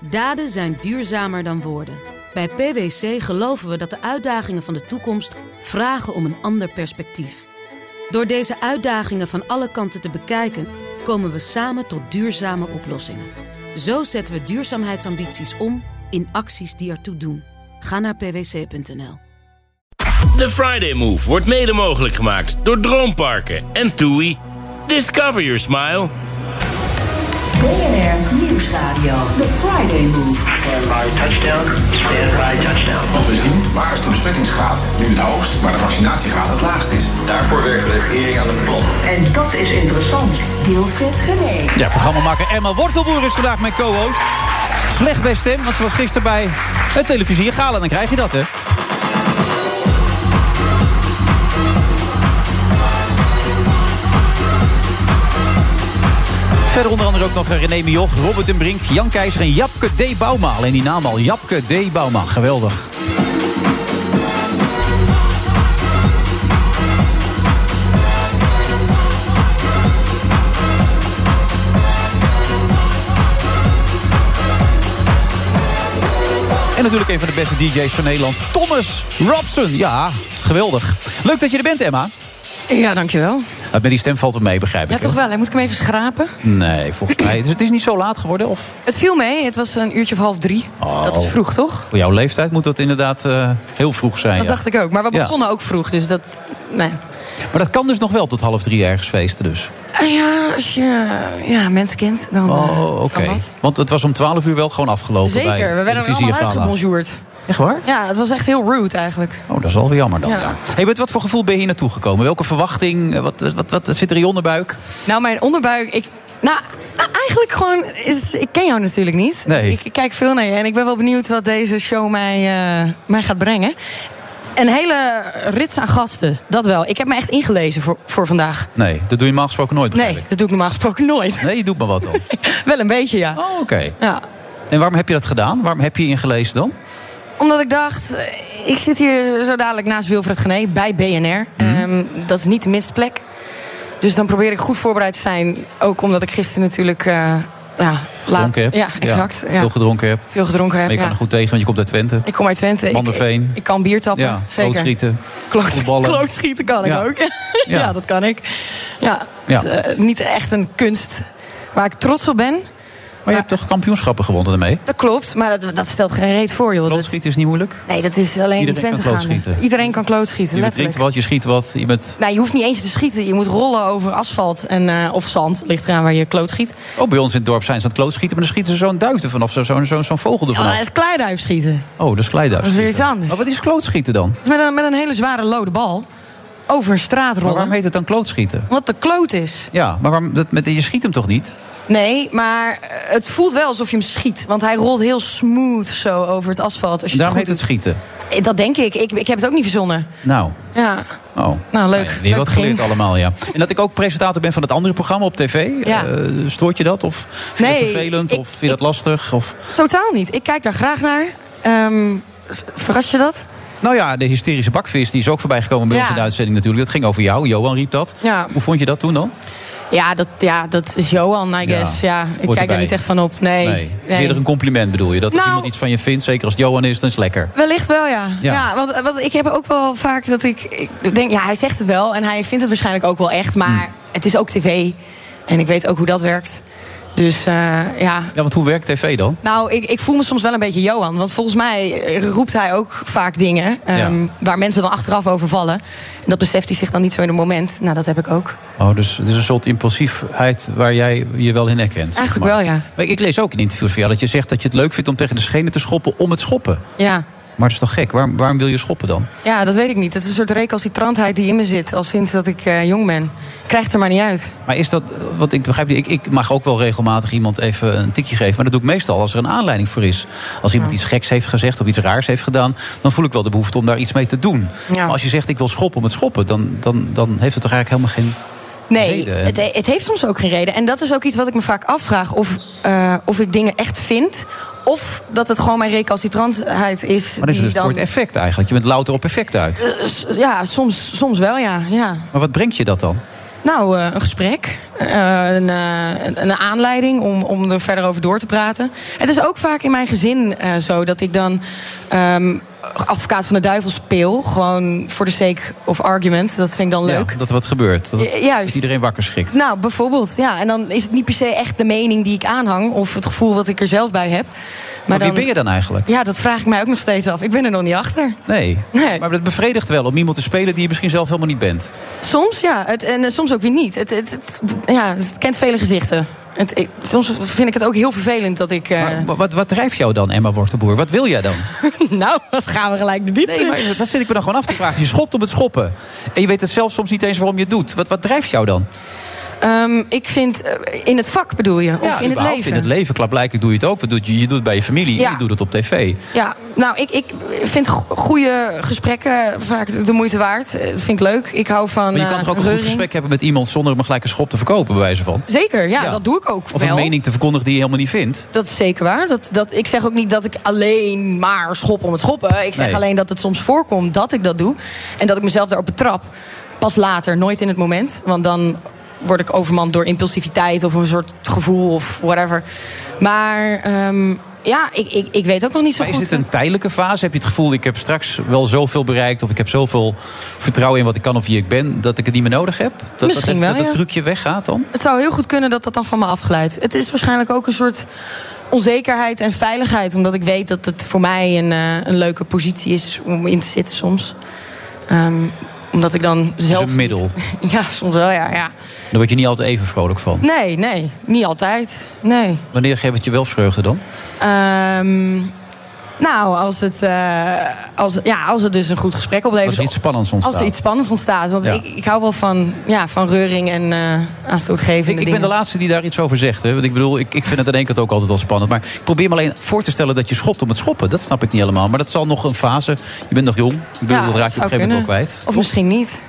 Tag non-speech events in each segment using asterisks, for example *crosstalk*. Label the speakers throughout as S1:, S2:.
S1: Daden zijn duurzamer dan woorden. Bij PwC geloven we dat de uitdagingen van de toekomst vragen om een ander perspectief. Door deze uitdagingen van alle kanten te bekijken, komen we samen tot duurzame oplossingen. Zo zetten we duurzaamheidsambities om in acties die ertoe doen. Ga naar pwc.nl.
S2: De Friday Move wordt mede mogelijk gemaakt door Droomparken en TUI. Discover your smile.
S3: BNR Nieuwsradio. The Friday Move.
S4: Standby touchdown. Standby touchdown.
S5: Want we zien waar is de besmettingsgraad nu het hoogst, maar de vaccinatiegraad het laagst is. Daarvoor werkt de regering aan een plan.
S3: En dat is interessant. Wilfred Genee.
S6: Ja, programmamaker Emma Wortelboer is vandaag mijn co-host. Slecht bij stem, want ze was gisteren bij het televisie Gala. Dan krijg je dat, hè? Verder onder andere ook nog René Mioch, Robert en Brink, Jan Keizer en Japke D. Bouma. Alleen die naam al, Japke D. Bouma. Geweldig. En natuurlijk een van de beste DJ's van Nederland, Thomas Robson. Ja, geweldig. Leuk dat je er bent, Emma.
S7: Ja, dankjewel.
S6: Eh, Met die stem valt het mee, begrijp ik.
S7: Ja, toch
S6: hè?
S7: wel. hè? Moet ik hem even schrapen?
S6: Nee, volgens mij. Dus het is niet zo laat geworden? Of
S7: Het viel mee. Het was een uurtje of half drie.
S6: Oh.
S7: Dat is vroeg, toch?
S6: voor jouw leeftijd moet dat inderdaad eh, heel vroeg zijn.
S7: Dat
S6: ja.
S7: dacht ik ook. Maar we
S6: Ja.
S7: begonnen ook vroeg, dus dat... Nee.
S6: Maar dat kan dus nog wel tot half drie ergens feesten dus.
S7: Eh, ja, als je ja, menskind, dan eh,
S6: Oh, oké.
S7: kan dat.
S6: Want het was om twaalf uur wel gewoon afgelopen bij
S7: Zeker. We werden er
S6: Televisie
S7: allemaal
S6: Gala.
S7: uitgebonjourd.
S6: Echt waar?
S7: Ja, het was echt heel rude eigenlijk.
S6: Oh, dat is wel weer jammer dan. Ja.
S7: Ja.
S6: Hey, met wat voor gevoel ben je hier naartoe gekomen? Welke verwachting? Eh, Wat, wat, wat, wat zit er in je onderbuik?
S7: Nou, mijn onderbuik... Ik, nou, a- eigenlijk gewoon... Is, ik ken jou natuurlijk niet.
S6: Nee.
S7: Ik, ik kijk veel naar je. En ik ben wel benieuwd wat deze show mij, eh, mij gaat brengen. Een hele rits aan gasten. Dat wel. Ik heb me echt ingelezen voor, voor vandaag. *laughs*
S6: Nee, dat doe je normaal gesproken nooit
S7: Nee,
S6: begrijp ik.
S7: dat doe ik normaal gesproken nooit.
S6: Nee, je doet maar wat
S7: *laughs*
S6: dan.
S7: Wel een beetje, ja.
S6: Oh, oké.
S7: ja.
S6: En waarom heb je dat gedaan? Waarom heb je je ingelezen dan?
S7: Omdat ik dacht, eh, ik zit hier zo dadelijk naast Wilfred Gené bij BNR.
S6: Mhm.
S7: Ehm, dat is niet de minste plek. Dus dan probeer ik goed voorbereid te zijn. Ook omdat ik gisteren natuurlijk... eh, ja, laat,
S6: Gedronken hebt?
S7: ja, exact. Ja,
S6: Veel
S7: veel,
S6: gedronken hebt. Maar
S7: gedronken heb.
S6: je kan
S7: Ja.
S6: er goed tegen, want je komt uit Twente.
S7: Ik kom uit Twente. Ik-
S6: Manderveen.
S7: Ik, ik kan bier tappen,
S6: Ja,
S7: zeker.
S6: klootschieten.
S7: Kloot-
S6: voetballen.
S7: klootschieten kan
S6: Ja.
S7: ik ook. *laughs* ja.
S6: Ja.
S7: dat kan ik. Ja,
S6: Ja.
S7: Het, eh, niet echt een kunst waar ik trots op ben.
S6: Maar je hebt toch kampioenschappen gewonnen daarmee?
S7: Dat klopt, maar dat, dat stelt geen reet voor, joh. Dat-
S6: Klootschieten is niet moeilijk.
S7: Nee, dat is alleen
S6: Iedereen
S7: in Twente
S6: kan
S7: gaan.
S6: klootschieten.
S7: Iedereen kan klootschieten,
S6: Je
S7: letterlijk.
S6: drinkt wat, je schiet wat. Je bent...
S7: Nou, je hoeft niet eens te schieten. Je moet rollen over asfalt en, eh, of zand. Ligt eraan waar je kloot schiet.
S6: Oh, bij ons in het dorp zijn ze aan het klootschieten, maar dan schieten ze zo'n duif er vanaf, zo- zo'n zo'n zo'n vogel er
S7: Ja, dat
S6: vanaf.
S7: is kleiduif schieten.
S6: Oh, dat is kleiduif.
S7: Dat is weer iets anders.
S6: Oh, wat is klootschieten dan?
S7: Dat is met een, met een hele zware lode bal over een straat
S6: Maar
S7: rollen.
S6: waarom heet het dan klootschieten?
S7: Omdat de kloot is.
S6: Ja, maar waarom, dat, met, je schiet hem toch niet?
S7: Nee, maar eh, het voelt wel alsof je hem schiet. Want hij rolt heel smooth zo over het asfalt. Als je
S6: Daarom
S7: het
S6: heet
S7: goed
S6: het schieten.
S7: doet. Eh, Dat denk ik. ik. Ik heb het ook niet verzonnen.
S6: Nou,
S7: Ja.
S6: oh.
S7: Nou, leuk.
S6: ja, weer
S7: Leuk
S6: wat geleerd
S7: begin.
S6: allemaal, ja. En dat ik ook presentator ben van het andere programma op tv.
S7: Ja.
S6: Eh, stoort je dat? Of vind je
S7: Nee,
S6: dat vervelend?
S7: ik-
S6: of vind je dat lastig? Of...
S7: Totaal niet. Ik kijk daar graag naar. Ehm, s- verras je dat?
S6: Nou ja, de hysterische bakvis die is ook voorbij gekomen bij
S7: Ja.
S6: ons in de uitzending natuurlijk. Dat ging over jou. Johan riep dat.
S7: Ja.
S6: Hoe vond je dat toen dan?
S7: Ja, dat, ja, dat is Johan, I guess. Ja,
S6: hoort
S7: ik kijk
S6: erbij.
S7: er niet echt van op. Nee.
S6: Nee. Het is eerder een compliment bedoel je. Dat als
S7: Nou-
S6: iemand iets van je vindt, zeker als het Johan is, dan is het lekker.
S7: Wellicht wel, ja.
S6: Ja.
S7: ja. want, eh, want ik heb ook wel vaak dat ik, ik denk... Ja, hij zegt het wel en hij vindt het waarschijnlijk ook wel echt. Maar
S6: Hmm.
S7: het is ook tv en ik weet ook hoe dat werkt. Dus eh, ja...
S6: Ja, want hoe werkt tv dan?
S7: Nou, ik, ik voel me soms wel een beetje Johan. Want volgens mij eh, roept hij ook vaak dingen... ehm,
S6: Ja.
S7: waar mensen dan achteraf over vallen. En dat beseft hij zich dan niet zo in het moment. Nou, dat heb ik ook.
S6: Oh, dus het is een soort impulsiefheid waar jij je wel in herkent. zeg
S7: Eigenlijk
S6: maar.
S7: wel, ja.
S6: Maar ik lees ook in interviews van jou dat je zegt dat je het leuk vindt om tegen de schenen te schoppen om het schoppen.
S7: Ja.
S6: Maar het is toch gek? Waarom, waarom wil je schoppen dan?
S7: Ja, dat weet ik niet. Het is een soort recalcitrantheid die in me zit al sinds dat ik eh, jong ben. Krijgt er maar niet uit.
S6: Maar is dat, want ik begrijp, ik, ik mag ook wel regelmatig iemand even een tikje geven. Maar dat doe ik meestal als er een aanleiding voor is. Als iemand iets geks heeft gezegd of iets raars heeft gedaan, dan voel ik wel de behoefte om daar iets mee te doen.
S7: Ja.
S6: Maar als je zegt ik wil schoppen om het schoppen, dan, dan, dan heeft het toch eigenlijk helemaal geen.
S7: Nee,
S6: Reden, hè?
S7: het, het heeft soms ook geen reden. En dat is ook iets wat ik me vaak afvraag. Of, eh, of ik dingen echt vind. Of dat het gewoon mijn recalcitrantheid is.
S6: Maar dan is het
S7: die
S6: dus voor het effect eigenlijk. Je bent louter op effect uit.
S7: Eh, s- Ja, soms, soms wel, ja. ja.
S6: Maar wat brengt je dat dan?
S7: Nou, eh, een gesprek. Eh, een, eh, een- een aanleiding om, om er verder over door te praten. Het is ook vaak in mijn gezin eh, zo dat ik dan ehm, advocaat van de duivel speel. Gewoon voor de sake of argument. Dat vind ik dan leuk.
S6: Ja, dat er wat gebeurt. Dat,
S7: Ju- juist.
S6: dat iedereen wakker schrikt.
S7: Nou, bijvoorbeeld. Ja, en dan is het niet per se echt de mening die ik aanhang. Of het gevoel wat ik er zelf bij heb.
S6: maar
S7: Maar,
S6: wie
S7: dan-
S6: ben je dan eigenlijk?
S7: Ja, dat vraag ik mij ook nog steeds af. Ik ben er nog niet achter.
S6: Nee.
S7: Nee.
S6: Maar dat bevredigt wel om iemand te spelen die je misschien zelf helemaal niet bent.
S7: Soms ja, het, en eh, soms ook weer niet. Het, het, het- ja, het kent vele gezichten. Het, ik- soms vind ik het ook heel vervelend dat ik. eh,
S6: Maar wat, wat drijft jou dan, Emma Wortelboer? Wat wil jij dan?
S7: *laughs* nou, dat gaan we gelijk de diepte.
S6: Nee,
S7: in.
S6: maar
S7: *laughs*
S6: dat zit ik me dan gewoon af te vragen. Je schopt om het schoppen. En je weet het zelf soms niet eens waarom je het doet. Wat, wat drijft jou dan?
S7: Ehm, ik vind eh, in het vak bedoel je, of
S6: Ja,
S7: in het
S6: überhaupt
S7: leven.
S6: In het leven, klaarblijkelijk doe je het ook. Wat doet je, je doet het bij je familie,
S7: Ja.
S6: je doet het op tv.
S7: Ja, nou, ik, ik vind go- goede gesprekken vaak de moeite waard. Eh, Dat vind ik leuk. Ik hou van.
S6: Maar je
S7: eh,
S6: kan toch ook een goed
S7: reuring.
S6: gesprek hebben met iemand... zonder hem gelijk een schop te verkopen, bij wijze van.
S7: Zeker, ja,
S6: Ja.
S7: dat doe ik ook
S6: Of
S7: wel.
S6: een mening te verkondigen die je helemaal niet vindt.
S7: Dat is zeker waar. Dat, dat, ik zeg ook niet dat ik alleen maar schop om het schoppen. Ik zeg
S6: Nee.
S7: alleen dat het soms voorkomt dat ik dat doe. En dat ik mezelf daarop betrap. Pas later, nooit in het moment. Want dan word ik overmand door impulsiviteit of een soort gevoel of whatever. Maar ehm, ja, ik, ik, ik weet ook nog niet zo
S6: Maar is
S7: goed. eh.
S6: dit een tijdelijke fase? Heb je het gevoel, ik heb straks wel zoveel bereikt... of ik heb zoveel vertrouwen in wat ik kan of wie ik ben... dat ik het niet meer nodig heb? Dat, dat,
S7: Misschien
S6: dat,
S7: wel,
S6: dat
S7: ja.
S6: het trucje weggaat dan?
S7: Het zou heel goed kunnen dat dat dan van me afglijdt. Het is waarschijnlijk ook een soort onzekerheid en veiligheid. Omdat ik weet dat het voor mij een, eh, een leuke positie is om in te zitten soms. Ehm, omdat ik dan zelf.
S6: een middel.
S7: niet- *laughs* ja, soms wel, ja, ja.
S6: Daar word je niet altijd even vrolijk van.
S7: Nee, nee, niet altijd. Nee.
S6: Wanneer geeft het je wel vreugde dan?
S7: Ehm, nou, als het, eh, als, ja, als het dus een goed gesprek oplevert.
S6: Als er iets spannends ontstaat.
S7: Als er iets spannends ontstaat. Want
S6: Ja.
S7: ik, ik hou wel van, ja, van reuring en eh aanstootgevende
S6: Ik, ik ben
S7: dingen.
S6: de laatste die daar iets over zegt. Hè? Want ik bedoel, ik, ik vind het aan één kant ook altijd wel spannend. Maar ik probeer me alleen voor te stellen dat je schopt om het schoppen. Dat snap ik niet helemaal. Maar dat zal nog een fase. Je bent nog jong. Ik bedoel, dat raak je op
S7: zou
S6: een gegeven moment ook
S7: kunnen.
S6: kwijt.
S7: Of misschien niet.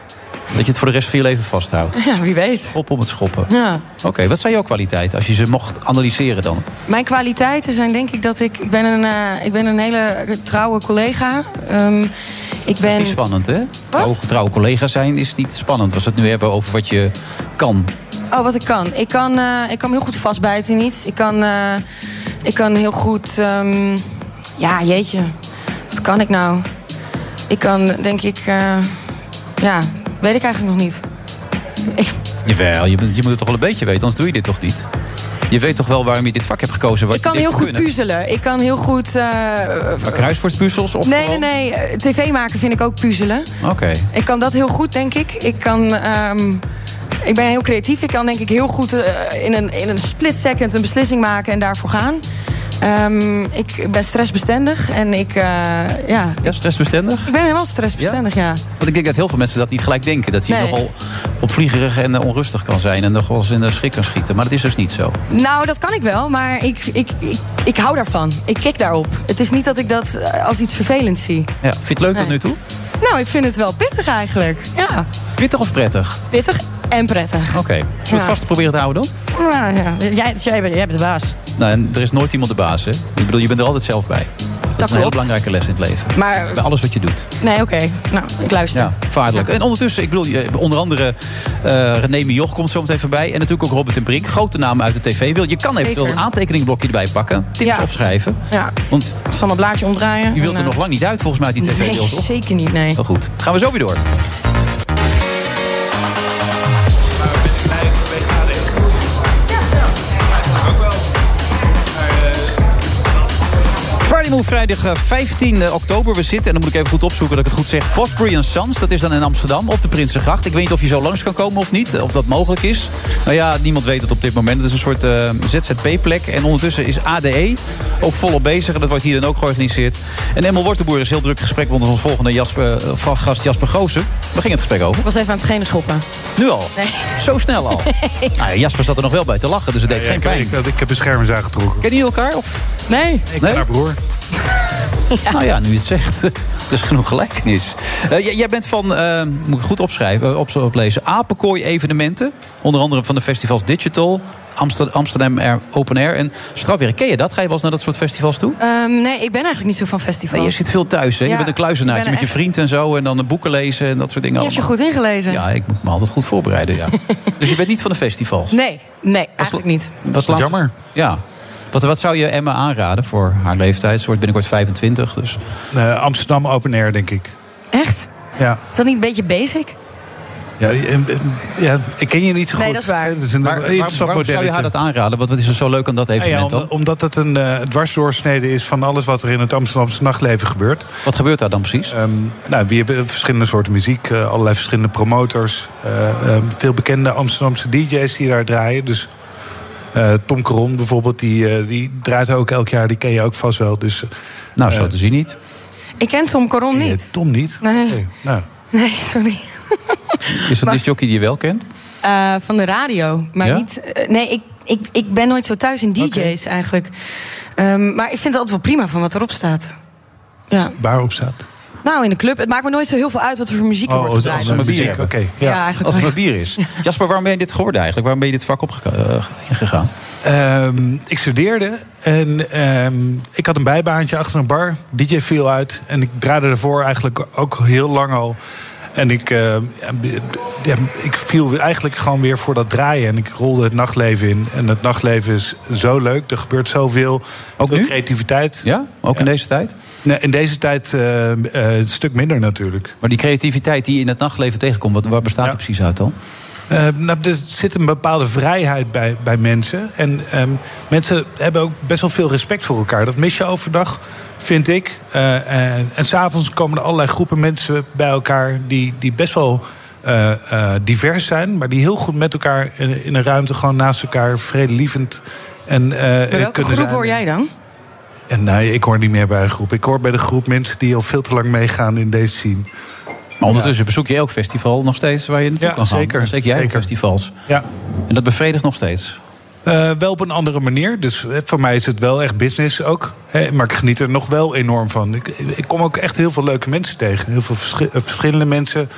S6: Dat je het voor de rest van je leven
S7: *laughs*
S6: vasthoudt.
S7: Ja, wie weet.
S6: Schop om het schoppen.
S7: Ja.
S6: Oké, wat zijn jouw kwaliteiten als je ze mocht analyseren dan?
S7: Mijn kwaliteiten zijn denk ik dat ik... Ik ben een, eh, ik ben een hele trouwe collega. Ehm, ik
S6: Dat is
S7: ben...
S6: niet spannend, hè? Trouw, trouwe collega's zijn is niet spannend. Als we het nu hebben over wat je kan.
S7: Oh, wat ik kan. Ik kan, eh, ik kan me heel goed vastbijten in iets. Ik kan, eh, ik kan heel goed... ehm, ja, jeetje. Wat kan ik nou? Ik kan, denk ik... eh, ja, weet ik eigenlijk nog niet. Ik-
S6: Jawel, je, bent- je moet het toch wel een beetje weten, anders doe je dit toch niet? Je weet toch wel waarom je dit vak hebt gekozen? Wat
S7: ik kan
S6: je denkt
S7: heel
S6: te
S7: goed
S6: kunnen?
S7: puzzelen. Ik kan heel goed... eh,
S6: Maar Kruiswoordpuzzels? Of
S7: nee, nee,
S6: gewoon-
S7: nee. eh, TV maken vind ik ook puzzelen.
S6: Oké.
S7: Ik kan dat heel goed, denk ik. Ik kan. ehm, ik ben heel creatief. Ik kan denk ik heel goed eh, in, een, in een split second een beslissing maken en daarvoor gaan. Ehm, ik ben stressbestendig en ik, eh, ja,
S6: Ja, stressbestendig?
S7: ik ben wel stressbestendig, ja.
S6: Want ik denk dat heel veel mensen dat niet gelijk denken. Dat je
S7: Nee.
S6: nogal opvliegerig en eh, onrustig kan zijn. En nogal eens in de schrik kan schieten. Maar dat is dus niet zo.
S7: Nou, dat kan ik wel, maar ik, ik, ik, ik hou daarvan. Ik kik daarop. Het is niet dat ik dat eh, als iets vervelends zie.
S6: Ja, vind je het leuk tot
S7: Nee.
S6: nu toe?
S7: Nou, ik vind het wel pittig eigenlijk. Ja,
S6: Pittig of prettig?
S7: pittig en prettig.
S6: Oké. Zullen we het
S7: Ja.
S6: vast proberen te houden dan?
S7: Ja, Nou ja. Jij, jij, bent, jij bent de baas.
S6: Nou, en er is nooit iemand de baas, hè? Ik bedoel, je bent er altijd zelf bij. Dat, is een
S7: klopt.
S6: hele belangrijke les in het leven.
S7: Maar,
S6: Bij alles wat je doet.
S7: nee, oké. Nou, ik luister.
S6: Ja, vaarlijk. En ondertussen, ik bedoel, je- onder andere eh René Mioch komt zo meteen voorbij. En natuurlijk ook Robert en Brink. Grote namen uit de tv. wil Je kan eventueel een
S7: Zeker.
S6: aantekeningblokje erbij pakken. Tips
S7: Ja.
S6: opschrijven.
S7: Ja.
S6: Want
S7: Ik zal mijn blaadje omdraaien.
S6: je wilt er
S7: en,
S6: nog lang niet uit volgens mij uit die
S7: eh,
S6: tv-deel,
S7: nou. Nee,
S6: toch?
S7: zeker niet, nee.
S6: Wel goed. Gaan we zo weer door. Friday Move, vrijdag eh, 15 oktober. We zitten, en dan moet ik even goed opzoeken dat ik het goed zeg... Fosbury Sons, dat is dan in Amsterdam, op de Prinsengracht. Ik weet niet of je zo langs kan komen of niet, of dat mogelijk is. Nou ja, niemand weet het op dit moment. Het is een soort eh, ZZP-plek. En ondertussen is ADE ook volop bezig. En dat wordt hier dan ook georganiseerd. En Emel Wortenboer is heel druk in gesprek... met onze volgende Jasper, eh, va- gast Jasper Goosen. Waar ging het gesprek over?
S7: Ik was even aan het schenen schoppen.
S6: Nu al?
S7: Nee.
S6: *laughs* Zo snel al? Nou ja, Jasper zat er nog wel bij te lachen, dus het deed
S8: Ja,
S6: geen
S8: ik,
S6: pijn.
S8: ik, ik heb beschermers aangetrokken.
S6: Kennen jullie elkaar? Of?
S7: Nee.
S9: *laughs*
S8: Ik
S6: Nee?
S8: ben haar broer.
S6: Nou ja, nu je het zegt. *laughs* Dus genoeg gelijkenis. Eh, j- jij bent van, eh, moet ik goed opschrijven, eh, op, oplezen, Apenkooi evenementen. Onder andere van de festivals Digital, Amster- Amsterdam Air Open Air en strafwerk. Ken je dat? Ga je wel eens naar dat soort festivals toe?
S7: Ehm, nee, ik ben eigenlijk niet zo van festivals.
S6: Je zit veel thuis, hè?
S7: Ja,
S6: je bent een
S7: ik
S6: kluizenaartje
S7: ben
S6: met
S7: er
S6: je vriend en zo. En dan de boeken lezen en dat soort dingen
S7: Je hebt je
S6: allemaal.
S7: goed ingelezen.
S6: Ja, ik moet me altijd goed voorbereiden,
S7: *laughs*
S6: ja. dus je bent niet van de festivals?
S7: Nee, nee, eigenlijk niet.
S6: Was
S8: Wat
S6: laatst-
S8: jammer.
S6: Ja. Wat, wat zou je Emma aanraden voor haar leeftijd? Ze wordt binnenkort 25, dus...
S8: Eh, Amsterdam Open Air, denk ik.
S7: Echt?
S8: Ja.
S7: Is dat niet een beetje basic?
S8: Ja, die- eh, ja, ik ken je niet zo
S7: Nee,
S8: goed.
S7: dat is waar.
S8: Het is een
S6: Maar, waar-
S8: interessant
S6: waarom zou je haar
S8: modelletje.
S6: dat aanraden? Wat, wat is er zo leuk aan dat
S8: Ja, Ah ja,
S6: evenement
S8: om-
S6: dan?
S8: omdat het een eh dwarsdoorsnede is van alles wat er in het Amsterdamse nachtleven gebeurt.
S6: Wat gebeurt daar dan precies?
S8: Ehm, nou, we hebben verschillende soorten muziek, eh, allerlei verschillende promotors. eh, ehm, veel bekende Amsterdamse DJ's die daar draaien. Dus eh, Tom Caron bijvoorbeeld, die, eh, die draait ook elk jaar, die ken je ook vast wel. Dus,
S6: nou, zo te zien niet.
S7: Ik ken Tom Coron
S8: eh,
S7: niet.
S8: Tom niet?
S7: Nee.
S8: nou.
S7: Nee, sorry.
S6: Is dat de jockey die je wel kent?
S7: Eh, van de radio. Maar
S6: Ja?
S7: niet. eh, nee, ik, ik, ik ben nooit zo thuis in DJ's eigenlijk. Ehm, maar ik vind het altijd wel prima van wat erop staat. Ja.
S8: Waarop staat?
S7: Nou, in de club. Het maakt me nooit zo heel veel uit wat er voor
S6: Oh,
S7: muziek er wordt
S8: Oh, als
S7: gedraaid.
S8: als we maar
S6: bier
S8: bier Oké.
S6: hebben.
S7: Ja, eigenlijk
S6: Als het
S7: wel.
S6: maar bier
S7: *laughs*
S6: is. Jasper, waarom ben je dit geworden eigenlijk? Waarom ben je dit vak eh, opgegaan?
S8: Ehm, ik studeerde en ehm, ik had een bijbaantje achter een bar. DJ viel uit en ik draaide daarvoor eigenlijk ook heel lang al. En ik, ehm, ja, b- ja, ik viel eigenlijk gewoon weer voor dat draaien. En ik rolde het nachtleven in. En het nachtleven is zo leuk. Er gebeurt zoveel.
S6: Ook
S8: Veel
S6: nu?
S8: creativiteit.
S6: Ja, ook in deze tijd?
S8: Nee, in deze tijd eh, eh, een stuk minder natuurlijk.
S6: Maar die creativiteit die je in het nachtleven tegenkomt, wat, waar bestaat
S8: Ja.
S6: die precies uit dan?
S8: Eh, nou, er zit een bepaalde vrijheid bij, bij mensen. En ehm, mensen hebben ook best wel veel respect voor elkaar. Dat mis je overdag, vind ik. Eh, en en s'avonds komen er allerlei groepen mensen bij elkaar... die, die best wel eh, eh, divers zijn... maar die heel goed met elkaar in, in een ruimte... gewoon naast elkaar vredelievend en, eh
S7: Bij welke
S8: kunnen
S7: groep
S8: zijn.
S7: hoor jij dan?
S8: En, nee, ik hoor niet meer bij een groep. Ik hoor bij de groep mensen die al veel te lang meegaan in deze scene.
S6: Maar ondertussen bezoek je elk festival nog steeds waar je naartoe
S8: Ja,
S6: kan gaan.
S8: zeker,
S6: Zeker jij
S8: zeker.
S6: festivals.
S8: Ja.
S6: En dat bevredigt nog steeds.
S8: Eh, wel op een andere manier. Dus eh, voor mij is het wel echt business ook. Hè, maar ik geniet er nog wel enorm van. Ik, ik kom ook echt heel veel leuke mensen tegen. Heel veel verschi- eh, verschillende mensen.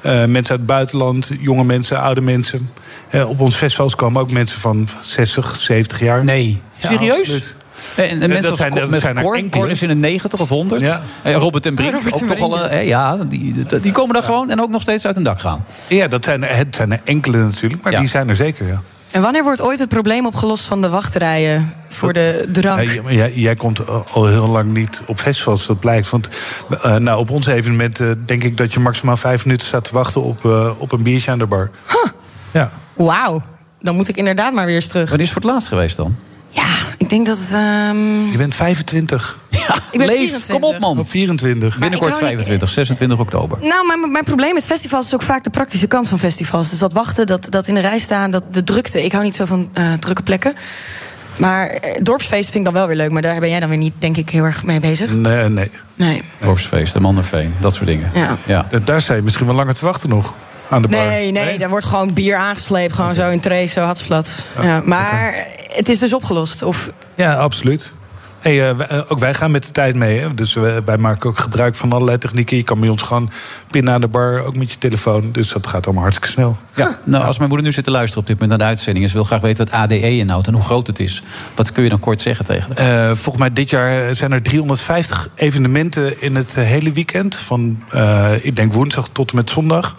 S8: Eh, mensen uit het buitenland, jonge mensen, oude mensen. Eh, op ons festivals komen ook mensen van 60, 70 jaar.
S6: Nee.
S8: Ja,
S6: Serieus?
S8: absoluut.
S6: En, en mensen als
S8: zijn-
S6: Cor-
S8: dat
S6: met
S8: zijn er
S6: Cor,
S8: enkele.
S6: Cor is in de 90 of 100.
S8: Ja.
S6: Eh, Robert en Brink,
S7: Robert
S6: ook
S7: en
S6: toch al,
S7: Brink.
S6: eh, ja, die, die- die komen daar gewoon en ook nog steeds uit hun dak gaan.
S8: Ja, dat zijn er, het zijn er enkele natuurlijk, maar
S6: Ja.
S8: die zijn er zeker. Ja.
S7: En wanneer wordt ooit het probleem opgelost van de wachtrijen voor de
S8: Ja,
S7: drank?
S8: j- maar jij, jij komt al- al heel lang niet op festivals, dat blijkt. Want eh, nou, op ons evenement eh, denk ik dat je maximaal vijf minuten staat te wachten op, eh, op een biertje aan de bar. Ja.
S7: Wauw. Dan moet ik inderdaad maar weer eens terug.
S6: Wanneer is het voor het laatst geweest dan?
S7: Ja, ik denk dat het. ehm,
S8: Je bent 25.
S7: ik ben
S6: Leef,
S7: 24.
S6: kom op man.
S8: Of 24.
S6: Binnenkort
S7: hou niet-
S6: 25, 26 oktober.
S7: Nou, mijn, mijn probleem met festivals is ook vaak de praktische kant van festivals. Dus dat wachten, dat, dat in de rij staan, dat de drukte. Ik hou niet zo van eh, drukke plekken. Maar eh, dorpsfeest vind ik dan wel weer leuk. Maar daar ben jij dan weer niet, denk ik, heel erg mee bezig.
S8: Nee, nee.
S7: Nee.
S6: Dorpsfeest, de Manderveen, dat soort dingen.
S7: Ja.
S6: ja.
S8: Eh, Daar zijn je misschien wel langer te wachten nog. Aan de bar.
S7: Nee, nee, daar wordt gewoon bier aangesleept. Gewoon zo in trace, zo hatsflats.
S9: Oh,
S7: Ja, maar het is dus opgelost. Of,
S8: Ja, absoluut. Hey, eh, wij- eh, ook wij gaan met de tijd mee. Hè? Dus we- wij maken ook gebruik van allerlei technieken. Je kan bij ons gewoon pinnen aan de bar, ook met je telefoon. Dus dat gaat allemaal hartstikke snel.
S6: Ja, nou, als mijn moeder nu zit te luisteren op dit moment naar de uitzending... en ze wil graag weten wat ADE inhoudt en hoe groot het is... wat kun je dan kort zeggen tegen haar?
S8: Eh, volgens mij dit jaar eh, zijn er 350 evenementen in het eh, hele weekend. Van, eh, ik denk woensdag tot en met zondag.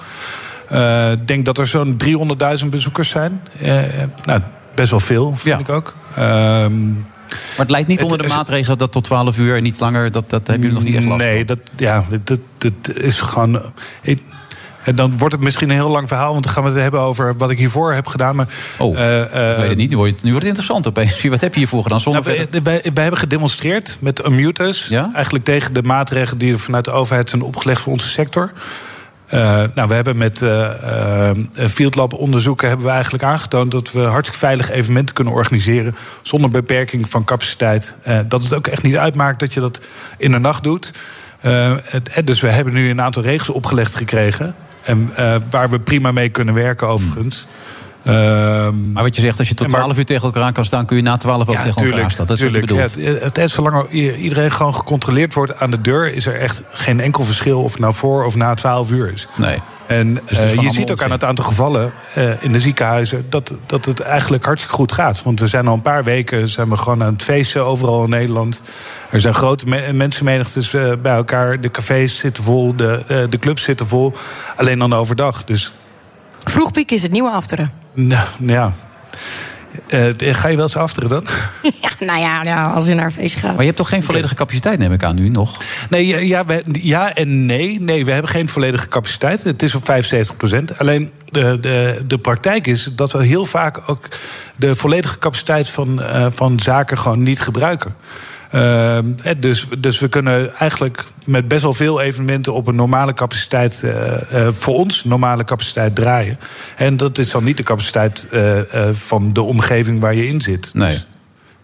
S8: Eh, Ik denk dat er zo'n 300.000 bezoekers zijn. Eh, nou, best wel veel, vind
S6: Ja.
S8: ik ook. Ehm,
S6: Maar het leidt niet
S8: Het-
S6: onder
S8: het-
S6: de maatregelen dat tot 12 uur en niet langer... dat, dat hebben jullie nog niet echt last van.
S8: nee, dat, ja, dat, dat is gewoon... eh, ik- en dan wordt het misschien een heel lang verhaal... want dan gaan we het hebben over wat ik hiervoor heb gedaan. Maar,
S6: Oh,
S8: eh,
S6: Ik
S8: eh,
S6: weet het niet, nu wordt het, nu wordt het interessant opeens. *laughs* Wat heb je hiervoor gedaan? Zonder
S8: Nou, wij, wij, wij hebben gedemonstreerd met Amutus.
S6: Ja?
S8: Eigenlijk tegen de maatregelen die er vanuit de overheid zijn opgelegd voor onze sector. Eh, nou, we hebben met eh eh, Field Lab onderzoeken hebben we eigenlijk aangetoond dat we hartstikke veilig evenementen kunnen organiseren zonder beperking van capaciteit. Eh, dat het ook echt niet uitmaakt dat je dat in de nacht doet. Eh, het- eh, dus we hebben nu een aantal regels opgelegd gekregen. En, eh, waar we prima mee kunnen werken overigens.
S6: Maar wat je zegt, als je tot
S8: Ja, maar-
S6: 12 uur tegen elkaar aan kan staan... kun je na 12 ook tegen elkaar staan. Dat is
S8: tuurlijk.
S6: wat je bedoelt.
S8: Ja, het, het is zolang er i- iedereen gewoon gecontroleerd wordt aan de deur, is er echt geen enkel verschil of het nou voor of na 12 uur is.
S6: Nee.
S8: En
S6: Dus is
S8: eh,
S6: gewoon
S8: je
S6: allemaal
S8: ziet ook
S6: onzin.
S8: aan het aantal gevallen eh, in de ziekenhuizen dat, dat het eigenlijk hartstikke goed gaat. Want we zijn al een paar weken zijn we gewoon aan het feesten overal in Nederland. Er zijn grote me- mensenmenigtes eh, bij elkaar. De cafés zitten vol, de, eh, de clubs zitten vol. Alleen dan overdag. Dus
S7: Vroegpiek is het nieuwe afteren. *laughs*
S8: nou, ja. Eh, ga je wel eens afteren dan?
S7: ja, nou ja, ja, als je naar een feestje gaat.
S6: Maar je hebt toch geen volledige capaciteit, neem ik aan, nu nog?
S8: Nee, ja, ja, we- ja en nee. Nee, we hebben geen volledige capaciteit. Het is op 75 Alleen de, de, de praktijk is dat we heel vaak ook de volledige capaciteit van, eh, van zaken gewoon niet gebruiken. Ehm, hè, dus, dus we kunnen eigenlijk met best wel veel evenementen op een normale capaciteit, eh, eh, voor ons normale capaciteit draaien. En dat is dan niet de capaciteit eh, eh, van de omgeving waar je in zit.
S6: Nee.
S8: Dus-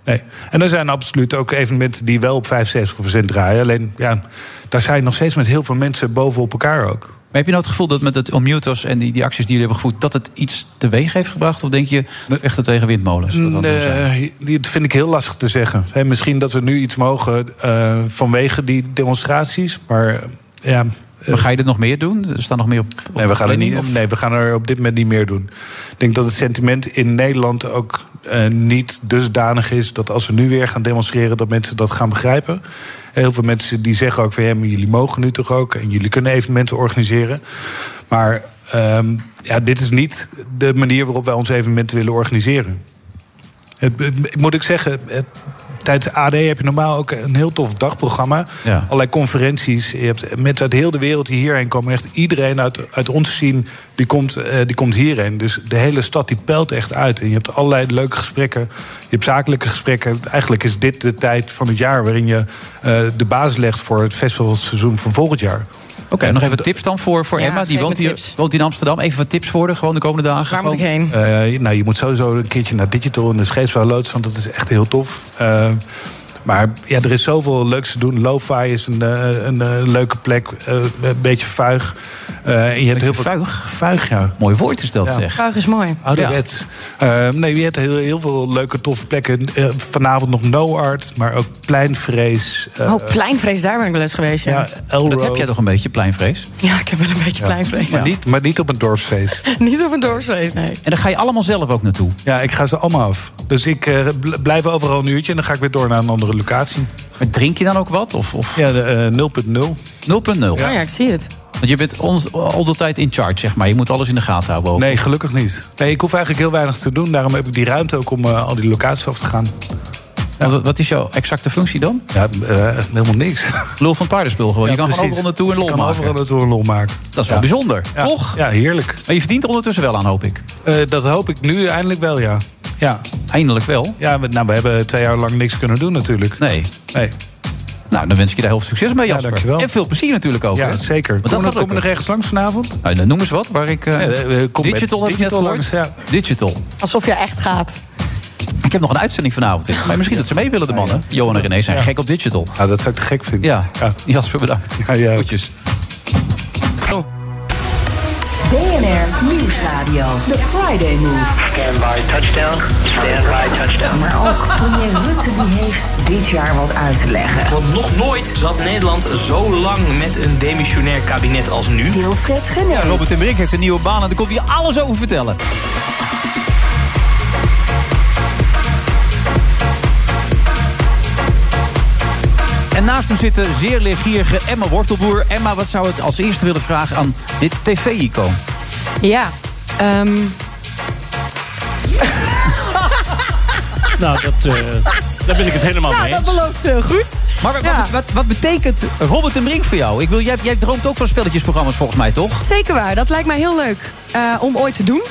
S8: Nee. En er zijn absoluut ook evenementen die wel op 75% draaien. Alleen, ja, daar zijn nog steeds met heel veel mensen bovenop elkaar ook.
S6: Maar heb je nou het gevoel dat met het onmutos en die, die acties die jullie hebben gevoerd... dat het iets teweeg heeft gebracht? Of denk je, we vechten tegen windmolens? Wat dat wil zijn?
S8: Nee, die- dat vind ik heel lastig te zeggen. Hè, misschien dat we nu iets mogen eh, vanwege die demonstraties. Maar eh, ja, eh,
S6: Maar ga je dit nog meer doen? Er staan nog meer op, op
S8: nee, we gaan er
S6: planning,
S8: niet,
S6: of-
S8: nee, we gaan er op dit moment niet meer doen. Ik denk dat het sentiment in Nederland ook eh, niet dusdanig is... dat als we nu weer gaan demonstreren, dat mensen dat gaan begrijpen. Heel veel mensen die zeggen ook van... Ja, maar jullie mogen nu toch ook en jullie kunnen evenementen organiseren. Maar ehm, ja, dit is niet de manier waarop wij ons evenementen willen organiseren. Het, het- moet ik zeggen, het- tijdens AD heb je normaal ook een heel tof dagprogramma.
S6: Ja.
S8: Allerlei conferenties. Je hebt mensen uit heel de wereld die hierheen komen. Echt iedereen uit, uit ons zien, die komt, eh, die komt hierheen. Dus de hele stad die pelt echt uit. En je hebt allerlei leuke gesprekken. Je hebt zakelijke gesprekken. Eigenlijk is dit de tijd van het jaar waarin je eh, de basis legt voor het festivalseizoen van volgend jaar.
S6: Oké, nog even tips dan voor, voor
S7: Ja,
S6: Emma. Die
S7: geef
S6: woont
S7: me
S6: hier,
S7: tips.
S6: woont in Amsterdam. Even wat tips voor haar, gewoon de komende dagen.
S7: Waar moet ik
S6: Gewoon-
S7: heen?
S8: Eh, nou, je moet sowieso een keertje naar Digital en de Scheepsbouwloods, want dat is echt heel tof. Eh, maar ja, er is zoveel leuks te doen. Lo-fi is een, eh, een eh, leuke plek, eh, een beetje vuig. Eh, en je hebt heel veel...
S6: vuig?
S8: Vuig, ja.
S6: Mooi woord is dat,
S8: Ja.
S6: zeg.
S7: Graag is mooi.
S8: Ouderwets. Eh, nee, je hebt heel, heel veel leuke, toffe plekken. Eh, vanavond nog No Art, maar ook Pleinvrees. eh,
S7: oh, pleinvrees, daar ben ik wel eens geweest. Ja,
S8: ja,
S7: ja.
S8: Elro.
S6: Dat heb jij toch een beetje, pleinvrees?
S7: ik heb wel een beetje pleinvrees.
S8: Maar, niet, maar niet op een dorpsfeest.
S7: *laughs* Niet op een dorpsfeest, nee.
S6: En dan ga je allemaal zelf ook naartoe.
S8: Ja, ik ga ze allemaal af. Dus ik eh, bl- blijf overal een uurtje en dan ga ik weer door naar een andere locatie.
S6: Maar drink je dan ook wat? Of, of
S8: Ja, de, eh, 0.0.
S6: 0.0?
S7: Oh ja, ik zie het.
S6: Want je bent ons, al de tijd in charge, zeg maar. Je moet alles in de gaten houden. ook.
S8: Nee, gelukkig niet. Nee, ik hoef eigenlijk heel weinig te doen. Daarom heb ik die ruimte ook om eh, al die locaties af te gaan.
S6: Wat, wat is jouw exacte functie dan?
S8: Ja, eh, helemaal niks.
S6: Lul van paardenspul gewoon. je kan gewoon overal naartoe en lol
S8: Ik kan
S6: maken.
S8: overal naartoe een lol maken.
S6: Dat is wel bijzonder,
S8: Ja.
S6: toch?
S8: Ja, heerlijk.
S6: Maar je verdient er ondertussen wel aan, hoop ik.
S8: Eh, dat hoop ik nu eindelijk wel, ja. Ja,
S6: Eindelijk wel.
S8: ja we, nou, we hebben twee jaar lang niks kunnen doen natuurlijk.
S6: Nee.
S8: Nee.
S6: Nou, dan wens ik je daar heel veel succes mee,
S8: Ja,
S6: Jasper.
S8: dankjewel.
S6: En veel plezier natuurlijk ook.
S8: Ja,
S6: hè?
S8: zeker.
S6: Want dat
S8: Kom,
S6: gaat
S8: kom je nog
S6: lukken.
S8: ergens langs vanavond?
S6: Nou, noem eens wat, waar ik... eh,
S8: Ja, eh, kom met
S6: digital heb ik net
S8: digital
S6: gehoord.
S8: langs,
S6: Digital.
S7: Alsof je echt gaat.
S6: Ik heb nog een uitzending vanavond. in. Maar misschien dat ze mee willen, de mannen. Johan en René zijn gek op digital.
S8: Nou, dat zou ik te gek vinden.
S6: Ja, Jasper, bedankt.
S8: Ja, ja.
S6: Groetjes.
S3: BNR Nieuwsradio. The Friday Move.
S4: Stand by touchdown. Stand by touchdown.
S3: Maar ook premier Rutte die heeft dit jaar wat uit te leggen.
S10: Want nog nooit zat Nederland zo lang met een demissionair kabinet als nu.
S3: Wilfred Genee.
S6: Robert ten Brink heeft een nieuwe baan en daar komt hij alles over vertellen. En naast hem zit de zeer leergierige Emma Wortelboer. Emma, wat zou het als eerste willen vragen aan dit tv-icoon?
S7: Ja. ehm,
S9: Nou, dat, eh, daar ben ik het helemaal mee
S7: nou, dat
S9: eens.
S7: belooft heel goed.
S6: Maar wat,
S7: Ja.
S6: wat, wat, wat betekent Robert en Brink voor jou? Ik wil, jij, jij droomt ook van spelletjesprogramma's volgens mij, toch?
S7: Zeker waar, dat lijkt mij heel leuk eh, om ooit te doen.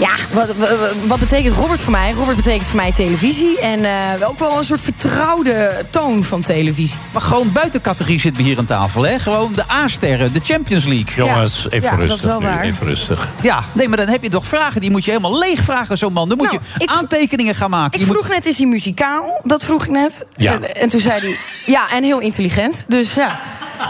S7: Ja, wat, wa- wa- wat betekent Robert voor mij? Robert betekent voor mij televisie. En eh, ook wel een soort vertrouwde toon van televisie.
S6: Maar gewoon buiten categorie zitten we hier aan tafel, hè? Gewoon de A-sterren, de Champions League.
S9: Jongens,
S7: Ja.
S9: even
S7: Ja, dat is
S9: rustig
S7: wel
S9: nu.
S7: waar.
S9: Even rustig.
S6: Ja, nee, maar dan heb je toch vragen. Die moet je helemaal leeg vragen, zo'n man. Dan moet
S7: Nou,
S6: je
S7: ik-
S6: aantekeningen gaan maken. je
S7: Ik vroeg
S6: moet...
S7: net, is hij muzikaal? Dat vroeg ik net.
S9: Ja.
S7: En, en toen zei hij, ja, en heel intelligent. Dus ja,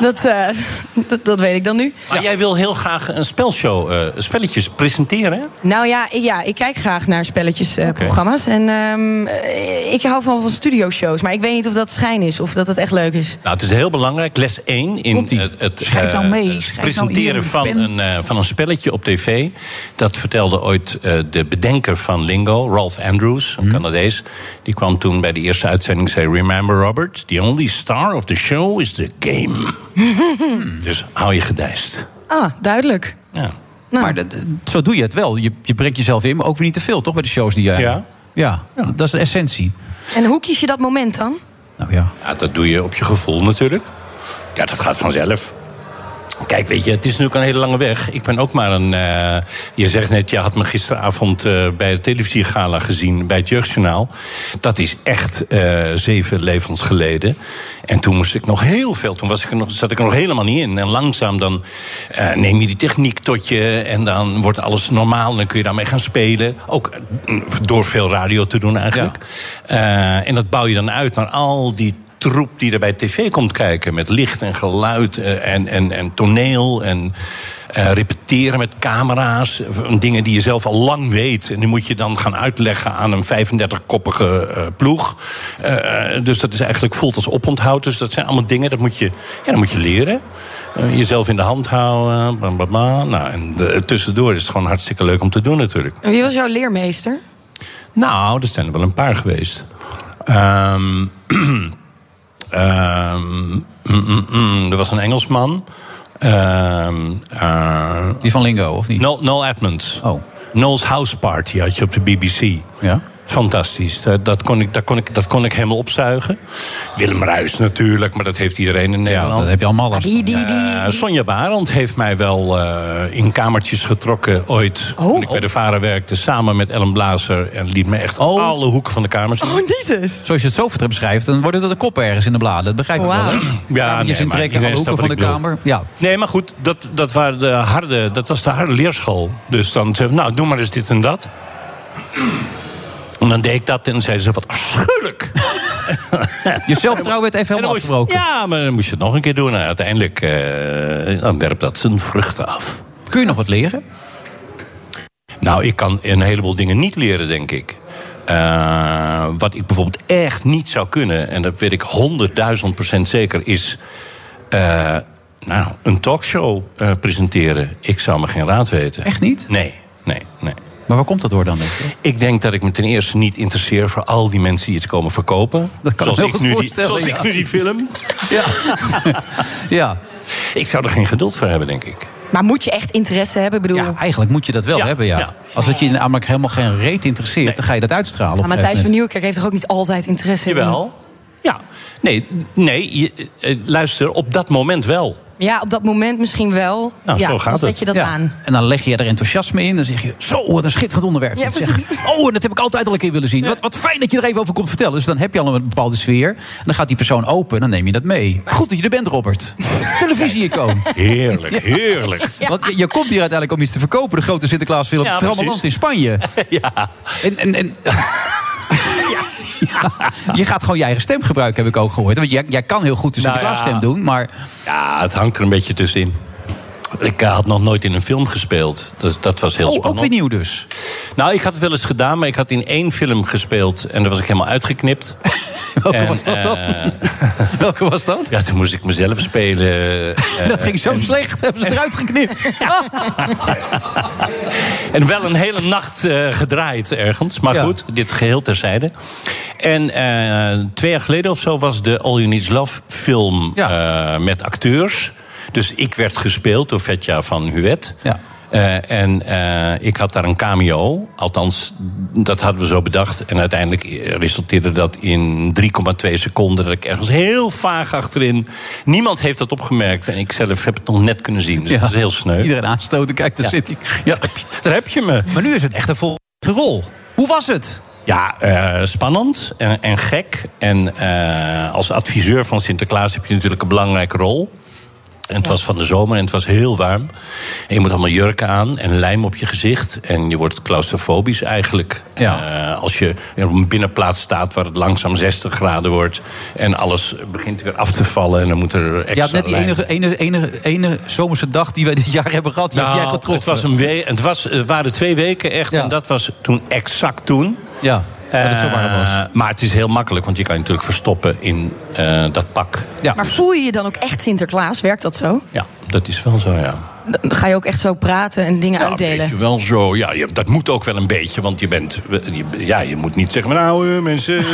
S7: dat, eh, *laughs* dat, dat weet ik dan nu.
S11: Maar jij wil heel graag een spelshow, eh, spelletjes presenteren. hè?
S7: Nou ja, ik- ja, ik kijk graag naar spelletjesprogramma's. en ehm, eh, ik hou van, van studioshows. Maar ik weet niet of dat schijn is of dat het echt leuk is. *laughs*
S11: Nou, het is heel belangrijk, les 1 in het, het
S7: Schrijf nou
S11: eh,
S7: mee,
S11: het
S7: schrijf nou hier
S11: presenteren
S7: met
S11: van,
S7: pen.
S11: een, eh, van een spelletje op tv. Dat vertelde ooit eh, de bedenker van Lingo, Ralph Andrews, een Canadees. Die kwam toen bij de eerste uitzending en zei: Remember Robert, the only star of the show is the game. dus hou je gedijst.
S7: ah, duidelijk.
S11: Ja.
S7: nou.
S6: Maar dat, zo doe je het wel. Je, je brengt jezelf in, maar ook weer niet te veel, toch? Bij de shows die jij. Ja. Ja, dat is de essentie.
S7: En hoe kies je dat moment dan?
S11: Nou Ja, dat doe je op je gevoel natuurlijk. Ja, dat gaat vanzelf. Kijk, weet je, het is natuurlijk een hele lange weg. Ik ben ook maar een. eh, je zegt net, je had me gisteravond eh, bij de televisiegala gezien bij het Jeugdjournaal. Dat is echt eh, zeven levens geleden. En toen moest ik nog heel veel. Toen was ik er nog, zat ik er nog helemaal niet in. En langzaam dan eh, neem je die techniek tot je. En dan wordt alles normaal. En dan kun je daarmee gaan spelen. Ook eh, door veel radio te doen eigenlijk. Eh, en dat bouw je dan uit naar al die troep die er bij tv komt kijken. Met licht en geluid eh, en, en, en toneel en eh, repeteren met camera's. eh, van Dingen die je zelf al lang weet. En die moet je dan gaan uitleggen aan een 35-koppige eh, ploeg. Eh, eh, dus dat is eigenlijk voelt als oponthoud. Dus dat zijn allemaal dingen, dat moet je, ja, dat moet je leren. Eh, jezelf in de hand houden, bla, bla, bla. Nou, en de- tussendoor is het gewoon hartstikke leuk om te doen natuurlijk.
S7: En wie was jouw leermeester?
S11: Nou, er zijn er wel een paar geweest. Ehm, *clears throat* ehm, mm, mm, mm, er was een Engelsman. Ehm, eh,
S6: Die van Lingo, of niet?
S11: Noel, Noel Edmonds. Oh. Noel's House Party had je op de BBC.
S6: Ja.
S11: Fantastisch. Dat, dat, kon ik, dat, kon ik, dat kon ik helemaal opzuigen. Willem Ruis natuurlijk, maar dat heeft iedereen in Nederland.
S6: dat heb je allemaal last
S11: Ah, Die, die, die. Sonja Barend heeft mij wel eh, in kamertjes getrokken ooit. Toen ik bij de Varen werkte, samen met Ellen Blazer. En liet me echt alle hoeken van de kamer zien.
S7: niet eens.
S6: Zoals je het zo beschrijft, dan worden er de koppen ergens in de bladen. Dat begrijp ik wel. hè?
S11: Ja,
S6: Kamertjes
S11: nee, maar
S6: intrekken,
S11: iedereen
S6: alle hoeken
S11: snapt
S6: van
S11: wat
S6: de
S11: ik bedoel.
S6: kamer. Ja.
S11: Nee, maar goed, dat, dat, waren de harde, dat was de harde leerschool. Dus dan zei nou, doe maar eens dit en dat. En dan deed ik dat en dan zeiden ze, wat afschuwelijk.
S6: *laughs* Je zelfvertrouwen werd even helemaal afgebroken.
S11: Ja, maar dan moest je het nog een keer doen. En uiteindelijk eh, dan werpt dat zijn vruchten af.
S6: Kun je nog wat leren?
S11: Nou, ik kan een heleboel dingen niet leren, denk ik. Eh, wat ik bijvoorbeeld echt niet zou kunnen, en dat weet ik honderdduizend procent zeker, is eh, nou, een talkshow eh, presenteren. Ik zou me geen raad weten. Echt
S6: niet?
S11: Nee, nee, nee.
S6: Maar waar komt dat door dan? Denk je?
S11: Ik denk dat ik me ten eerste niet interesseer voor al die mensen die iets komen verkopen.
S6: Dat kan ik
S11: zoals
S6: me
S11: ik,
S6: heel
S11: nu
S6: goed
S11: die,
S6: voorstellen,
S11: zoals
S6: ja.
S11: ik nu die film.
S6: *laughs* Ja. ja.
S11: Ik zou er geen geduld voor hebben, denk ik.
S7: Maar moet je echt interesse hebben? Ik bedoel,
S6: Eigenlijk moet je dat wel hebben, ja. Als het je namelijk helemaal geen reet interesseert, dan ga je dat uitstralen. Op
S7: maar
S6: een
S7: Nou, Matthijs van
S6: gegeven
S7: Nieuwkerk heeft toch ook niet altijd interesse in?
S11: Jawel. Ja. Nee, nee je, eh, luister, op dat moment wel.
S7: Ja, op dat moment misschien wel.
S6: Nou,
S7: ja, dan zet je dat
S6: Ja.
S7: aan.
S6: En dan leg je er enthousiasme in. Dan zeg je, zo, wat een schitterend onderwerp.
S7: Ja,
S6: Dat zeg- oh, en dat heb ik altijd al een keer willen zien. Wat, wat fijn dat je er even over komt vertellen. Dus dan heb je al een bepaalde sfeer. En dan gaat die persoon open en dan neem je dat mee. Goed dat je er bent,
S11: *laughs*
S6: Robert. Televisie-icoon.
S11: Heerlijk,
S6: *laughs*
S11: heerlijk.
S6: Want je, je komt hier uiteindelijk om iets te verkopen. De grote Sinterklaasfilm
S11: Ja,
S6: Trammeland in
S11: precies.
S6: Spanje.
S11: *laughs* Ja.
S6: En, en, en... *laughs* Je gaat gewoon je eigen stem gebruiken, heb ik ook gehoord. Want jij, jij kan heel goed de
S11: Nou ja.
S6: Sinterklaasstem doen, maar...
S11: Ja, het hangt er een beetje tussenin. Ik eh, had nog nooit in een film gespeeld. Dat, dat was heel
S6: Oh,
S11: spannend.
S6: ook weer nieuw dus.
S11: Nou, ik had het wel eens gedaan, maar ik had in één film gespeeld. En daar was ik helemaal
S6: *laughs*
S11: uitgeknipt. eh,
S6: Welke was dat dan? *laughs* Welke was dat?
S11: Ja, toen moest ik mezelf spelen.
S6: *laughs*
S11: eh,
S6: dat ging zo
S11: en-
S6: slecht, hebben ze eruit geknipt.
S11: En wel een hele nacht eh, gedraaid ergens. Maar goed, dit geheel terzijde. En eh, twee jaar geleden of zo was de All You Need Is Love film eh, met acteurs. Dus ik werd gespeeld door Vetja van Huet. Eh, en eh, ik had daar een cameo. Althans, dat hadden we zo bedacht. En uiteindelijk eh, resulteerde dat in 3,2 seconden. Dat ik ergens heel vaag achterin. Niemand heeft dat opgemerkt. En ik zelf heb het nog net kunnen zien. Dus
S6: Ja.
S11: dat is heel sneu.
S6: Iedereen aanstoten, kijk, *laughs* daar
S11: Ja.
S6: zit hij. Ja.
S11: Daar heb je me.
S6: Maar nu is het echt een volgende rol. Hoe was het?
S11: Ja, eh, spannend en, en gek. En eh, als adviseur van Sinterklaas heb je natuurlijk een belangrijke rol. En het was van de zomer en het was heel warm. En je moet allemaal jurken aan en lijm op je gezicht. En je wordt claustrofobisch eigenlijk. Eh, als je op een binnenplaats staat waar het langzaam 60 graden wordt. En alles begint weer af te vallen. En dan moet er extra
S6: Je had net die
S11: lijm.
S6: enige, enige, enige, ene zomerse dag die wij dit jaar hebben gehad. Die heb jij getroffen.
S11: Nou, Het, was een we het was, eh, waren twee weken echt. En dat was toen exact toen.
S6: Ja,
S11: dat
S6: het zo warm was.
S11: Eh, Maar het is heel makkelijk, want je kan je natuurlijk verstoppen in eh, dat pak.
S7: Maar voel je je dan ook echt Sinterklaas? Werkt dat zo?
S11: Ja, dat is wel zo, ja.
S7: Dan ga je ook echt zo praten en dingen uitdelen.
S11: Beetje wel zo, ja, je- dat moet ook wel een beetje, want je bent... je- ja, je moet niet zeggen, maar nou eh, mensen... eh,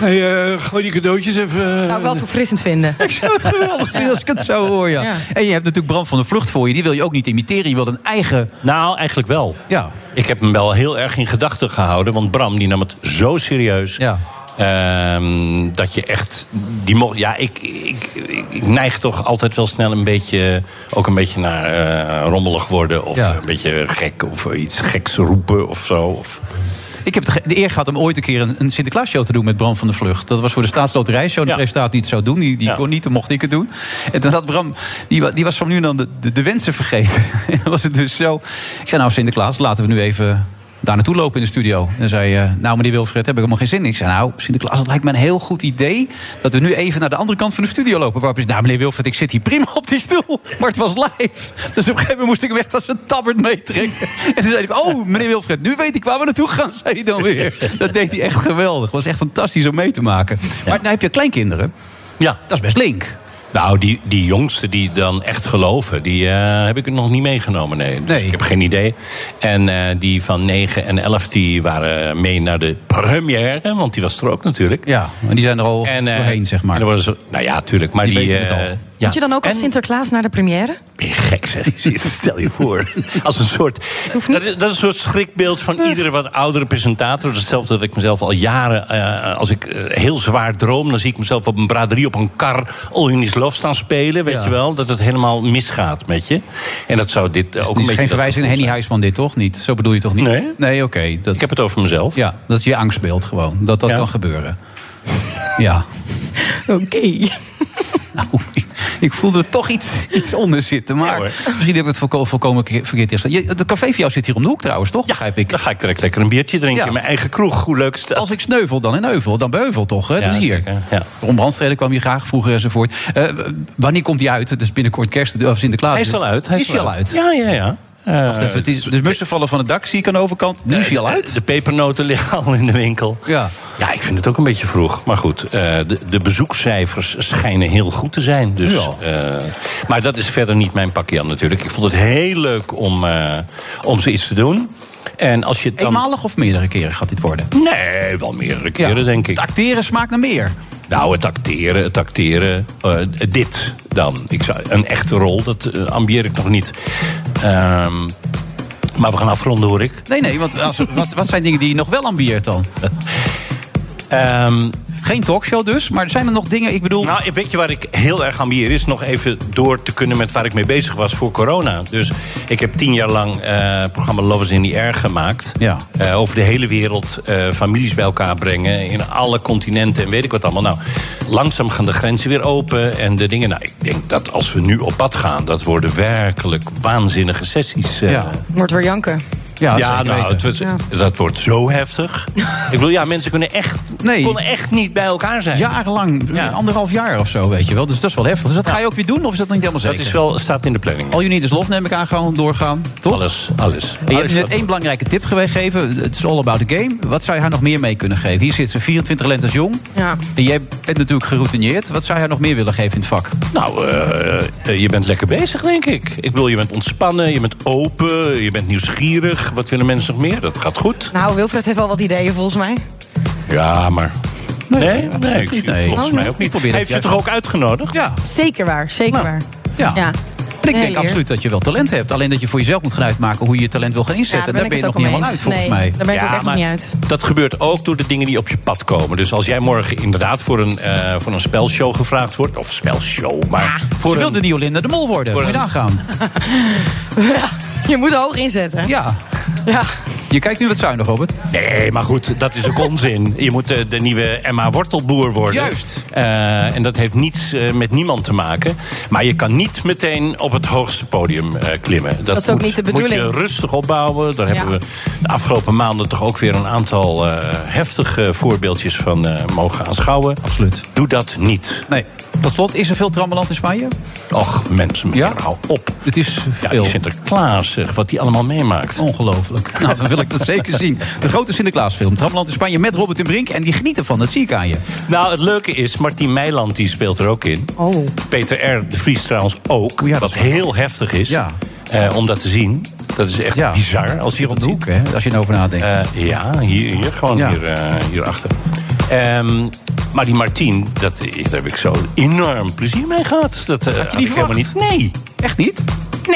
S11: hey, eh, gooi die cadeautjes even... eh,
S7: Zou ik wel verfrissend vinden.
S6: *laughs* Ik zou het geweldig vinden als *laughs* ik het zo hoor, ja. En je hebt natuurlijk Bram van de Vlucht voor je. Die wil je ook niet imiteren. Je wilt een eigen...
S11: Nou, eigenlijk wel.
S6: Ja.
S11: Ik heb hem wel heel erg in gedachten gehouden. Want Bram die nam het zo serieus. Ehm, dat je echt. Die mo- ja, ik, ik, ik, ik neig toch altijd wel snel een beetje. Ook een beetje naar eh, rommelig worden. Of
S6: Ja.
S11: een beetje gek. Of iets geks roepen of zo. Of,
S6: Ik heb de ge- de eer gehad om ooit een keer een, een Sinterklaasshow te doen met Bram van der Vlucht. Dat was voor de staatsloterijshow. De presentator die het zou doen, die, die kon niet, toen mocht ik het doen. En toen had Bram, die, wa- die was van nu en dan de, de, de wensen vergeten. *laughs* En dan was het dus zo. Ik zei nou Sinterklaas, laten we nu even daar naartoe lopen in de studio. En dan zei eh, nou meneer Wilfred, heb ik helemaal geen zin in. Ik zei nou Sinterklaas, het lijkt me een heel goed idee... dat we nu even naar de andere kant van de studio lopen. Waarop is, nou meneer Wilfred, ik zit hier prima op die stoel. Maar het was live. Dus op een gegeven moment moest ik hem echt als een tabbert meetrekken. En toen zei hij, oh meneer Wilfred, nu weet ik waar we naartoe gaan, zei hij dan weer. Dat deed hij echt geweldig. Was echt fantastisch om mee te maken. Maar nu heb je kleinkinderen.
S11: Ja.
S6: Dat is best link.
S11: Nou, die, die jongsten die dan echt geloven, die eh, heb ik nog niet meegenomen. Nee. Dus ik heb geen idee. En eh, die van 9 en 11 die waren mee naar de première, want die was er ook natuurlijk. eh,
S6: Ja, en die zijn er al
S11: doorheen, zeg maar. nou ja, tuurlijk. Maar die,
S6: weten het
S11: eh, ja.
S7: Moet je dan ook als Sinterklaas naar de
S6: *laughs*
S7: première?
S11: Ben je gek, zeg. *laughs* Stel je voor. *laughs* Als een soort, dat, is, dat is een soort schrikbeeld van iedere wat oudere presentator. Hetzelfde dat ik mezelf al jaren, eh, als ik eh, heel zwaar droom... dan zie ik mezelf op een braderie op een kar All in Is Love staan spelen. Weet
S6: Ja.
S11: je wel, dat het helemaal misgaat met je. En dat zou dit
S6: Dus
S11: eh, ook
S6: Het is
S11: een beetje...
S6: geen
S11: dat
S6: verwijzing naar
S11: gevoel
S6: Henny Huisman dit, toch? Niet? Zo bedoel je toch niet? Nee. Nee, oké. Ik heb
S11: het over mezelf.
S6: Ja, dat is je angstbeeld gewoon. Dat dat kan gebeuren. Ja.
S7: Oké.
S6: Nou, Ik voelde er toch iets, iets onder zitten. Maar misschien heb ik het volko- volkomen ke- verkeerd ingesteld. Je- Het café van jou zit hier om de hoek trouwens, toch? Begrijp ik. Dan
S11: ga ik direct lekker een biertje drinken in mijn eigen kroeg. Hoe leuk is dat?
S6: Als ik sneuvel, dan in Heuvel. Dan beuvel toch? Hè?
S11: Ja,
S6: dat is hier.
S11: zeker, ja.
S6: Ron Brandstede kwam hier graag vroeger enzovoort. Eh, w- wanneer komt hij uit? Het is binnenkort kerst of Sinterklaas.
S11: Hij is al uit, hij
S6: is hij al uit?
S11: Ja, ja, ja. Eh,
S6: Wacht even, het is, de mussen vallen van het dak, zie ik aan de overkant. Nu is hij al uit.
S11: De pepernoten *laughs* liggen al in de winkel.
S6: Ja.
S11: Ja, ik vind het ook een beetje vroeg. Maar goed, eh, de, de bezoekcijfers schijnen heel goed te zijn. Dus,
S6: Ja.
S11: eh, maar dat is verder niet mijn pakje aan natuurlijk. Ik vond het heel leuk om, eh, om zoiets te doen. En als je het dan...
S6: Eenmalig of meerdere keren gaat dit worden?
S11: Nee, wel meerdere keren, denk ik. Het
S6: acteren smaakt naar meer.
S11: Nou, het acteren, het acteren. eh, dit dan. Ik zou, een echte rol, dat eh, ambieer ik nog niet. Ehm, maar we gaan afronden, hoor ik.
S6: Nee, nee, want als, wat, wat zijn dingen die je nog wel ambieert dan?
S11: Ehm,
S6: Geen talkshow dus, maar zijn er nog dingen, ik bedoel...
S11: Nou, weet je waar ik heel erg ambieer is? Nog even door te kunnen met waar ik mee bezig was voor corona. Dus ik heb tien jaar lang eh, het programma Lovers in the Air gemaakt.
S6: Ja.
S11: Eh, over de hele wereld eh, families bij elkaar brengen. In alle continenten en weet ik wat allemaal. Nou, langzaam gaan de grenzen weer open en de dingen. Nou, ik denk dat als we nu op pad gaan, dat worden werkelijk waanzinnige sessies. eh,
S7: Wordt weer janken.
S11: ja, nou, het wordt-
S7: Ja.
S11: dat wordt zo heftig. ik bedoel, ja, mensen kunnen echt, konden echt niet bij elkaar zijn.
S6: Jarenlang, anderhalf jaar of zo, weet je wel. Dus dat is wel heftig. Dus dat ga je ook weer doen, of is dat niet helemaal zeker?
S11: Dat is wel, staat in de planning.
S6: All you need is love, neem ik aan, gewoon doorgaan, toch? Alles,
S11: alles.
S6: En je hebt net één belangrijke tip gegeven. Het is all about the game. Wat zou je haar nog meer mee kunnen geven? Hier zit ze 24 lentes jong.
S7: Ja.
S6: En jij bent natuurlijk geroutineerd. Wat zou je haar nog meer willen geven in het vak?
S11: Nou, eh, eh, je bent lekker bezig, denk ik. Ik bedoel, je bent ontspannen, je bent open, je bent nieuwsgierig. Wat willen mensen nog meer? Dat gaat goed.
S7: Nou, Wilfred heeft wel wat ideeën volgens mij.
S11: Ja, maar... Nee, nee, ik zie het
S6: nee.
S11: volgens
S6: Oh, nee.
S11: mij ook
S6: Ik
S11: niet.
S6: probeer
S11: Hij
S6: het
S11: heeft
S6: juist.
S11: je toch ook uitgenodigd?
S6: Ja. Nou,
S7: Zeker waar, zeker waar.
S6: ja. En ik
S7: Nee,
S6: denk
S7: eer.
S6: absoluut dat je wel talent hebt. Alleen dat je voor jezelf moet gaan uitmaken hoe je je talent wil gaan
S7: Ja,
S6: inzetten.
S7: daar
S6: daar ben
S7: ben
S6: je nog
S7: ik het
S6: niet
S7: ook
S6: helemaal
S7: mee
S6: uit, volgens
S7: eens.
S6: mij.
S7: Nee, daar ben ik ook echt
S11: maar
S7: niet uit.
S11: Dat gebeurt ook door de dingen die op je pad komen. Dus als jij morgen inderdaad voor een, eh, voor een spelshow gevraagd wordt... of spelshow, maar... voor
S6: Ze
S11: een-
S6: wilde die Olinda de Mol worden.
S11: Voor
S6: Moet je
S11: een-
S7: *laughs*
S6: nagaan.
S7: Je moet hoog inzetten.
S6: Ja.
S7: Ja.
S6: Je kijkt nu wat zuinig, Robert.
S11: Nee, maar goed, dat is ook onzin. Je moet eh, de nieuwe Emma Wortelboer worden.
S6: Juist.
S11: Eh, en dat heeft niets eh, met niemand te maken. Maar je kan niet meteen op het hoogste podium eh, klimmen.
S7: Dat is ook niet de bedoeling.
S11: Moet je rustig opbouwen. Daar
S7: Ja.
S11: hebben we de afgelopen maanden toch ook weer een aantal eh, heftige voorbeeldjes van eh, mogen aanschouwen.
S6: Absoluut.
S11: Doe dat niet.
S6: Nee. Tot slot, is er veel trammeland in Spanje?
S11: Och, mensen, meneer, hou op.
S6: Het is
S11: ja,
S6: veel.
S11: Die Sinterklaas, zeg, wat die allemaal meemaakt.
S6: Ongelooflijk. *laughs* Nou, dan wil ik dat zeker zien. De grote Sinterklaasfilm. Tramland in Spanje met Robert en Brink. En die genieten van, dat zie ik aan je.
S11: Nou, het leuke is, Martien Meiland die speelt er ook in.
S7: Oh.
S11: Peter R. de Vries trouwens ook. wat heel heftig is eh, om dat te zien. Dat is echt bizar. Als je
S6: Hier op de hoek, hè, als je erover nadenkt.
S11: eh, ja, hier, hier gewoon
S6: Ja.
S11: hier, eh, hierachter. Ehm, maar die Martien, dat, daar heb ik zo enorm plezier mee gehad. Dat eh, had
S6: die
S11: ik helemaal niet. Nee.
S6: Echt niet?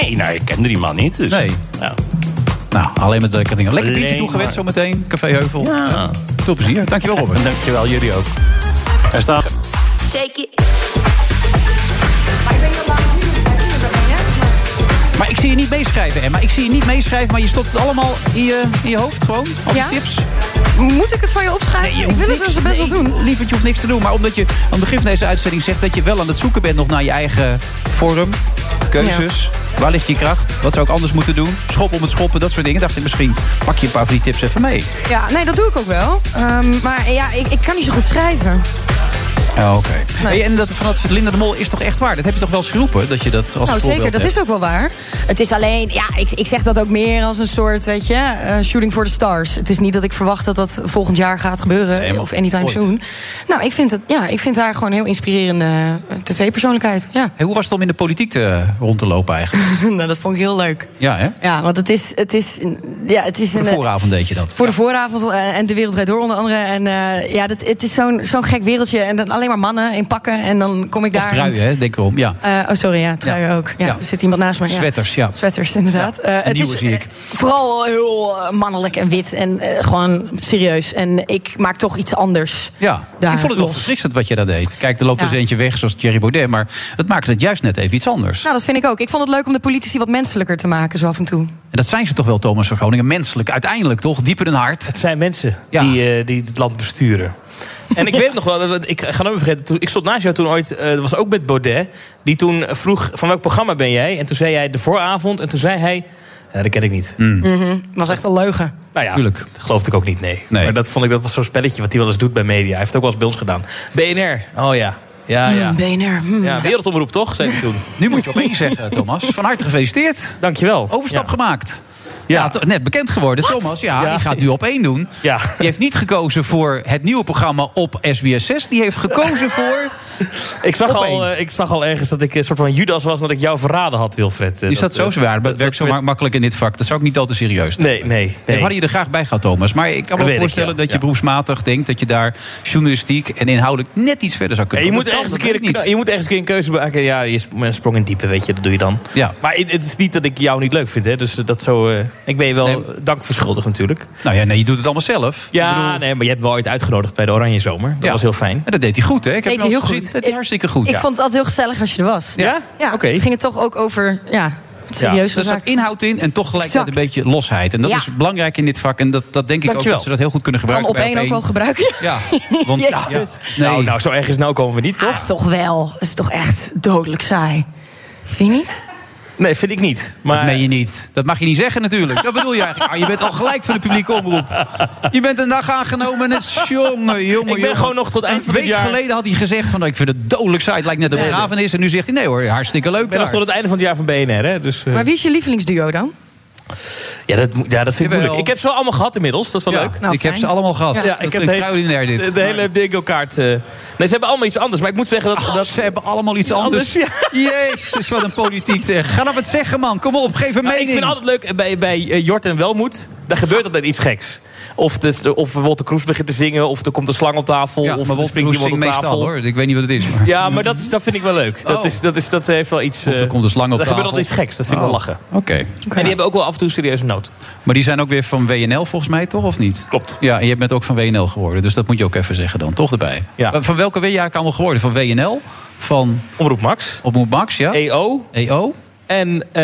S11: Nee, nou, ik kende die man niet. Dus,
S6: Nee.
S11: ja.
S6: Nou, alleen met leuke dingen. Lekker biertje
S11: Alleen
S6: toegewend
S11: maar.
S6: zometeen. Café Heuvel.
S11: Ja.
S6: Ja. Veel plezier. Dankjewel, Robert.
S11: En dankjewel, jullie ook. Er staat...
S6: Maar ik zie je niet meeschrijven, Emma. Ik zie je niet meeschrijven, maar je stopt het allemaal in je, in je hoofd gewoon. Al die
S7: Ja?
S6: tips.
S7: Moet ik het van je opschrijven? ik wil het dus best wel doen.
S6: Liever, je hoeft niks te doen. Maar omdat je aan het begin van deze uitzending zegt... dat je wel aan het zoeken bent nog naar je eigen vorm, keuzes. Waar ligt je kracht? Wat zou ik anders moeten doen? Schop om het schoppen, dat soort dingen. Dacht ik, misschien pak je een paar van die tips even mee.
S7: Ja, nee, dat doe ik ook wel. Ehm, maar ja, ik, ik kan niet zo goed schrijven.
S6: Oh, Oké. Hey, en dat van dat Linda de Mol is toch echt waar? Dat heb je toch wel eens geroepen? Dat je dat als
S7: nou,
S6: voorbeeld
S7: zeker, dat
S6: hebt?
S7: is ook wel waar. Het is alleen, ja, ik, ik zeg dat ook meer als een soort, weet je, eh, shooting for the stars. Het is niet dat ik verwacht dat dat volgend jaar gaat gebeuren
S6: Nee, maar
S7: of anytime
S6: ooit.
S7: soon. Nou, ik vind, het, ja, ik vind haar gewoon een heel inspirerende eh, tv-persoonlijkheid. Ja,
S6: Hey, hoe was het om in de politiek te, eh, rond te lopen eigenlijk?
S7: *laughs* nou, dat vond ik heel leuk.
S6: Ja, hè?
S7: Ja, want het is, het is, een- ja, het is
S6: Voor de
S7: een, eh,
S6: vooravond deed je dat.
S7: Voor de vooravond eh, en de wereld rijdt door onder andere. En eh, ja, dat, het is zo'n zo'n gek wereldje. En dan alleen maar mannen in pakken. En dan kom ik daar.
S6: Of truien, hè? Denk erom, ja.
S7: Eh, oh, sorry, ja, truien ook. Ja,
S6: ja.
S7: Er zit iemand naast me. Ja.
S6: Sweaters, ja.
S7: Sweaters, inderdaad. Eh, het
S6: nieuwe
S7: is
S6: zie ik.
S7: vooral heel eh, mannelijk en wit. En eh, gewoon serieus. En ik maak toch iets anders.
S6: Ja,
S7: Daar
S6: ik vond het wel
S7: los.
S6: verfrissend wat je daar deed. Kijk, er loopt
S7: Ja.
S6: dus eentje weg, zoals Thierry Baudet. Maar het maakt het juist net even iets anders.
S7: Nou, dat vind ik ook. Ik vond het leuk om de politici wat menselijker te maken, zo af en toe.
S6: En dat zijn ze toch wel, Thomas van Groningen. Menselijk, uiteindelijk toch? Diep in hun hart.
S9: Het zijn mensen
S6: Ja.
S9: die, eh, die het land besturen. *laughs* En ik weet nog wel, want ik ga nooit meer vergeten. Toen, ik stond naast jou toen ooit, eh, dat was ook met Baudet. Die toen vroeg, van welk programma ben jij? En toen zei jij de vooravond. En toen zei hij, "Ja, dat ken ik niet.
S7: Mhm. Was echt een leugen.
S9: Nou ja,
S6: Mm. Tuurlijk.
S9: dat geloofde ik ook niet, nee.
S6: Nee.
S9: Maar dat vond ik, dat was zo'n spelletje wat hij wel eens doet bij media. Hij heeft het ook wel eens bij ons gedaan. BNR, oh ja. Ja, ja.
S7: Mm, BNR. mm.
S9: Ja, wereldomroep toch, zei hij toen.
S6: Nu moet je opeens zeggen, Thomas. Van harte gefeliciteerd.
S9: Dankjewel.
S6: Overstap
S9: Ja.
S6: gemaakt. Ja, to- net bekend geworden. Thomas, ja,
S9: Ja.
S6: die gaat nu op één doen.
S9: Ja.
S6: Die heeft niet gekozen voor het nieuwe programma op SBS6. Die heeft gekozen voor...
S9: *laughs* Ik zag,
S6: Op
S9: al,
S6: één.
S9: eh, ik zag al ergens dat ik een soort van Judas was... en dat ik jou verraden had, Wilfred. Eh,
S6: Is dat zo
S9: eh,
S6: zwaar? Dat werkt zo ma- makkelijk in dit vak. Dat zou ik niet al te serieus
S9: Nee, nee,
S6: We
S9: nee.
S6: hadden je er graag bij gehad, Thomas. Maar ik kan
S9: Dat
S6: me
S9: weet ik,
S6: voorstellen
S9: ja.
S6: dat je
S9: Ja.
S6: beroepsmatig denkt... dat je daar journalistiek en inhoudelijk net iets verder zou
S9: Ja,
S6: kunnen.
S9: je,
S6: Maar
S9: moet
S6: dat
S9: ergens een
S6: kan,
S9: keer
S6: dat
S9: een,
S6: lukt
S9: je moet ergens een keer een keuze maken. Ja, je sp- een sprong in het diepe, weet je, dat doe je dan.
S6: Ja.
S9: Maar het, het is niet dat ik jou niet leuk vind, hè. Dus eh, dat zo... eh, ik ben je wel
S6: Nee.
S9: dank verschuldigd natuurlijk.
S6: niet. Nou ja, nee, je doet het allemaal zelf.
S9: Ja, nee, maar je hebt wel ooit uitgenodigd bij de Oranje Zomer. Dat
S6: Ja.
S9: was heel fijn.
S6: En dat deed hij goed, hè? Ik heb
S7: Deed
S6: hem
S7: hij
S6: al
S7: heel
S6: gezien.
S7: goed.
S6: Dat deed hij hartstikke goed.
S7: Ik
S6: Ja.
S7: vond het altijd heel gezellig als je er was.
S9: Ja?
S7: Ja,
S9: Oké.
S7: ging het toch ook over ja, het serieus
S6: Er zat
S7: gezakt.
S6: Dus inhoud in en toch gelijkheid een
S7: Exact.
S6: beetje losheid. En dat
S7: Ja.
S6: is belangrijk in dit vak. En dat, dat denk ik ook
S9: Dankjewel.
S6: dat ze dat heel goed kunnen
S7: Kan
S6: gebruiken.
S7: op één ook wel gebruiken.
S6: Ja, want
S7: *laughs* Jezus.
S6: ja, nee.
S9: Nou, nou, zo erg is nou komen we niet, toch?
S7: Ah, toch wel. Het is toch echt dodelijk saai. Vind je niet?
S9: Nee, vind ik niet.
S6: dat
S9: Maar
S6: meen je niet. Dat mag je niet zeggen natuurlijk. Dat bedoel je eigenlijk. Ah, je bent al gelijk van de publieke omroep. Je bent een dag aangenomen en het is jongen, jongen,
S9: ik ben
S6: jongen.
S9: gewoon nog tot eind
S6: Een
S9: van
S6: week
S9: dit jaar...
S6: geleden had hij gezegd van, nou, ik vind het dodelijk saai. Het lijkt net een
S9: Nee,
S6: begrafenis. En nu zegt hij, nee hoor, hartstikke leuk
S9: Ik ben nog
S6: daar.
S9: tot het einde van het jaar van BNR, hè. Dus, eh,
S7: Maar wie is je lievelingsduo dan?
S9: ja, dat, moet- ja, dat vind ik
S6: Jawel.
S9: moeilijk. Ik heb ze wel allemaal gehad inmiddels, dat is wel
S6: Ja,
S9: leuk.
S7: Nou,
S6: ik heb
S7: fijn.
S6: ze allemaal gehad.
S7: Ja,
S6: Dat
S9: ik heb
S6: is
S9: de hele-
S6: extraordinair dit. Nou.
S9: De, de hele dingelkaart. eh. Nee, ze hebben allemaal iets anders. Maar ik moet zeggen dat...
S6: Oh,
S9: dat
S6: ze hebben allemaal iets anders.
S9: anders,
S6: Jezus, wat een politiek. zeg. Ga dan wat zeggen, man. Kom op, geef een
S9: Nou,
S6: mening.
S9: Ik vind altijd leuk eh, bij, bij eh, Jort en Welmoed. Daar gebeurt altijd iets geks. Of, de, de- of Walter Kroes begint te zingen. Of er komt een slang op tafel.
S6: Ja,
S9: of
S6: maar
S9: er
S6: Wolter
S9: springt
S6: Kroes
S9: iemand op
S6: zingt
S9: tafel.
S6: meestal, hoor. Ik weet niet wat het is. Maar...
S9: Ja, maar dat, is, dat vind ik wel leuk. Dat,
S6: Oh.
S9: is, dat, is, dat heeft wel iets...
S6: Of er
S9: eh,
S6: komt een slang op
S9: Daar
S6: tafel.
S9: gebeurt altijd iets geks. Dat vind ik wel
S6: Oh.
S9: lachen.
S6: Oké.
S9: En die hebben ook wel af en toe serieuze nood.
S6: Maar die zijn ook weer van WNL volgens mij, toch? Of niet?
S9: Klopt.
S6: Ja, en je bent ook van WNL geworden. Dus dat moet je ook even zeggen dan. Toch erbij.
S9: Ja.
S6: Maar Van welke ben je eigenlijk allemaal geworden? Van WNL? Van
S9: Omroep Max.
S6: Op Max, ja?
S9: EO.
S6: EO?
S9: En eh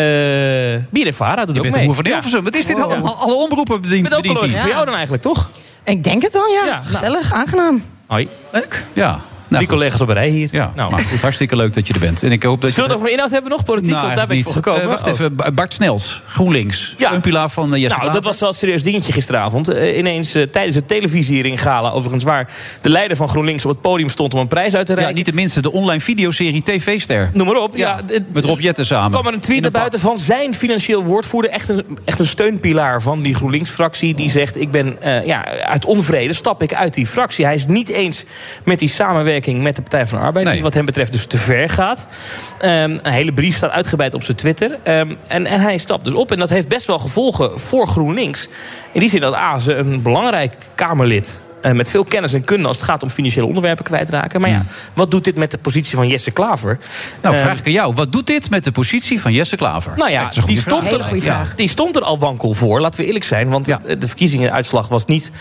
S9: Bierevara doet ook
S6: bent
S9: mee.
S6: de boer van Hilversum. Wat is dit allemaal? Alle omroepen bedient-
S9: Met ook
S6: bedient hij.
S9: voor jou dan eigenlijk, toch?
S7: Ik denk het dan, ja.
S6: nou.
S7: Gezellig, aangenaam.
S9: Hoi.
S7: Leuk.
S6: Ja. Nou, Die
S9: collega's op een rij hier.
S6: Ja, nou. goed, hartstiek leuk dat je er bent. En ik hoop dat
S9: Zullen we
S6: je...
S9: nog meer inhoud hebben, nog politiek?
S6: Nou,
S9: Want daar ben ik voor
S6: eigenlijk
S9: gekomen.
S6: niet. Eh, wacht
S9: Oh.
S6: even, Ba- Bart Snels, GroenLinks. Ja. pilaar van eh, Jesse
S9: nou, dat was wel een serieus dingetje gisteravond. Eh, ineens eh, tijdens het televisie hier in Gala, overigens waar de leider van GroenLinks op het podium stond om een prijs uit te reiken.
S6: Ja, niet de minste, de online videoserie TV-ster.
S9: Noem maar op. Ja,
S6: met Rob Jetten
S9: Er
S6: samen.
S9: kwam er een tweet naar buiten van zijn financieel woordvoerder. Echt een, echt een steunpilaar van die GroenLinks-fractie. Die zegt, ik ben eh, ja, uit onvrede stap ik uit die fractie. Hij is niet eens met die samenwerking met de Partij van de Arbeid. Die wat hem betreft dus te ver gaat. Ehm, een hele brief staat uitgebreid op zijn Twitter. Ehm, en, en hij stapt dus op. En dat heeft best wel gevolgen voor GroenLinks. In die zin dat A, ze een belangrijk Kamerlid... eh, met veel kennis en kunde als het gaat om financiële onderwerpen kwijtraken. Maar ja, wat doet dit met de positie van Jesse Klaver?
S6: Hmm. Nou,
S9: Ehm,
S6: vraag ik aan jou. Wat doet dit met de positie van Jesse Klaver?
S9: nou ja,
S6: Dat is een
S9: die
S6: goede
S9: stond,
S6: vraag.
S9: er, ja, die stond er al wankel voor, laten we eerlijk zijn. Want eh, de verkiezingenuitslag was niet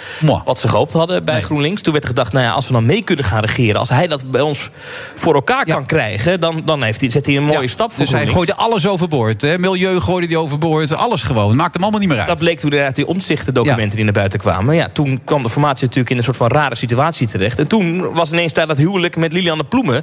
S9: wat ze gehoopt hadden bij GroenLinks. Toen werd er gedacht, nou ja, als we dan mee kunnen gaan regeren... als hij dat bij ons voor elkaar kan krijgen... dan, dan heeft hij, zet hij een mooie stap voor
S6: Dus hij
S9: GroenLinks.
S6: gooide alles overboord. Hè? Milieu gooide hij overboord. Alles gewoon. Het maakt hem allemaal niet meer uit.
S9: Dat bleek toen inderdaad die omzichtendocumenten die naar buiten kwamen. Ja, toen kwam de formatie natuurlijk in een soort van rare situatie terecht. En toen was ineens daar dat huwelijk met Liliane Ploemen.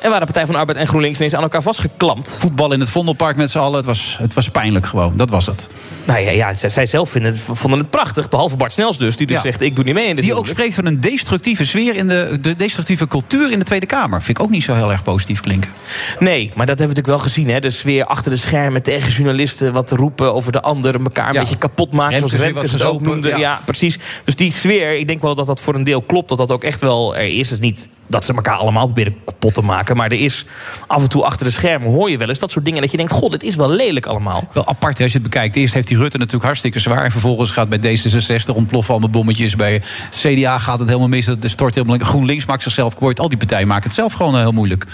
S9: En waren Partij van de Arbeid en GroenLinks ineens aan elkaar vastgeklampt.
S6: Voetbal in het Vondelpark met z'n allen. Het was, het was pijnlijk gewoon. Dat was het.
S9: Nou ja, ja zij, zij zelf vinden, het- vonden het prachtig. Behalve Bart Snels dus, die dus
S6: Ja.
S9: zegt ik doe niet mee in dit
S6: Die ook spreekt van een destructieve sfeer in de, de destructieve cultuur in de Tweede Kamer. Vind ik ook niet zo heel erg positief klinken.
S9: Nee, maar dat hebben we natuurlijk wel gezien. Hè? De sfeer achter de schermen tegen journalisten. Wat te roepen over de ander. Elkaar een beetje kapot maken.
S6: Remkes
S9: zoals
S6: weer wat
S9: Remkes het ook
S6: gezopen,
S9: noemde. Ja.
S6: ja.
S9: precies. Dus die sfeer, ik denk wel dat dat voor een deel klopt. Dat dat ook echt wel er is. Het is niet dat ze elkaar allemaal proberen kapot te maken. Maar er is af en toe achter de schermen hoor je wel eens dat soort dingen. Dat je denkt, god, dit is wel lelijk allemaal.
S6: Wel apart hè, als je het bekijkt. Eerst heeft die Rutte natuurlijk hartstikke zwaar. En vervolgens gaat bij D66 ontploffen allemaal bommetjes. Bij CDA gaat het helemaal mis. Het stort helemaal. GroenLinks maakt zichzelf kwijt. Al die partijen maken het zelf gewoon eh, heel moeilijk.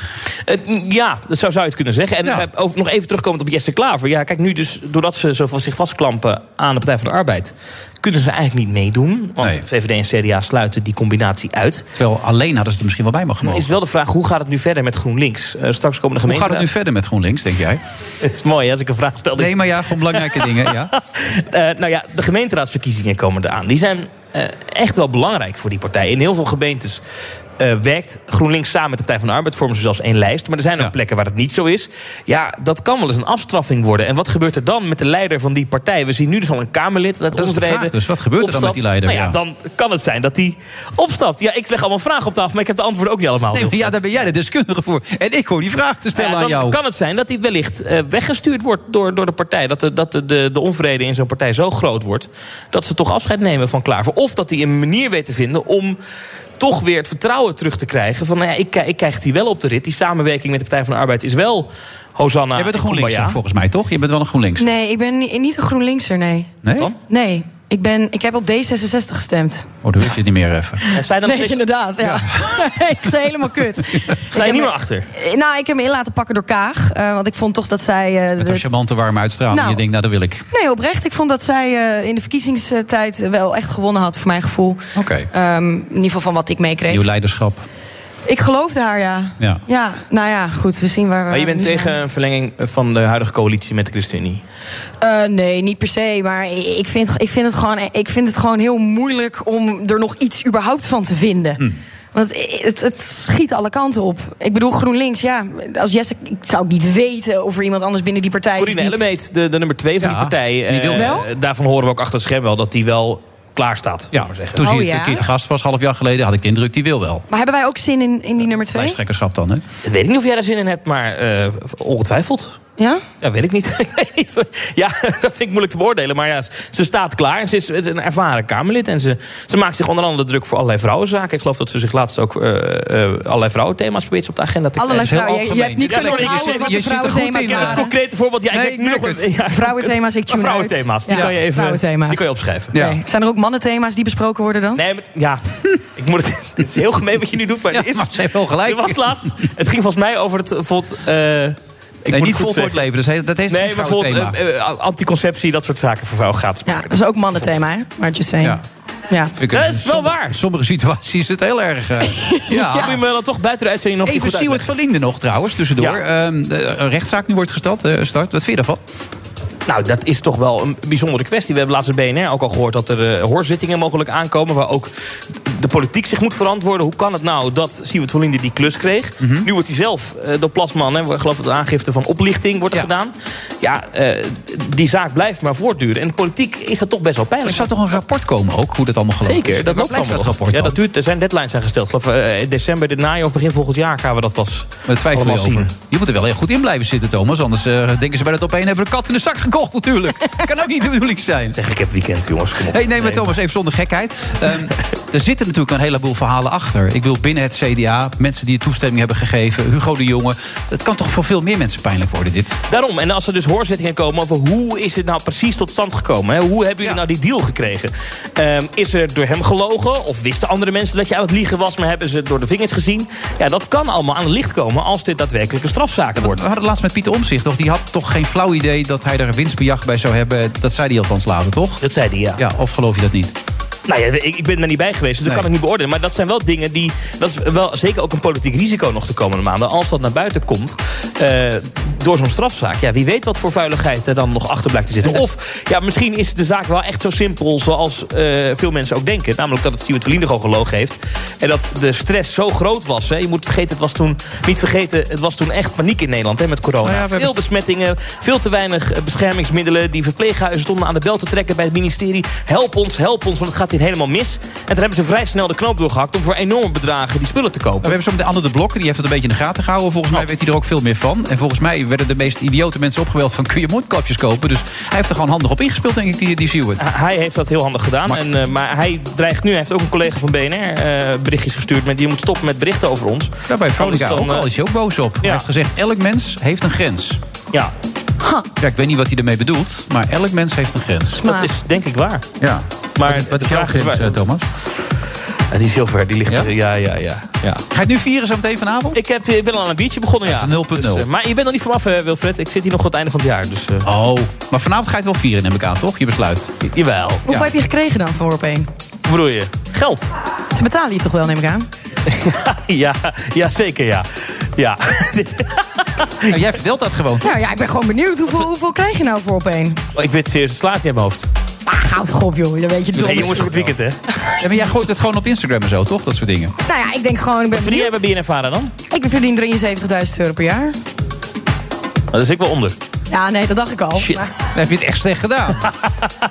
S9: Eh, ja, dat zou, zou je het kunnen zeggen. En eh, over, nog even terugkomend op Jesse Klaver. Ja, kijk, nu dus, doordat ze zo van zich vastklampen aan de Partij van de Arbeid... kunnen ze eigenlijk niet meedoen. Want VVD en CDA sluiten die combinatie uit.
S6: Terwijl alleen hadden ze er misschien wel bij mogen mogen.
S9: is wel de vraag, hoe gaat het nu verder met GroenLinks? Eh, straks komen de
S6: Hoe
S9: gemeenten...
S6: gaat het nu verder met GroenLinks, denk jij?
S9: Het is mooi hè, als ik een vraag stel.
S6: Nee, maar ja, gewoon belangrijke dingen. Ja.
S9: *laughs* Eh, nou ja, de gemeenteraadsverkiezingen komen eraan. Die zijn eh, echt wel belangrijk voor die partij. In heel veel gemeentes eh, werkt GroenLinks samen met de Partij van de Arbeid... vormen ze zelfs één lijst. Maar er zijn ook plekken waar het niet zo is. Ja, dat kan wel eens een afstraffing worden. En wat gebeurt er dan met de leider van die partij? We zien nu dus al een Kamerlid dat,
S6: de
S9: onvrede
S6: vraag dus. Wat gebeurt er dan met die
S9: opstapt.
S6: leider?
S9: Nou ja,
S6: Ja.
S9: dan kan het zijn dat die opstapt. Ja, ik leg allemaal vragen op tafel, maar ik heb de antwoorden ook niet allemaal.
S6: Nee, maar ja, daar ben jij de deskundige voor. En ik hoor die vraag te stellen
S9: Ja,
S6: aan
S9: dan
S6: jou.
S9: kan het zijn dat hij wellicht eh, weggestuurd wordt door, door de partij. Dat, de, dat de, de, de onvrede in zo'n partij zo groot wordt... dat ze toch afscheid nemen van Klaver. Of dat hij een manier weet te vinden om toch weer het vertrouwen terug te krijgen... van nou ja, ik, ik krijg die wel op de rit. Die samenwerking met de Partij van de Arbeid is wel Hosanna
S6: Jij bent een
S9: en
S6: GroenLinks
S9: Kumbaya.
S6: volgens mij, toch? Je bent wel een GroenLinks.
S7: Nee, ik ben ni- niet een GroenLinkser, nee.
S6: Nee?
S7: Nee, ik, ben, ik heb op D66 gestemd.
S6: Oh, dan wist je het niet meer even.
S9: En zij dan
S7: nee,
S9: steeds-
S7: inderdaad, ja. *laughs* Echt helemaal
S6: *laughs*
S7: kut.
S9: Sta je niet meer achter?
S7: Eh, Nou, ik heb me in laten pakken door Kaag. eh, want ik vond toch dat zij... eh,
S6: Met
S7: de-
S6: een charmante warme uitstraling.
S7: Nou.
S6: Je denkt, nou, dat wil ik.
S7: Nee, oprecht. Ik vond dat zij eh, in de verkiezingstijd wel echt gewonnen had, voor mijn gevoel.
S6: Oké.
S7: Ehm, in ieder geval van wat ik
S6: Nieuw
S7: meekreeg.
S6: leiderschap.
S7: Ik geloofde haar, ja.
S6: Ja.
S7: Ja, nou ja, goed, we zien waar we
S9: Maar je bent
S7: nu zijn.
S9: tegen een verlenging van de huidige coalitie met de ChristenUnie.
S7: Eh, nee, niet per se. Maar i- ik vind, ik, vind het gewoon, ik vind het gewoon heel moeilijk om er nog iets überhaupt van te vinden.
S9: Hm.
S7: Want i- het, het schiet alle kanten op. Ik bedoel, GroenLinks, ja. Als Jesse, ik zou ook niet weten of er iemand anders binnen die partij is.
S9: Corine
S7: die-
S9: Ellemeet, de, de nummer twee van die partij. eh,
S7: wil- Wel?
S9: Daarvan horen we ook achter het scherm wel dat die wel klaar staat. Ja, maar zeggen.
S6: Toen
S7: Oh,
S6: hij
S7: ja?
S6: een keer te gast was, half jaar geleden, had ik de indruk, die wil wel.
S7: Maar hebben wij ook zin in, in die nummer twee?
S6: Lijsttrekkerschap dan, hè?
S9: Dat weet ik niet of jij daar zin in hebt, maar eh, ongetwijfeld.
S7: Ja?
S9: Ja, weet ik niet. *laughs* Ik weet niet. ja, *laughs* dat vind ik moeilijk te beoordelen. Maar ja, ze staat klaar. en Ze is een ervaren Kamerlid. En ze, ze maakt zich onder andere druk voor allerlei vrouwenzaken. Ik geloof dat ze zich laatst ook eh, eh, allerlei vrouwenthema's probeert op de agenda te
S7: Allerlei
S9: krijgen.
S7: vrouwen. Je- je hebt niet
S9: Ja,
S7: kunnen
S9: sorry, ik
S7: onthouden
S9: zit-
S7: wat
S9: je
S7: de
S9: zit er goed
S7: vrouwenthema's
S9: in. Ja, het
S7: waren.
S9: concrete voorbeeld. Ja,
S7: Nee,
S9: ik,
S7: ik
S9: heb nu nog
S7: merk
S9: een- ja,
S7: Vrouwenthema's, ik tune
S9: Maar vrouwenthema's, die
S7: uit.
S9: kan je even-
S7: vrouwenthema's.
S9: die kan je opschrijven.
S7: Nee.
S9: Ja.
S7: Zijn er ook mannenthema's die besproken worden dan?
S9: Nee, maar, ja, ik moet het, *laughs* dit is heel gemeen wat je nu doet, maar, dit is, ze heeft wel
S6: gelijk.
S9: Er was laatst, het ging volgens mij over het, bijvoorbeeld, eh, ik
S6: nee,
S9: moet het
S6: niet
S9: goed
S6: voltooid
S9: zeggen.
S6: leven. Dus hij- dat heeft
S9: Nee,
S6: geen
S9: maar
S6: vrouwenthema.
S9: bijvoorbeeld eh, eh, anticonceptie, dat soort zaken voor vrouwen gaat.
S7: Ja, dat is ook mannenthema, hè? Maar just saying.
S6: Ja.
S7: Ja.
S6: Vind ik
S9: Dat
S6: een-
S9: is wel
S6: sommige-
S9: waar.
S6: Sommige situaties is het heel erg.
S9: *laughs*
S6: eh, ja.
S9: Moet je me dan toch buiten de uitzending nog
S6: Even
S9: goed
S6: Stuart van Linden nog trouwens, tussendoor. Ehm, de- een rechtszaak nu wordt gestart, eh, start. Wat vind je daarvan?
S9: Nou, dat is toch wel een bijzondere kwestie. We hebben laatst bij BNR ook al gehoord dat er eh, hoorzittingen mogelijk aankomen... waar ook de politiek zich moet verantwoorden. Hoe kan het nou dat Siewert van Linden die klus kreeg? Nu wordt hij zelf eh, door Plasman, hè, waar, geloof ik, de aangifte van oplichting wordt er gedaan. Ja, eh, die zaak blijft maar voortduren. En de politiek is dat toch best wel pijnlijk.
S6: Er zou toch een rapport komen ook, hoe dat allemaal gelopen
S9: Zeker,
S6: is?
S9: dat
S6: Waar
S9: loopt allemaal
S6: blijft dat
S9: nog.
S6: rapport
S9: Ja,
S6: dan?
S9: dat duurt, er zijn deadlines zijn gesteld. Ik geloof eh, in december, dit najaar of begin volgend jaar gaan we dat pas
S6: Daar twijfel je
S9: allemaal zien.
S6: over. Je moet er wel heel goed in blijven zitten, Thomas. Anders eh, denken ze bij dat opeen hebben we een kat in de zak gekocht
S9: *laughs*
S6: natuurlijk. kan ook niet de bedoeling zijn.
S9: Zeg, ik heb weekend, jongens. Kom op.
S6: Hey, nee, maar Thomas, even zonder gekheid. Ehm,
S9: *laughs*
S6: er zitten natuurlijk een heleboel verhalen achter. Ik wil binnen het CDA, mensen die toestemming hebben gegeven... Hugo de Jonge. Het kan toch voor veel meer mensen pijnlijk worden, dit?
S9: Daarom, en als er dus hoorzittingen komen over hoe is het nou precies tot stand gekomen? Hè? Hoe hebben jullie nou die deal gekregen? Ehm, is er door hem gelogen? Of wisten andere mensen dat je aan het liegen was, maar hebben ze het door de vingers gezien? Ja, dat kan allemaal aan het licht komen als dit daadwerkelijk een strafzaak
S6: We
S9: wordt.
S6: hadden het laatst met Pieter Omzicht, toch? Die had toch geen flauw idee dat hij er winstbejag bij zou hebben. Dat zei hij althans later, toch?
S9: Dat zei hij, ja.
S6: Ja, of geloof je dat niet?
S9: Nou ja, ik, ik ben daar niet bij geweest, dus dat
S6: Nee.
S9: kan ik niet beoordelen. Maar dat zijn wel dingen die. Dat is wel zeker ook een politiek risico nog de komende maanden. Als dat naar buiten komt eh, door zo'n strafzaak. Ja, wie weet wat voor vuiligheid er dan nog achter blijkt te zitten. Of ja, misschien is de zaak wel echt zo simpel zoals eh, veel mensen ook denken. Namelijk dat het Stuart Verlinde gewoon gelogen heeft. En dat de stress zo groot was. Hè. Je moet vergeten, het was toen. Niet vergeten, het was toen echt paniek in Nederland hè, met corona.
S6: Nou ja, we hebben
S9: veel besmettingen, veel te weinig eh, beschermingsmiddelen. Die verpleeghuizen stonden aan de bel te trekken bij het ministerie. Help ons, help ons, want het gaat hier helemaal mis. En toen hebben ze vrij snel de knoop doorgehakt om voor enorme bedragen die spullen te
S6: We
S9: kopen.
S6: hebben zo meteen Anne de Blokker, die heeft het een beetje in de gaten gehouden. Volgens mij weet hij er ook veel meer van. En volgens mij werden de meest idiote mensen opgeweld van... kun je mondkapjes kopen? Dus hij heeft er gewoon handig op ingespeeld, denk ik, die, die Seward.
S9: H- Hij heeft dat heel handig gedaan. En, eh, maar hij dreigt nu, hij heeft ook een collega van BNR eh, berichtjes gestuurd... met die moet stoppen met berichten over ons.
S6: Daarbij
S9: Oh, dus
S6: Veronica
S9: dan,
S6: ook
S9: eh,
S6: al is hij ook boos op. Hij heeft gezegd, elk mens heeft een grens.
S9: Ja,
S6: Ja, ik weet niet wat hij ermee bedoelt, maar elk mens heeft een grens.
S9: dat is denk ik waar.
S6: Ja.
S9: Maar
S6: Wat is- wat
S9: de
S6: is jouw
S9: vraag is
S6: grens,
S9: waar-
S6: eh, Thomas?
S9: die is heel ver, die ligt
S6: Ja?
S9: er- Ja, ja, ja. ja.
S6: Ga je het nu vieren zo meteen vanavond?
S9: Ik, heb, eh, ik ben al aan een biertje begonnen, ja.
S6: Dat is 0.0.
S9: Dus, eh, maar je bent nog niet vanaf, eh, Wilfred. Ik zit hier nog tot het einde van het jaar. Dus, eh,
S6: Oh, maar vanavond ga je het wel vieren, neem ik aan, toch? Je besluit.
S9: Jawel.
S7: Hoeveel heb je gekregen dan van Worpeen?
S9: Hoe bedoel je? Geld.
S7: Ze betalen je toch wel, neem ik aan?
S9: *laughs* ja, ja, zeker ja.
S6: *laughs*
S9: Ja.
S6: Nou, jij vertelt dat gewoon, toch?
S7: Nou ja, ik ben gewoon benieuwd. Hoeveel, hoeveel krijg je nou voor Worpeen?
S9: Oh, ik weet serieus het slaat niet in mijn hoofd.
S7: Ah, goud op, joh. Dat weet je
S9: Nee,
S7: donders
S9: jongens,
S7: goed.
S9: goed weekend, hè?
S6: Ja, maar jij gooit het gewoon op Instagram en zo, toch? Dat soort dingen.
S7: Nou ja, ik denk gewoon, ik ben
S9: Verdien jij
S7: benieuwd.
S9: bij BNF Vara dan?
S7: Ik verdien 73.000 euro per jaar.
S9: Nou, daar zit ik wel onder.
S7: Ja, nee, dat dacht ik al.
S9: Shit.
S7: Maar
S6: Dan heb je het echt slecht
S9: *laughs*
S6: gedaan.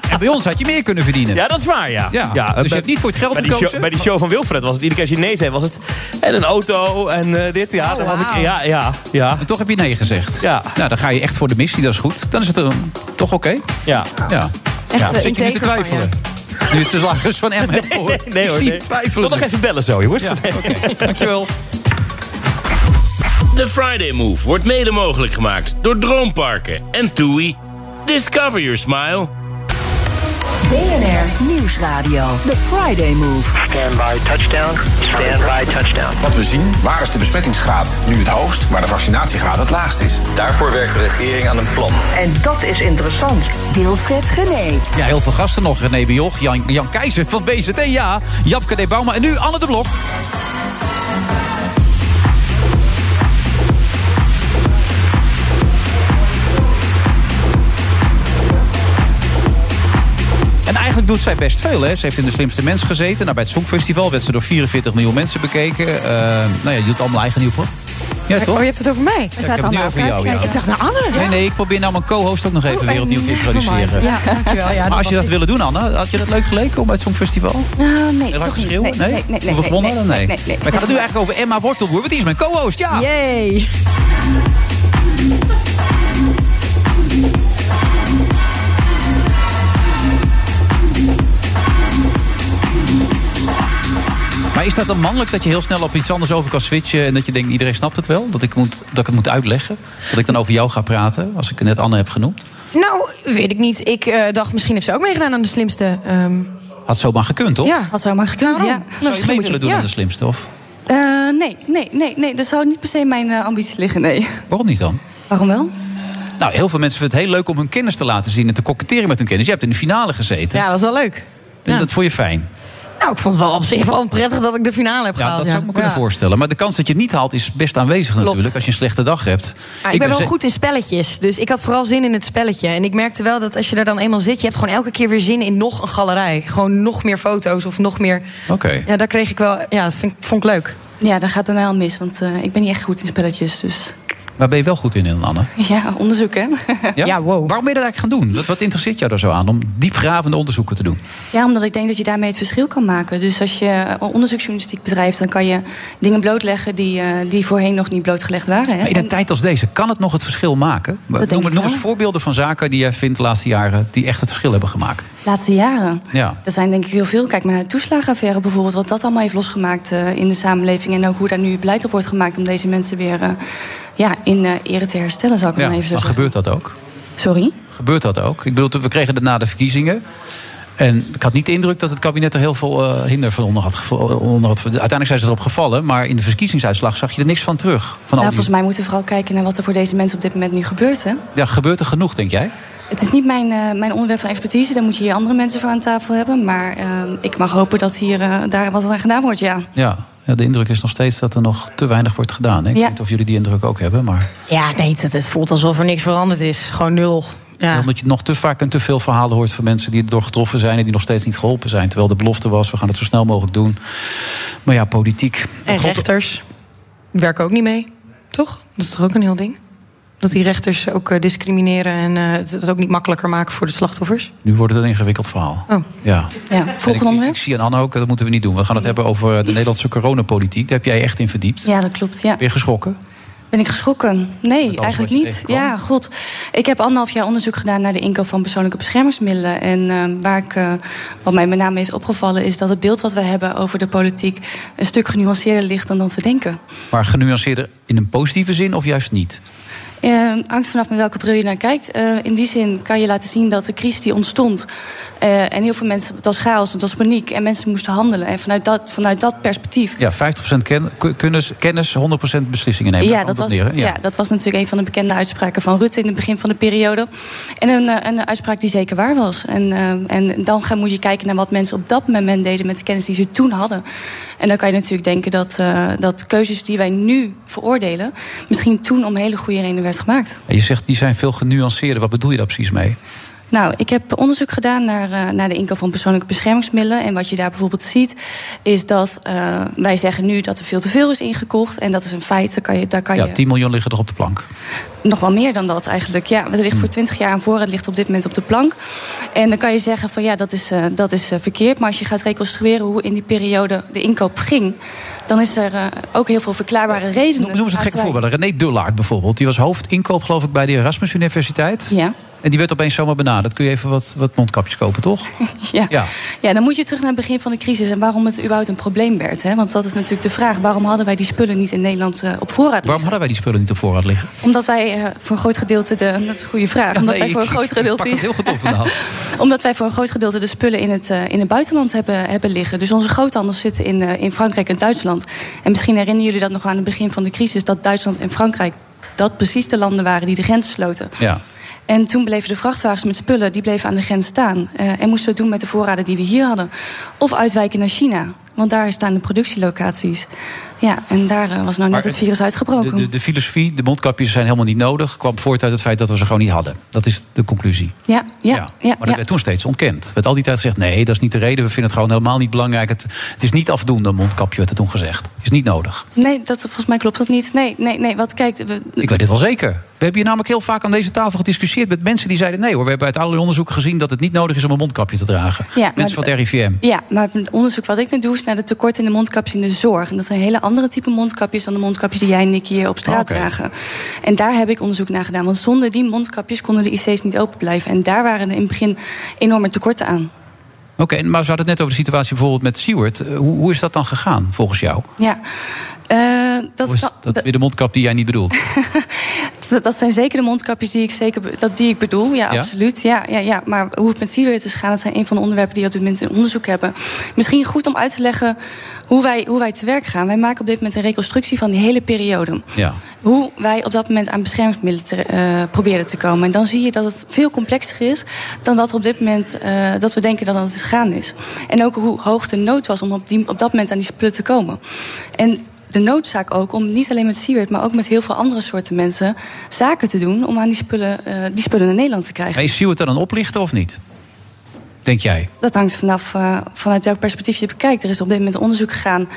S6: en bij ons had je meer kunnen verdienen.
S9: Ja, dat is waar, ja.
S6: Ja, dus
S9: bij-
S6: je hebt niet voor het geld
S9: bij die, show,
S6: gekozen?
S9: bij die show van Wilfred was het iedere keer als je nee zei, was het... En een auto en eh, dit, ja.
S7: Oh,
S9: dan was ik,
S7: wauw.
S9: ja, ja, ja,
S6: En toch heb je nee gezegd.
S9: Ja.
S6: Nou, dan ga je echt voor de missie, dat is goed. Dan is het er toch oké.
S9: ja.
S6: Ja.
S7: echt
S9: Ja,
S7: eh,
S6: Zit
S9: zit
S6: je nu te
S7: integer van
S6: twijfelen? Nu is de slagers
S9: *laughs*
S6: van M.
S9: Nee, nee, nee
S6: Ik
S9: hoor.
S6: zie
S9: Nee.
S6: je twijfelen.
S9: Tot nog even bellen zo, jongens. *laughs*
S6: Ja, oké. Dankjewel.
S2: De Friday Move wordt mede mogelijk gemaakt door Droomparken en TUI. Discover your smile.
S3: BNR Nieuwsradio. The Friday Move.
S4: Stand by touchdown. Stand by touchdown.
S5: Wat we zien, waar is de besmettingsgraad nu het hoogst, waar de vaccinatiegraad het laagst is? Daarvoor werkt de regering aan een plan.
S3: En dat is interessant. Wilfred Genee.
S6: Ja, heel veel gasten nog. René Bioch, Jan, Jan Keizer van BZT, ja. Japke D. Bouma en nu Anne de Blok. En eigenlijk doet zij best veel. Hè? Ze heeft in de slimste mens gezeten. Nou, bij het Songfestival werd ze door 44 miljoen mensen bekeken. Eh, nou ja, je doet het allemaal eigen nieuw, hoor. Ja,
S7: Oh,
S6: toch?
S7: je hebt het over mij?
S6: ik heb het nu over jou, ja.
S7: Ik dacht, nou Anne.
S6: Nee, nee, ik probeer nou mijn co-host ook nog even weer opnieuw te
S7: Ja,
S6: introduceren.
S12: Oh
S7: dankjewel. Ja,
S6: Maar als je
S7: was
S6: dat wilde doen, Anne, had je dat leuk geleken om bij het Songfestival?
S12: Nou,
S6: Heel
S12: nee,
S6: hard
S12: toch niet.
S6: geschreeuwen?
S12: Nee, nee, nee. nee,
S6: Hoeveel gewonnen?
S12: nee,
S6: Nee.
S12: nee, nee, nee.
S6: Maar ik had het nu eigenlijk over Emma Wortelboer, want die is mijn co-host, ja.
S7: ik. Yay.
S6: Maar is dat dan mannelijk dat je heel snel op iets anders over kan switchen... en dat je denkt, iedereen snapt het wel? Dat ik, moet, dat ik het moet uitleggen? Dat ik dan over jou ga praten, als ik net Anne heb genoemd?
S7: Nou, weet ik niet. Ik eh, dacht, misschien heeft ze ook meegedaan aan de slimste. ehm,
S6: Had zomaar gekund, toch?
S7: ja.
S12: Had zomaar gekund,
S7: Waarom?
S12: ja.
S6: Zou je
S7: misschien
S6: mee
S7: moet Nou, je-
S6: willen doen
S7: ja.
S6: aan de slimste, of
S12: Eh, nee, nee, nee, nee. Dat zou niet per se mijn eh, ambities liggen, nee.
S6: waarom niet dan?
S12: Waarom wel?
S6: Nou, heel veel mensen vinden het heel leuk om hun kennis te laten zien... en te koketteren met hun kennis. Je hebt in de finale gezeten.
S7: Ja, was wel leuk.
S6: En
S7: Ja.
S6: dat vond je fijn.
S7: Nou, ik vond het wel op zich wel prettig dat ik de finale heb
S6: Ja,
S7: gehaald.
S6: dat zou ik me kunnen
S7: Ja.
S6: voorstellen. Maar de kans dat je het niet haalt is best aanwezig
S7: Klopt.
S6: natuurlijk. Als je een slechte dag hebt.
S7: Ah, ik ben wel
S6: ze-
S7: goed in spelletjes. Dus ik had vooral zin in het spelletje. En ik merkte wel dat als je daar dan eenmaal zit... je hebt gewoon elke keer weer zin in nog een galerij. Gewoon nog meer foto's of nog meer...
S6: Oké.
S7: Ja, daar kreeg ik wel... Ja, dat vind, ik- vond ik leuk.
S12: Ja, dat gaat bij mij al mis, want eh, ik ben niet echt goed in spelletjes. Dus
S6: Waar ben je wel goed in, in Anne?
S12: ja, onderzoek hè.
S6: Ja? wow. Waarom ben je dat eigenlijk gaan doen? Wat, wat interesseert jou daar zo aan om diepgravende onderzoeken te doen?
S12: *laughs* Ja, omdat ik denk dat je daarmee het verschil kan maken. Dus als je onderzoeksjournalistiek bedrijft, dan kan je dingen blootleggen die, eh, die voorheen nog niet blootgelegd waren. Hè?
S6: Maar in een tijd als deze, kan het nog het verschil maken?
S12: denk
S6: noem
S12: ik
S6: noem eens
S12: wel.
S6: voorbeelden van zaken die jij vindt de laatste jaren... die echt het verschil hebben gemaakt.
S12: De laatste jaren.
S6: Ja.
S12: Dat zijn denk ik heel veel. Kijk maar naar de toeslagenaffaire bijvoorbeeld. Wat dat allemaal heeft losgemaakt eh, in de samenleving. En ook hoe daar nu beleid op wordt gemaakt om deze mensen weer eh, ja, in eh, ere te herstellen, zou ik
S6: ja.
S12: maar even zo
S6: maar
S12: zeggen.
S6: gebeurt dat ook?
S12: Sorry?
S6: Gebeurt dat ook? Ik bedoel, we kregen het na de verkiezingen. En ik had niet de indruk dat het kabinet er heel veel eh, hinder van onder had, gevo- eh, onder had. Uiteindelijk zijn ze erop gevallen, maar in de verkiezingsuitslag zag je er niks van terug. Van
S12: nou,
S6: al die-
S12: volgens mij moeten we vooral kijken naar wat er voor deze mensen op dit moment nu gebeurt. Hè?
S6: Ja, gebeurt er genoeg, denk jij?
S12: Het is niet mijn, eh, mijn onderwerp van expertise. Daar moet je hier andere mensen voor aan tafel hebben. Maar eh, ik mag hopen dat hier, eh, daar wat aan gedaan wordt, ja.
S6: Ja. ja, de indruk is nog steeds dat er nog te weinig wordt gedaan. hè? Ik
S7: Ja.
S6: weet niet of jullie die indruk ook hebben, maar
S7: Ja, nee, het, het voelt alsof er niks veranderd is. Gewoon nul. Ja.
S6: omdat je nog te vaak en te veel verhalen hoort van mensen die erdoor getroffen zijn en die nog steeds niet geholpen zijn. Terwijl de belofte was, we gaan het zo snel mogelijk doen. Maar ja, politiek.
S7: En rechters werken ook niet mee, toch? Dat is toch ook een heel ding? Dat die rechters ook eh, discrimineren en eh, het het ook niet makkelijker maken voor de slachtoffers.
S6: Nu wordt het een ingewikkeld verhaal.
S7: Oh.
S6: Ja.
S12: Ja,
S6: volgende
S12: Hm?
S6: onderwerp. Ik, zie aan Anne ook, eh, dat moeten we niet doen. We gaan het hebben over eh, de Nederlandse coronapolitiek. Daar heb jij echt in verdiept.
S12: Ja, dat klopt, ja.
S6: Ben je geschrokken?
S12: Ben ik geschrokken? Nee, eigenlijk
S6: wat je
S12: niet. Ja, god. Ik heb anderhalf jaar onderzoek gedaan naar de inkoop van persoonlijke beschermingsmiddelen. En eh, waar ik, eh, wat mij met name is opgevallen, is dat het beeld wat we hebben over de politiek een stuk genuanceerder ligt dan dat we denken.
S6: Maar genuanceerder in een positieve zin of juist niet?
S12: Eh, hangt vanaf met welke bril je naar kijkt. Eh, in die zin kan je laten zien dat de crisis die ontstond. eh, en heel veel mensen, het was chaos, het was paniek. En mensen moesten handelen. En vanuit dat, vanuit dat perspectief.
S6: Ja, 50% ken, k- kennis, kennis, 100% beslissingen nemen.
S12: Ja
S6: Daar
S12: dat,
S6: komt
S12: was,
S6: het neer,
S12: ja.
S6: hè? ja.
S12: dat was natuurlijk een van de bekende uitspraken van Rutte in het begin van de periode. En een, eh, een uitspraak die zeker waar was. En, eh, en dan gaan, moet je kijken naar wat mensen op dat moment deden met de kennis die ze toen hadden. En dan kan je natuurlijk denken dat, eh, dat keuzes die wij nu veroordelen, misschien toen om hele goede redenen werd gemaakt.
S6: En Je zegt, die zijn veel genuanceerder. Wat bedoel je daar precies mee?
S12: Nou, ik heb onderzoek gedaan naar, eh, naar de inkoop van persoonlijke beschermingsmiddelen. En wat je daar bijvoorbeeld ziet, is dat eh, wij zeggen nu dat er veel te veel is ingekocht. En dat is een feit. Daar kan je, daar kan
S6: Ja,
S12: je
S6: 10 miljoen liggen er op de plank.
S12: nog wel meer dan dat eigenlijk. Ja, het
S6: Hm.
S12: ligt voor 20 jaar aan voor. Het ligt op dit moment op de plank. En dan kan je zeggen van ja, dat is, eh, dat is eh, verkeerd. Maar als je gaat reconstrueren hoe in die periode de inkoop ging, dan is er eh, ook heel veel verklaarbare redenen.
S6: Eh, Noem eens een gek
S12: Laten wij-
S6: voorbeeld. René Dullaert bijvoorbeeld. Die was hoofdinkoop, geloof ik, bij de Erasmus Universiteit.
S12: Ja.
S6: En die werd opeens zomaar benaderd. Kun je even wat, wat mondkapjes kopen, toch?
S12: *laughs* Ja.
S6: Ja.
S12: Ja, dan moet je terug naar het begin van de crisis en waarom het überhaupt een probleem werd. Hè? Want dat is natuurlijk de vraag. Waarom hadden wij die spullen niet in Nederland eh, op voorraad?
S6: Waarom hadden wij die spullen niet op voorraad liggen?
S12: Omdat wij eh, voor een groot gedeelte de. Dat is een goede vraag.
S6: Ja,
S12: omdat
S6: nee,
S12: wij voor een
S6: ik-
S12: groot
S6: ik pak
S12: gedeelte.
S6: het heel goed op vandaag.
S13: *laughs*
S12: omdat wij voor een groot gedeelte de spullen in het, eh, in het buitenland hebben, hebben liggen. Dus onze groothandels zitten in, eh, in Frankrijk en Duitsland. En misschien herinneren jullie dat nog aan het begin van de crisis, dat Duitsland en Frankrijk. Dat precies de landen waren die de grens sloten.
S6: Ja.
S12: En toen bleven de vrachtwagens met spullen die bleven aan de grens staan. Eh, en moesten we het doen met de voorraden die we hier hadden. Of uitwijken naar China. Want daar staan de productielocaties. Ja, en daar eh, was nou net
S6: Maar
S12: het virus uitgebroken.
S6: De, de, de filosofie, de mondkapjes zijn helemaal niet nodig... kwam voort uit het feit dat we ze gewoon niet hadden. Dat is de conclusie.
S12: Ja, ja, ja. ja,
S6: Maar dat werd toen steeds ontkend. Werd al die tijd gezegd, nee, dat is niet de reden. We vinden het gewoon helemaal niet belangrijk. Het, het is niet afdoende, een mondkapje werd er toen gezegd. Is niet nodig.
S12: Nee, dat, volgens mij klopt dat niet. Nee, nee, nee. Wat kijkt. We,
S6: Ik weet dit wel zeker. We hebben hier namelijk heel vaak aan deze tafel gediscussieerd... met mensen die zeiden, nee hoor, we hebben uit allerlei onderzoeken gezien... dat het niet nodig is om een mondkapje te dragen.
S12: Ja,
S6: mensen van
S12: maar-
S6: het RIVM.
S12: ja, maar het onderzoek wat ik nu doe is naar de tekorten in de mondkapjes in de zorg. En dat zijn hele andere type mondkapjes dan de mondkapjes die jij en ik hier op straat dragen. En daar heb ik onderzoek naar gedaan. Want zonder die mondkapjes konden de IC's niet open blijven. En daar waren er in het begin enorme tekorten aan.
S6: Oké, en- maar we hadden het net over de situatie bijvoorbeeld met Seward. Eh, Hoe, hoe is dat dan gegaan, volgens jou?
S12: Ja. Eh, dat
S6: Of is
S12: kan-
S6: dat weer de mondkap die jij niet bedoelt?
S12: dat, dat zijn zeker de mondkapjes die ik, zeker, be- dat, die ik bedoel. Ja,
S14: Ja?
S12: absoluut. Ja, ja, ja. Maar hoe het met Siewert is gegaan, dat zijn een van de onderwerpen die we op dit moment in onderzoek hebben. Misschien goed om uit te leggen hoe wij, hoe wij te werk gaan. Wij maken op dit moment een reconstructie van die hele periode
S6: Ja.
S12: hoe wij op dat moment aan beschermingsmiddelen te- eh, proberen te komen. En dan zie je dat het veel complexer is dan dat we op dit moment eh, dat we denken dat het is gaan is. En ook hoe hoog de nood was om op, die, op dat moment aan die spullen te komen. En de noodzaak ook om niet alleen met Siewert, maar ook met heel veel andere soorten mensen zaken te doen om aan die spullen, eh, die spullen naar Nederland te krijgen.
S6: Maar is Siewert dan een oplichter of niet? Denk jij?
S12: Dat hangt vanaf eh, vanuit welk perspectief je het bekijkt. Er is op dit moment onderzoek gegaan,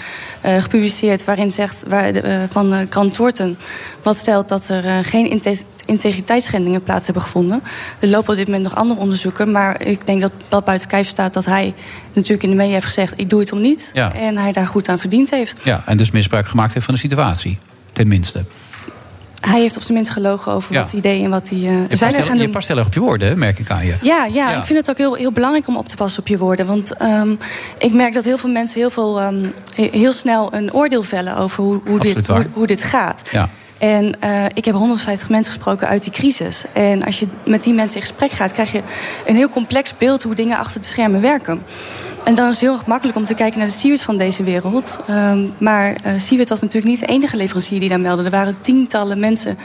S12: eh, gepubliceerd, waarin zegt waar, de, eh, van eh Grant Thornton, wat stelt dat er eh, geen inte- integriteitsschendingen plaats hebben gevonden. Er lopen op dit moment nog andere onderzoeken, maar ik denk dat dat buiten kijf staat dat hij natuurlijk in de media heeft gezegd: ik doe het om niet,
S6: Ja.
S12: en hij daar goed aan verdiend heeft.
S6: Ja, en dus misbruik gemaakt heeft van de situatie. Tenminste.
S12: Hij heeft op zijn minst gelogen over
S6: Ja.
S12: wat idee en wat hij eh,
S6: Je
S12: zijn
S6: past,
S12: er gaan
S6: heel,
S12: doen.
S6: je past heel erg op je woorden, hè, merk ik aan je.
S12: Ja, ja,
S6: Ja.
S12: ik vind het ook heel, heel belangrijk om op te passen op je woorden. Want ehm, ik merk dat heel veel mensen heel, veel, ehm, he- heel snel een oordeel vellen over hoe, hoe,
S6: Absoluut
S12: dit,
S6: waar.
S12: hoe, hoe dit gaat.
S6: Ja.
S12: En eh, ik heb 150 mensen gesproken uit die crisis. En als je met die mensen in gesprek gaat, krijg je een heel complex beeld hoe dingen achter de schermen werken. En dan is het heel erg makkelijk om te kijken naar de Siewert van deze wereld. Ehm, maar eh Siewert was natuurlijk niet de enige leverancier die daar meldde. Er waren tientallen mensen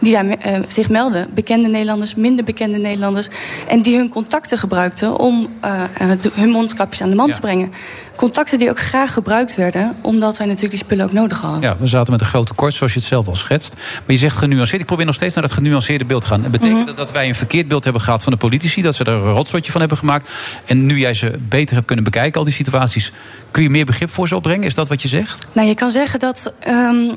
S12: die daar, eh, zich melden. Bekende Nederlanders, minder bekende Nederlanders. En die hun contacten gebruikten om eh, eh, de- hun mondkapjes aan de man te brengen. Contacten die ook graag gebruikt werden, omdat wij natuurlijk die spullen ook nodig hadden.
S6: Ja, we zaten met een groot tekort, zoals je het zelf al schetst. Maar je zegt genuanceerd. Ik probeer nog steeds naar dat genuanceerde beeld te gaan. Dat
S12: Mhm.
S6: betekent dat dat wij een verkeerd beeld hebben gehad van de politici. Dat ze er een rotzotje van hebben gemaakt. En nu jij ze beter hebt kunnen bekijken, al die situaties... kun je meer begrip voor ze opbrengen? Is dat wat je zegt?
S12: Nou, je kan zeggen dat. ehm,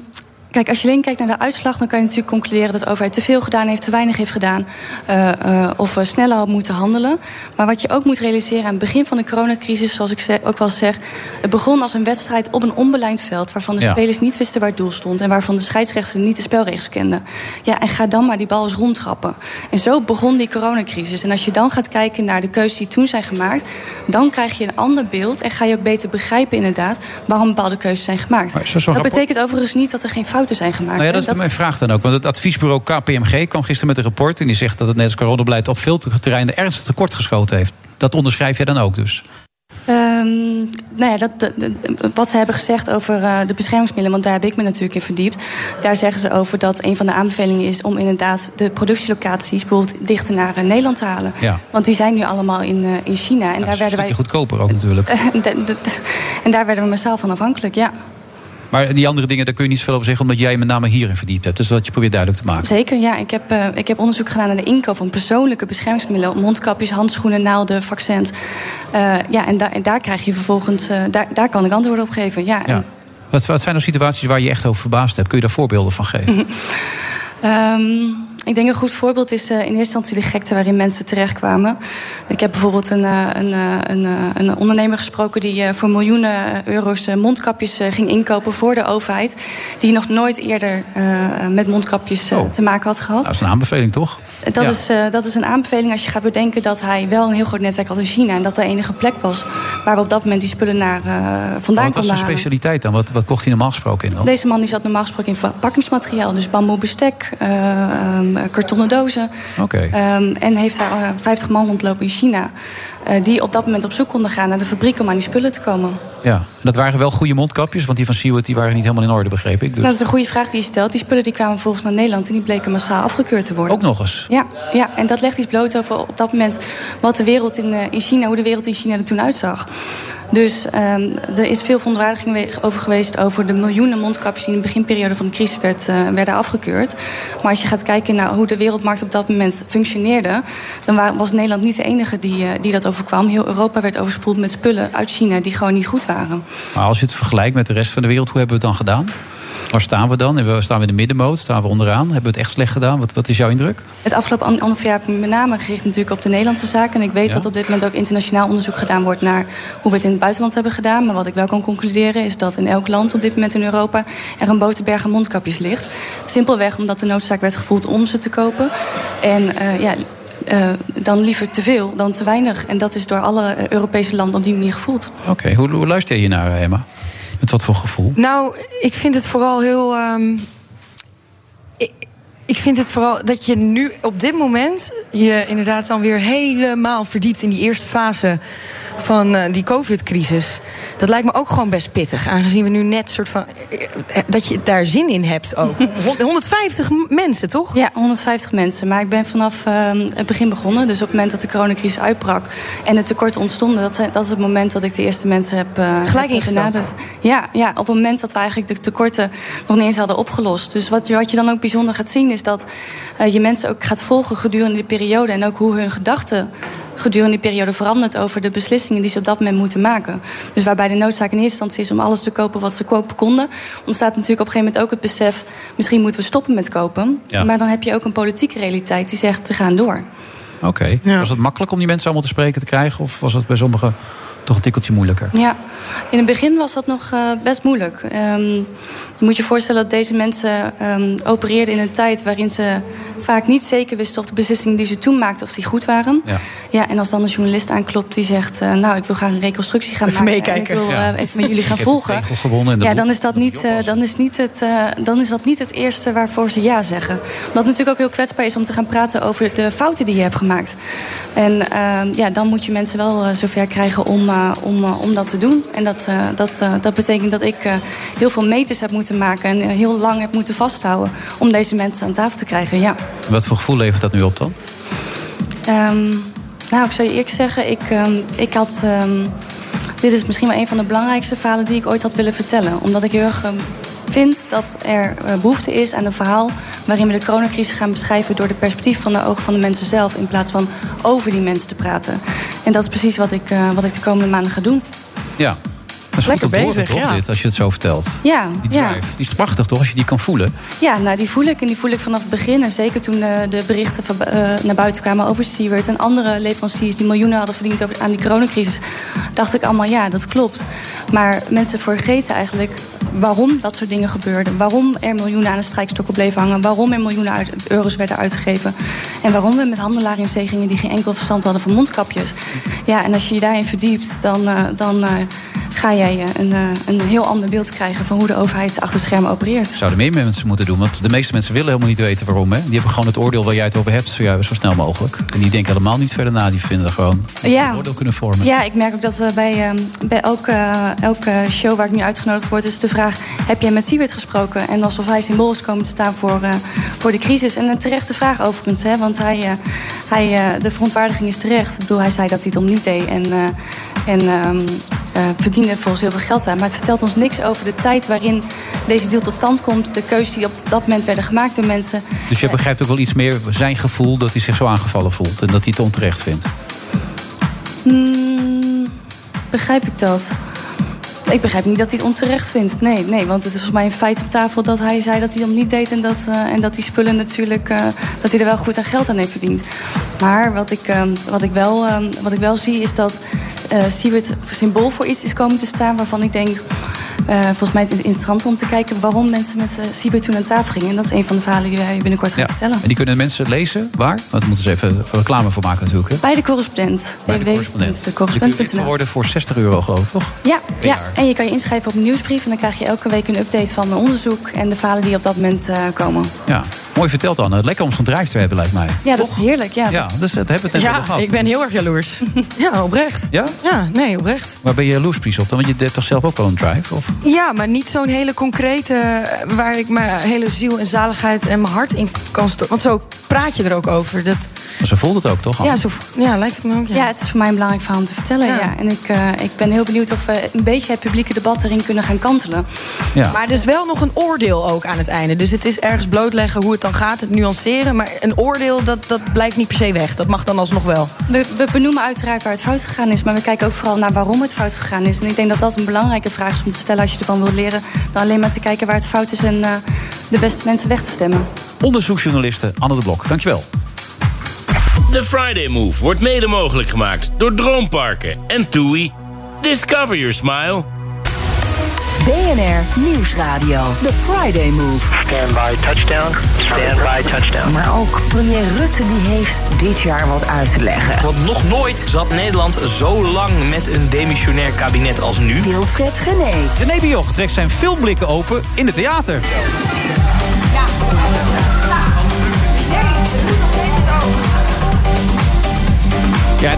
S12: kijk, als je alleen kijkt naar de uitslag, dan kan je natuurlijk concluderen dat de overheid te veel gedaan heeft, te weinig heeft gedaan. eh, eh, of eh, sneller had moeten handelen. Maar wat je ook moet realiseren aan het begin van de coronacrisis, zoals ik ze- ook wel eens zeg. Het begon als een wedstrijd op een onbeleid veld. waarvan de
S13: Ja.
S12: spelers niet wisten waar het doel stond. en waarvan de scheidsrechters niet de spelregels kenden. Ja, en ga dan maar die bal eens rondtrappen. En zo begon die coronacrisis. En als je dan gaat kijken naar de keuzes die toen zijn gemaakt. dan krijg je een ander beeld. en ga je ook beter begrijpen, inderdaad. waarom bepaalde keuzes zijn gemaakt.
S6: Maar is er zo'n
S12: Dat
S6: rapport-
S12: betekent overigens niet dat er geen fouten zijn gemaakt.
S6: Nou ja,
S12: hè.
S6: dat is
S12: Ah, Dat-
S6: mijn vraag dan ook. Want het adviesbureau KPMG kwam gisteren met een rapport... en die zegt dat het Nederlands coronabeleid op veel terreinen... ernstig tekort geschoten heeft. Dat onderschrijf jij dan ook dus?
S12: Ehm, nou ja, dat, dat- dat- wat ze hebben gezegd over eh, de beschermingsmiddelen, want daar heb ik me natuurlijk in verdiept. Daar zeggen ze over dat een van de aanbevelingen is om inderdaad de productielocaties bijvoorbeeld dichter naar eh, Nederland te halen.
S6: Ja.
S12: Want die zijn nu allemaal in, eh, in China. En
S6: Ja, dat
S12: daar
S6: is een
S12: werden
S6: stukje
S12: wij.
S6: goedkoper ook natuurlijk.
S12: *laughs* De- de- de- en daar werden we massaal van afhankelijk, ja.
S6: Maar die andere dingen, daar kun je niet zoveel over zeggen... omdat jij je met name hierin verdiept hebt. Dus dat je probeert duidelijk te maken.
S12: Zeker, ja. Ik heb, eh, ik heb onderzoek gedaan naar de inkoop van persoonlijke beschermingsmiddelen. Mondkapjes, handschoenen, naalden, vaccins. Eh, ja, en, daar en daar krijg je vervolgens... eh, daar, daar kan ik antwoorden op geven, ja.
S6: Ja. Wat, wat zijn nou situaties waar je je echt over verbaasd hebt? Kun je daar voorbeelden van geven?
S12: *laughs* Ehm, ik denk een goed voorbeeld is eh, in eerste instantie de gekte waarin mensen terechtkwamen. Ik heb bijvoorbeeld een, eh, een, eh, een, eh, een ondernemer gesproken die eh, voor miljoenen euro's eh, mondkapjes eh, ging inkopen voor de overheid. Die nog nooit eerder eh, met mondkapjes eh, te maken had gehad.
S6: Dat is een aanbeveling, toch?
S12: Dat,
S6: Oh. Ah, Ja.
S12: is, eh, dat is een aanbeveling als je gaat bedenken dat hij wel een heel groot netwerk had in China. En dat de enige plek was waar we op dat moment die spullen naar, eh, vandaan
S6: Wat Oh, was
S12: konden
S6: zijn
S12: halen.
S6: specialiteit dan? Wat, wat kocht hij normaal gesproken in dan?
S12: Deze man die zat normaal gesproken in verpakkingsmateriaal. Dus bamboe bestek, eh, ehm, kartonnen dozen.
S6: Oké.
S12: Ehm, en heeft daar eh, 50 man rondlopen in China. eh, die op dat moment op zoek konden gaan naar de fabriek om aan die spullen te komen.
S6: Ja. En dat waren wel goede mondkapjes, want die van Seward die waren niet helemaal in orde, begreep ik. Dus
S12: Dat is een goede vraag die je stelt. Die spullen die kwamen volgens naar Nederland en die bleken massaal afgekeurd te worden.
S6: Ook nog eens.
S12: Ja, ja, en dat legt iets bloot over op dat moment wat de wereld in, eh, in China, hoe de wereld in China er toen uitzag. Dus ehm, er is veel verontwaardiging we- over geweest over de miljoenen mondkapjes die in de beginperiode van de crisis werd, eh, werden afgekeurd. Maar als je gaat kijken naar hoe de wereldmarkt op dat moment functioneerde, dan wa- was Nederland niet de enige die, eh, die dat overkwam. Heel Europa werd overspoeld met spullen uit China die gewoon niet goed waren.
S6: Maar als je het vergelijkt met de rest van de wereld, hoe hebben we het dan gedaan? Waar staan we dan? En we- Staan we in de middenmoot? Staan we onderaan? Hebben we het echt slecht gedaan? Wat, wat is jouw indruk?
S12: Het afgelopen an- anderhalf jaar heb ik me met name gericht natuurlijk op de Nederlandse zaken. En ik weet
S6: Ja.
S12: dat op dit moment ook internationaal onderzoek gedaan wordt naar hoe we het in het buitenland hebben gedaan. Maar wat ik wel kan concluderen is dat in elk land op dit moment in Europa er een boterberg aan mondkapjes ligt. Simpelweg omdat de noodzaak werd gevoeld om ze te kopen. En eh, ja, eh, dan liever te veel dan te weinig. En dat is door alle eh, Europese landen op die manier gevoeld.
S6: Oké, hoe, hoe luister je naar eh, Emma? Met wat voor gevoel?
S7: Nou, ik vind het vooral heel. ehm, ik, ik vind het vooral dat je nu op dit moment je inderdaad dan weer helemaal verdiept in die eerste fase van eh, die COVID-crisis. Dat lijkt me ook gewoon best pittig, aangezien we nu net soort van eh, eh, dat je daar zin in hebt ook. 150 mensen, toch?
S12: Ja, 150 mensen. Maar ik ben vanaf eh, het begin begonnen. Dus op het moment dat de coronacrisis uitbrak en de tekorten ontstonden, dat, zijn, dat is het moment dat ik de eerste mensen heb eh,
S7: Gelijk
S12: heb
S7: ingestapt.
S12: benaderd. Ja, ja, op het moment dat we eigenlijk de tekorten nog niet eens hadden opgelost. Dus wat, je- wat je dan ook bijzonder gaat zien, is dat eh, je mensen ook gaat volgen gedurende die periode. En ook hoe hun gedachten gedurende die periode verandert over de beslissingen die ze op dat moment moeten maken. Dus waarbij de noodzaak in eerste instantie is om alles te kopen wat ze kopen konden, ontstaat natuurlijk op een gegeven moment ook het besef, misschien moeten we stoppen met kopen.
S6: Ja.
S12: Maar dan heb je ook een politieke realiteit die zegt, we gaan door.
S6: Oké. Was het makkelijk om die mensen allemaal te spreken te krijgen? Of was het bij sommigen toch een tikkeltje moeilijker?
S12: Ja, in het begin was dat nog eh, best moeilijk. Ehm, je moet je voorstellen dat deze mensen ehm, opereerden in een tijd waarin ze vaak niet zeker wisten of de beslissingen die ze toen maakten of die goed waren.
S6: Ja.
S12: Ja, en als dan een journalist aanklopt die zegt, eh, nou ik wil graag een reconstructie gaan
S7: Even
S12: maken
S7: meekijken.
S12: en ik wil eh,
S7: Ja.
S12: even
S7: *laughs*
S12: met jullie
S7: Ik
S12: gaan
S7: heb de
S12: volgen.
S7: tegel gewonnen en de
S12: ja,
S7: boel.
S12: dan is dat niet, eh, dan is niet het, eh, dan is dat niet het eerste waarvoor ze ja zeggen. Wat natuurlijk ook heel kwetsbaar is om te gaan praten over de fouten die je hebt gemaakt. En eh, ja, dan moet je mensen wel eh, zover krijgen om, eh, om, eh, om dat te doen. En dat, eh, dat, eh, dat betekent dat ik eh, heel veel meters heb moeten maken en eh, heel lang heb moeten vasthouden om deze mensen aan tafel te krijgen. Ja.
S6: Wat voor gevoel levert dat nu op dan?
S12: Ehm, nou, ik zou je eerlijk zeggen, ik, ehm, ik had. ehm, dit is misschien wel een van de belangrijkste verhalen die ik ooit had willen vertellen. Omdat ik heel erg ehm, vind dat er eh, behoefte is aan een verhaal waarin we de coronacrisis gaan beschrijven door de perspectief van de ogen van de mensen zelf. In plaats van over die mensen te praten. En dat is precies wat ik, eh, wat ik de komende maanden ga doen.
S6: Ja. Dat is
S12: Lekker
S6: goed om te horen,
S12: bezig,
S6: toch,
S12: ja.
S6: dit, als je het zo vertelt.
S12: Ja,
S6: Die
S12: ja.
S6: drive, die is prachtig toch, als je die kan voelen.
S12: Ja, nou die voel ik en die voel ik vanaf het begin. En zeker toen eh, de berichten van, eh, naar buiten kwamen over Seaward en andere leveranciers die miljoenen hadden verdiend over, aan die coronacrisis, dacht ik allemaal ja, dat klopt. Maar mensen vergeten eigenlijk waarom dat soort dingen gebeurden. Waarom er miljoenen aan de strijkstokken bleven hangen. Waarom er miljoenen uit- euro's werden uitgegeven. En waarom we met handelaren in zee gingen die geen enkel verstand hadden van mondkapjes. Ja, en als je je daarin verdiept, dan, eh, dan eh, ga jij eh, een, eh, een heel ander beeld krijgen van hoe de overheid achter schermen opereert.
S6: Zouden meer mensen moeten doen, want de meeste mensen willen helemaal niet weten waarom. Hè? Die hebben gewoon het oordeel waar jij het over hebt, zo, ja, zo snel mogelijk. En die denken helemaal niet verder na, die vinden gewoon
S12: Ja.
S6: een oordeel kunnen vormen.
S12: Ja, ik merk ook dat we bij, ehm, bij elke, eh, elke show waar ik nu uitgenodigd word, is de vraag: heb jij met Siewert gesproken? En alsof hij symbool is komen te staan voor, eh, voor de crisis. En een terechte vraag overigens, hè, want hij, eh, hij, eh, de verontwaardiging is terecht. Ik bedoel, hij zei dat hij het om niet deed en, eh en ehm, eh, verdiende volgens heel veel geld aan. Maar het vertelt ons niks over de tijd waarin deze deal tot stand komt, de keuzes die op dat moment werden gemaakt door mensen.
S6: Dus je begrijpt ook wel iets meer zijn gevoel dat hij zich zo aangevallen voelt en dat hij het onterecht vindt.
S12: Hmm, begrijp ik dat? Ik begrijp niet dat hij het onterecht vindt. Nee, nee, want het is volgens mij een feit op tafel dat hij zei dat hij dat niet deed. En dat, eh, en dat die spullen natuurlijk. eh, dat hij er wel goed aan geld aan heeft verdiend. Maar wat ik, ehm, wat ik, wel, ehm, wat ik wel zie is dat. eh Siewert symbool voor iets is komen te staan waarvan ik denk. eh, volgens mij is het interessant om te kijken waarom mensen met eh, Siewert toen aan tafel gingen. En dat is een van de verhalen die wij binnenkort gaan
S6: Ja.
S12: vertellen.
S6: En die kunnen mensen lezen, waar? Want daar moeten ze even reclame voor maken natuurlijk. Hè?
S12: Bij de correspondent.
S6: Bij de
S12: www.decorrespondent.nl.
S6: correspondent. Dus Je kunt lid worden voor 60 euro geloof ik, toch?
S12: Ja,
S6: Per
S12: ja,
S6: jaar.
S12: en je kan je inschrijven op een nieuwsbrief. En dan krijg je elke week een update van mijn onderzoek en de verhalen die op dat moment eh, komen.
S6: Ja, mooi verteld Anne. Lekker om zo'n drive te hebben lijkt mij.
S12: Ja, dat is heerlijk. Ja.
S6: Ja, dus dat hebben we het net over
S7: Ja,
S6: gehad.
S7: ik ben heel erg jaloers. Ja, oprecht.
S6: Ja?
S7: Ja, nee, oprecht.
S6: Waar ben je jaloers precies op dan? Want je hebt toch zelf ook wel een drive? Of?
S7: Ja, maar niet zo'n hele concrete eh, waar ik mijn hele ziel en zaligheid en mijn hart in kan storten. Want zo praat je er ook over. Dat,
S6: Maar ze voelt het ook toch? Anne?
S7: ja, zo, voelt- ja, lijkt het me ook. Ja.
S12: Ja, het is voor mij een belangrijk verhaal om te vertellen. Ja. En ik, eh, ik ben heel benieuwd of we een beetje het publieke debat erin kunnen gaan kantelen.
S6: Ja.
S7: Maar er is wel nog een oordeel ook aan het einde. Dus het is ergens blootleggen hoe het dan gaat, het nuanceren. Maar een oordeel, dat, dat blijft niet per se weg. Dat mag dan alsnog wel.
S12: We, we benoemen uiteraard waar het fout gegaan is, maar we kijken ook vooral naar waarom het fout gegaan is. En ik denk dat dat een belangrijke vraag is om te stellen als je ervan wilt leren. Dan alleen maar te kijken waar het fout is en eh, de beste mensen weg te stemmen.
S6: Onderzoeksjournaliste Anne de Blok, dankjewel.
S2: De Friday Move wordt mede mogelijk gemaakt door Droomparken en TUI. Discover your smile.
S3: BNR Nieuwsradio. The Friday Move.
S4: Stand by touchdown. Stand by touchdown.
S3: Maar ook premier Rutte die heeft dit jaar wat uit te leggen.
S10: Want nog nooit zat Nederland zo lang met een demissionair kabinet als nu.
S3: Wilfred Genee.
S6: René Bioch trekt zijn filmblikken open in het theater.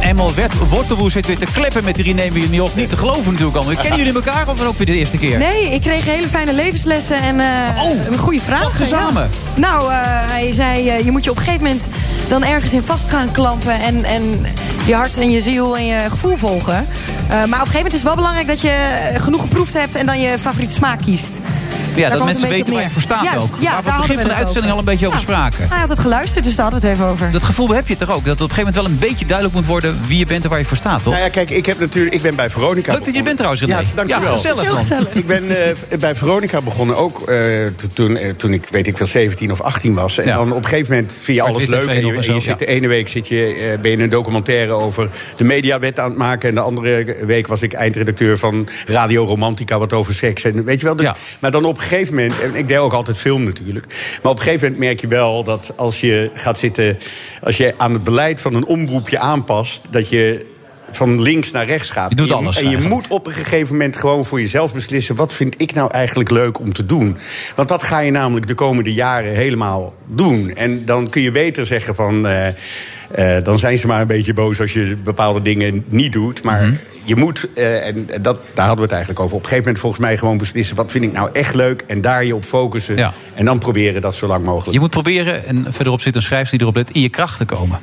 S6: Emel Wet- Wortelboer zit weer te kleppen met die René Mioch. Niet te geloven natuurlijk allemaal. Kennen jullie elkaar of ook weer de eerste keer?
S7: Nee, ik kreeg hele fijne levenslessen en eh, een goede vraag.
S6: Vat ze samen?
S7: Nou, eh, hij zei, eh, je moet je op een gegeven moment dan ergens in vast gaan klampen... en, en je hart en je ziel en je gevoel volgen. Eh, maar op een gegeven moment is het wel belangrijk dat je eh, genoeg geproefd hebt... en dan je favoriete smaak kiest. Daar
S6: Ja,
S7: komt
S6: dat
S7: het
S6: mensen
S7: een beetje op
S6: weten waar je
S7: neer.
S6: voor staat
S7: Juist,
S6: ook.
S7: Ja,
S6: waar we op het
S7: daar hadden
S6: begin
S7: we
S6: van de
S7: het
S6: uitzending al
S7: over.
S6: een beetje over spraken.
S7: Hij had het geluisterd, dus daar hadden we het even over.
S6: Dat gevoel heb je toch ook? Dat op een gegeven moment wel een beetje duidelijk moet worden wie je bent en waar je voor staat, toch?
S14: Nou ja, kijk, ik, heb natuurlijk, ik ben bij Veronica.
S6: Leuk dat je bent trouwens, René.
S14: Ja, dankjewel.
S6: Ja, gezellig, Heel man. gezellig.
S14: Ik ben eh, v- bij Veronica begonnen ook eh, to- toen, eh, toen ik, weet ik wel, 17 of 18 was. En
S6: Ja.
S14: dan op een gegeven moment vind je
S6: Zwart-wit
S14: alles
S6: TV
S14: leuk. En je,
S6: nog en
S14: en je
S6: zo,
S14: zit de
S6: ja.
S14: ene week zit je, eh, ben je een documentaire over de mediawet aan het maken. En de andere week was ik eindredacteur van Radio Romantica, wat over seks. En weet je wel, dus, Maar dan op een gegeven moment, en ik deed ook altijd film natuurlijk. Maar op een gegeven moment merk je wel dat als je gaat zitten... als je aan het beleid van een omroepje aanpast, dat je van links naar rechts gaat.
S6: Je doet
S14: En
S6: alles
S14: En je
S6: eigenlijk.
S14: moet op een gegeven moment gewoon voor jezelf beslissen... wat vind ik nou eigenlijk leuk om te doen? Want dat ga je namelijk de komende jaren helemaal doen. En dan kun je beter zeggen van... eh, eh, dan zijn ze maar een beetje boos als je bepaalde dingen niet doet. Maar je moet, eh, en dat, daar hadden we het eigenlijk over... op een gegeven moment volgens mij gewoon beslissen... wat vind ik nou echt leuk en daar je op focussen. En dan proberen dat zo lang mogelijk.
S6: Je moet proberen, en verderop zit een schrijver die erop let, in je kracht te komen.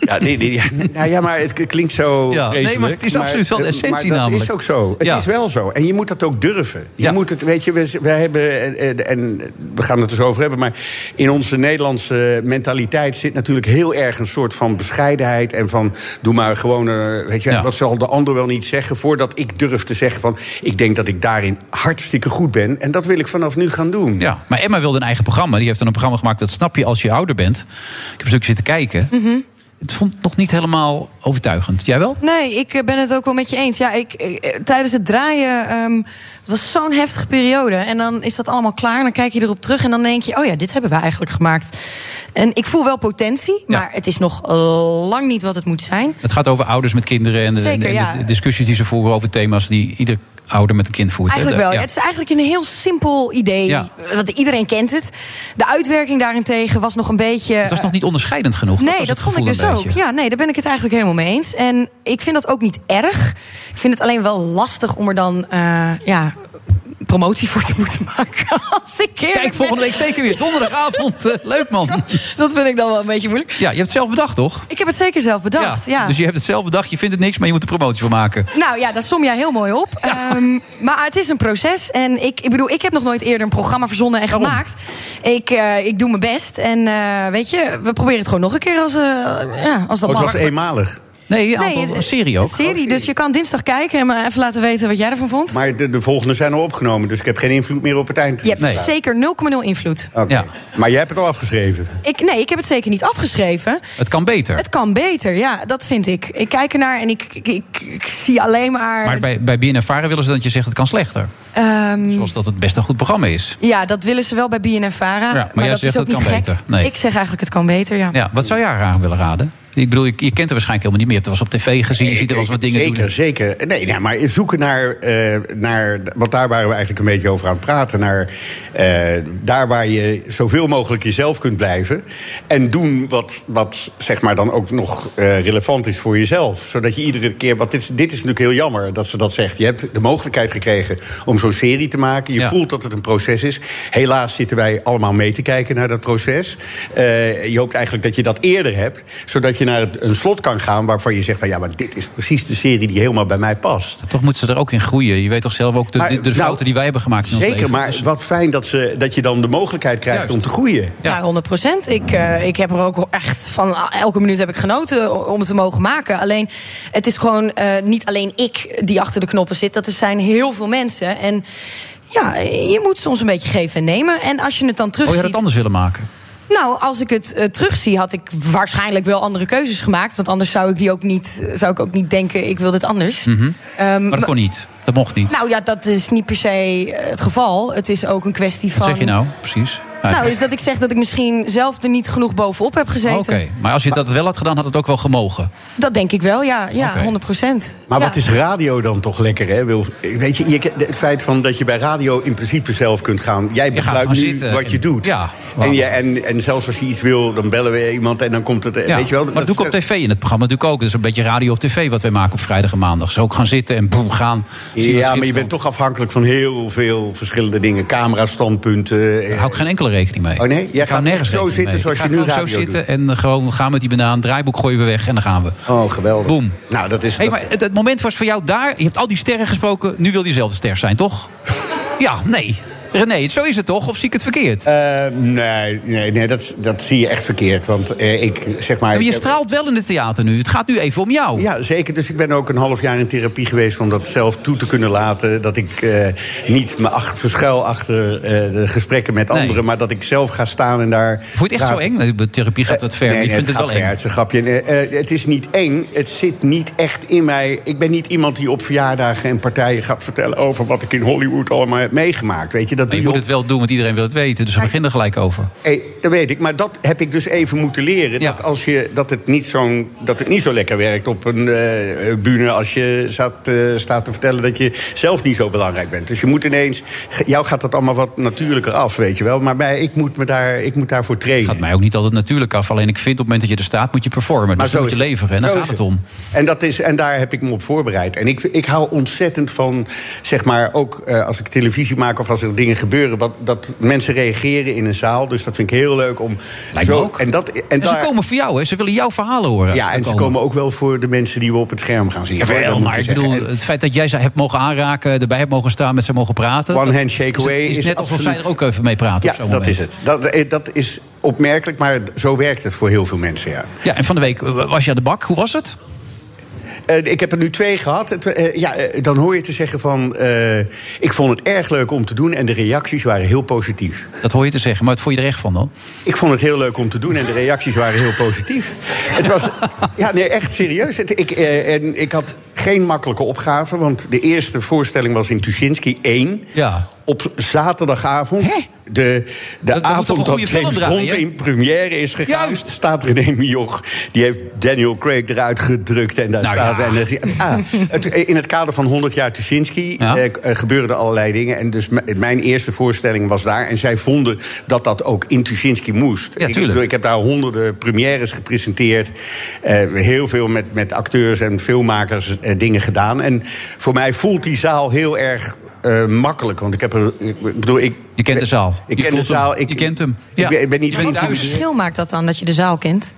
S14: Ja, nee, nee, ja, *laughs* nou ja, maar het klinkt zo
S6: Ja, nee,
S14: vreselijk,
S6: maar het is absoluut wel de
S14: eh,
S6: essentie
S14: maar dat
S6: namelijk.
S14: is ook zo. Het
S6: Ja.
S14: is wel zo. En je moet dat ook durven. Je moet het, weet je, we, we hebben, eh, eh, en we gaan het dus over hebben... maar in onze Nederlandse mentaliteit zit natuurlijk heel erg een soort van bescheidenheid... en van, doe maar gewoon, eh, weet je, wat zal de ander wel niet zeggen... voordat ik durf te zeggen van, ik denk dat ik daarin hartstikke goed ben... en dat wil ik vanaf nu gaan doen.
S6: Ja, maar Emma wilde een eigen programma. Die heeft dan een programma gemaakt, dat snap je als je ouder bent. Ik heb een stukje zitten kijken.
S7: Hm. Mhm.
S6: Het vond het nog niet helemaal overtuigend. Jij wel?
S7: Nee, ik eh, ben het ook wel met je eens. Ja, ik, eh, tijdens het draaien ehm, het was zo'n heftige periode. En dan is dat allemaal klaar. En dan kijk je erop terug en dan denk je... oh ja, dit hebben we eigenlijk gemaakt. En ik voel wel potentie, maar het is nog eh, lang niet wat het moet zijn.
S6: Het gaat over ouders met kinderen en de, en
S7: Zeker,
S6: de
S7: ja.
S6: discussies die ze voeren over thema's die ieder ouder met een kind voert. hè?
S7: Eigenlijk wel.
S6: Ja.
S7: Het is eh, eigenlijk een heel simpel idee. eh,
S6: Ja.
S7: Want iedereen kent het. De uitwerking daarentegen was nog een beetje...
S6: Het was nog niet onderscheidend genoeg.
S7: Nee,
S6: was
S7: dat
S6: het
S7: vond ik
S6: gevoel
S7: dus
S6: een
S7: ook.
S6: beetje.
S7: Ja, nee, daar ben ik het eigenlijk helemaal mee eens. En ik vind dat ook niet erg. Ik vind het alleen wel lastig om er dan eh, ja, promotie voor te
S6: *laughs*
S7: moeten maken. Als ik
S6: Kijk, volgende week zeker weer. Donderdagavond. Eh, Leuk man.
S7: *laughs* Dat vind ik dan wel een beetje moeilijk.
S6: Ja, je hebt het zelf bedacht, toch?
S7: Ik heb het zeker zelf bedacht. Ja.
S6: Dus je hebt het zelf bedacht, je vindt het niks, maar je moet er promotie voor maken.
S7: Nou ja, daar som jij heel mooi op. Ehm, maar het is een proces. En ik, ik bedoel, ik heb nog nooit eerder een programma verzonnen en gemaakt. Ik, eh, ik doe mijn best. En eh, weet je, we proberen het gewoon nog een keer als, eh, ja, als dat
S14: Oh, het was
S7: mag.
S14: eenmalig.
S6: Nee,
S7: Nee, aantal- een
S6: serie
S7: Een serie, dus je kan dinsdag kijken en me even laten weten wat jij ervan vond.
S14: Maar de, de volgende zijn al opgenomen, dus ik heb geen invloed meer op het eind.
S7: Je hebt zeker 0,0 invloed.
S14: Oké. Maar jij hebt het al afgeschreven.
S7: Ik, nee, ik heb het zeker niet afgeschreven.
S6: Het kan beter.
S7: Het kan beter, ja, dat vind ik. Ik kijk ernaar en ik, ik, ik, ik zie alleen maar...
S6: Maar bij, bij BNN Varen willen ze dat je zegt het kan slechter.
S7: Ehm,
S6: Zoals dat het best een goed programma is.
S7: ja, dat willen ze wel bij BNNVARA,
S6: Ja, maar
S7: maar,
S6: jij
S7: dat
S6: zegt
S7: is ook
S6: het
S7: niet
S6: kan
S7: gek.
S6: beter. Nee.
S7: Ik zeg eigenlijk het kan beter, ja.
S6: Ja, wat zou jij haar aan willen raden? Ik bedoel, je, je kent er waarschijnlijk helemaal niet meer. Je hebt er wel eens op tv gezien, je ziet er wel eens wat dingen
S14: zeker,
S6: doen.
S14: Zeker, Nee, nou, maar zoeken naar, eh, naar... Want daar waren we eigenlijk een beetje over aan het praten. Naar eh, daar waar je zoveel mogelijk jezelf kunt blijven. En doen wat, wat zeg maar dan ook nog eh, relevant is voor jezelf. Zodat je iedere keer... Want dit, is- dit is natuurlijk heel jammer dat ze dat zegt. Je hebt de mogelijkheid gekregen om zo'n serie te maken. Je voelt dat het een proces is. Helaas zitten wij allemaal mee te kijken naar dat proces. Eh, je hoopt eigenlijk dat je dat eerder hebt. Zodat je naar het- een slot kan gaan waarvan je zegt... Van, ja, maar dit is precies de serie die helemaal bij mij past.
S6: Toch moet ze er ook in groeien. Je weet toch zelf ook de,
S14: Maar,
S6: de, de
S14: nou,
S6: fouten die wij hebben gemaakt in ons
S14: Zeker,
S6: leven. Dus
S14: maar wat fijn dat, ze, dat je dan de mogelijkheid krijgt om te groeien.
S7: Ja, 100 procent. Ik, eh, ik heb er ook echt van ah, elke minuut heb ik genoten om het te mogen maken. Alleen het is gewoon eh, niet alleen ik die achter de knoppen zit. Dat er zijn heel veel mensen. En ja, je moet soms een beetje geven en nemen. En als je het dan
S6: Oh, je had
S7: terugziet...
S6: het anders willen maken.
S7: Nou, als ik het eh, terugzie, had ik waarschijnlijk wel andere keuzes gemaakt. Want anders zou ik, die ook niet, zou ik ook niet denken, ik wil dit anders.
S6: Mhm.
S7: Ehm,
S6: maar dat kon niet. Dat mocht niet.
S7: Nou ja, dat is niet per se eh, het geval. Het is ook een kwestie
S6: wat
S7: van...
S6: zeg je nou, precies?
S14: Ah,
S7: Nou, is dat ik zeg dat ik misschien zelf er niet genoeg bovenop heb gezeten.
S6: Oké, maar als je dat wel had gedaan, had het ook wel gemogen.
S7: Dat denk ik wel, ja. Ja, 100 procent.
S14: Maar wat is radio dan toch lekker, hè? Wil, weet je, je, het feit van dat je bij radio in principe zelf kunt gaan. Jij besluit
S6: gewoon
S14: nu
S6: zitten
S14: wat je
S6: en-
S14: doet.
S6: ja,
S14: en, je, en, en zelfs als je iets wil, dan bellen we iemand en dan komt het.
S6: Ja,
S14: Eh, Weet je wel,
S6: maar dat doe ik op tv in het programma natuurlijk ook. Dat is een beetje radio op tv wat wij maken op vrijdag en maandag. Zo ook gaan zitten en boem, gaan.
S14: Ja,
S6: Zien wat
S14: maar je
S6: schitterend.
S14: bent toch afhankelijk van heel veel verschillende dingen. Camera, standpunten. Daar
S6: hou ik geen enkele rekening mee.
S14: Oh nee? Jij
S6: Ik hou
S14: gaat nergens zo
S6: rekening
S14: zitten
S6: mee.
S14: zoals
S6: Ik
S14: je
S6: ga
S14: nu
S6: gewoon
S14: radio
S6: zo zitten
S14: doet.
S6: en eh, gewoon gaan met die banaan. Draaiboek gooien we weg en dan gaan we.
S14: Oh, geweldig.
S6: Boem.
S14: Nou, dat is...
S6: Hey, maar het, het moment was voor jou daar. Je hebt al die sterren gesproken. Nu wil je zelf de ster zijn,
S14: *laughs*
S6: toch? ja, nee. René, zo is het toch? Of zie ik het verkeerd?
S14: Eh, nee, nee, nee dat, dat zie je echt verkeerd. Want eh, ik zeg maar.
S6: Ja, maar je
S14: ik heb-
S6: straalt wel in het theater nu. Het gaat nu even om jou.
S14: Ja, zeker. Dus ik ben ook een half jaar in therapie geweest om dat zelf toe te kunnen laten. Dat ik eh, niet me ach- verschuil achter eh, de gesprekken met anderen, maar dat ik zelf ga staan en daar. Vond
S6: je het echt zo eng? De therapie gaat wat ver.
S14: Eh, Nee,
S6: maar je
S14: nee,
S6: vindt het
S14: gaat
S6: wel
S14: ver.
S6: eng.
S14: Het is een grapje. Eh, eh, het is niet eng. Het zit niet echt in mij. Ik ben niet iemand die op verjaardagen en partijen gaat vertellen over wat ik in Hollywood allemaal heb meegemaakt. Weet je, dat
S6: Maar je
S14: doe
S6: moet het wel doen, want iedereen wil het weten. Dus we beginnen er gelijk over.
S14: Hey, dat weet ik, maar dat heb ik dus even moeten leren. Dat, als je, dat, het niet zo'n, dat het niet zo lekker werkt op een eh bühne... als je staat, eh, staat te vertellen dat je zelf niet zo belangrijk bent. Dus je moet ineens... ge- Jou gaat dat allemaal wat natuurlijker af, weet je wel. Maar mij, ik, moet me daar, ik moet daarvoor trainen.
S6: Gaat mij ook niet altijd natuurlijk af. Alleen ik vind op het moment dat je er staat, moet je performen.
S14: Maar
S6: dus dan
S14: zo
S6: moet je
S14: is het.
S6: leveren. En daar
S14: Zo
S6: gaat
S14: is
S6: het
S14: het.
S6: om.
S14: En, dat is, en daar heb ik me op voorbereid. En ik, ik hou ontzettend van, zeg maar, ook eh, als ik televisie maak of als er dingen gebeuren, wat, dat mensen reageren in een zaal. Dus dat vind ik heel leuk om. zo, En, dat, en,
S6: En,
S14: daar-
S6: ze komen voor jou, hè? Ze willen jouw verhalen horen.
S14: Ja, en ze komen ook wel voor de mensen die we op het scherm gaan zien. hoor, dat
S6: Jawel,
S14: moet
S6: maar
S14: je
S6: ik
S14: zeggen.
S6: bedoel, het feit dat jij ze hebt mogen aanraken, erbij hebt mogen staan, met ze mogen praten.
S14: One
S6: dat
S14: handshake
S6: is-
S14: away
S6: Is,
S14: is
S6: net alsof zij er
S14: absoluut-
S6: ook even mee praten.
S14: Ja,
S6: op zo'n
S14: dat
S6: moment.
S14: is het. Dat, eh, dat is opmerkelijk, maar zo werkt het voor heel veel mensen, ja.
S6: Ja, en van de week eh, was je aan de bak. Hoe was het?
S14: Eh, ik heb er nu twee gehad. Het, eh, ja, eh, dan hoor je te zeggen van... eh, ik vond het erg leuk om te doen en de reacties waren heel positief.
S6: Dat hoor je te zeggen, maar het vond je er echt van dan?
S14: Ik vond het heel leuk om te doen en de reacties waren heel positief. Het was, ja, nee, echt serieus. Het, ik, eh, en ik had geen makkelijke opgave, want de eerste voorstelling was in Tuschinski 1.
S6: Ja.
S14: Op zaterdagavond. De, de
S6: toch een
S14: avond dat
S6: goede film
S14: James
S6: draaien,
S14: Bond
S6: hè?
S14: in première is gegaan, staat René Mioch. Die heeft Daniel Craig eruit gedrukt. En daar
S6: Nou
S14: staat.
S6: ja.
S14: En, er-
S6: *laughs*
S14: ah, het- in het kader van 100 jaar Tuschinski
S6: Ja.
S14: eh, k- eh, gebeuren er allerlei dingen. En dus m- mijn eerste voorstelling was daar. En zij vonden dat dat ook in Tuschinski moest. ik,
S6: Ja, tuurlijk.
S14: bedoel, ik heb daar honderden premières gepresenteerd. Eh, heel veel met, met acteurs en filmmakers eh, dingen gedaan. En voor mij voelt die zaal heel erg. eh, makkelijk, want ik heb er. Ik bedoel, ik.
S6: Je kent de zaal.
S14: Ik
S6: Je
S14: ken de
S6: voelt hem.
S14: zaal. Ik,
S6: Je kent hem. Ja.
S14: Ik ben, ik ben niet
S6: Je bent
S14: geïntimideerd.
S7: Wat verschil maakt dat dan, dat je de zaal kent?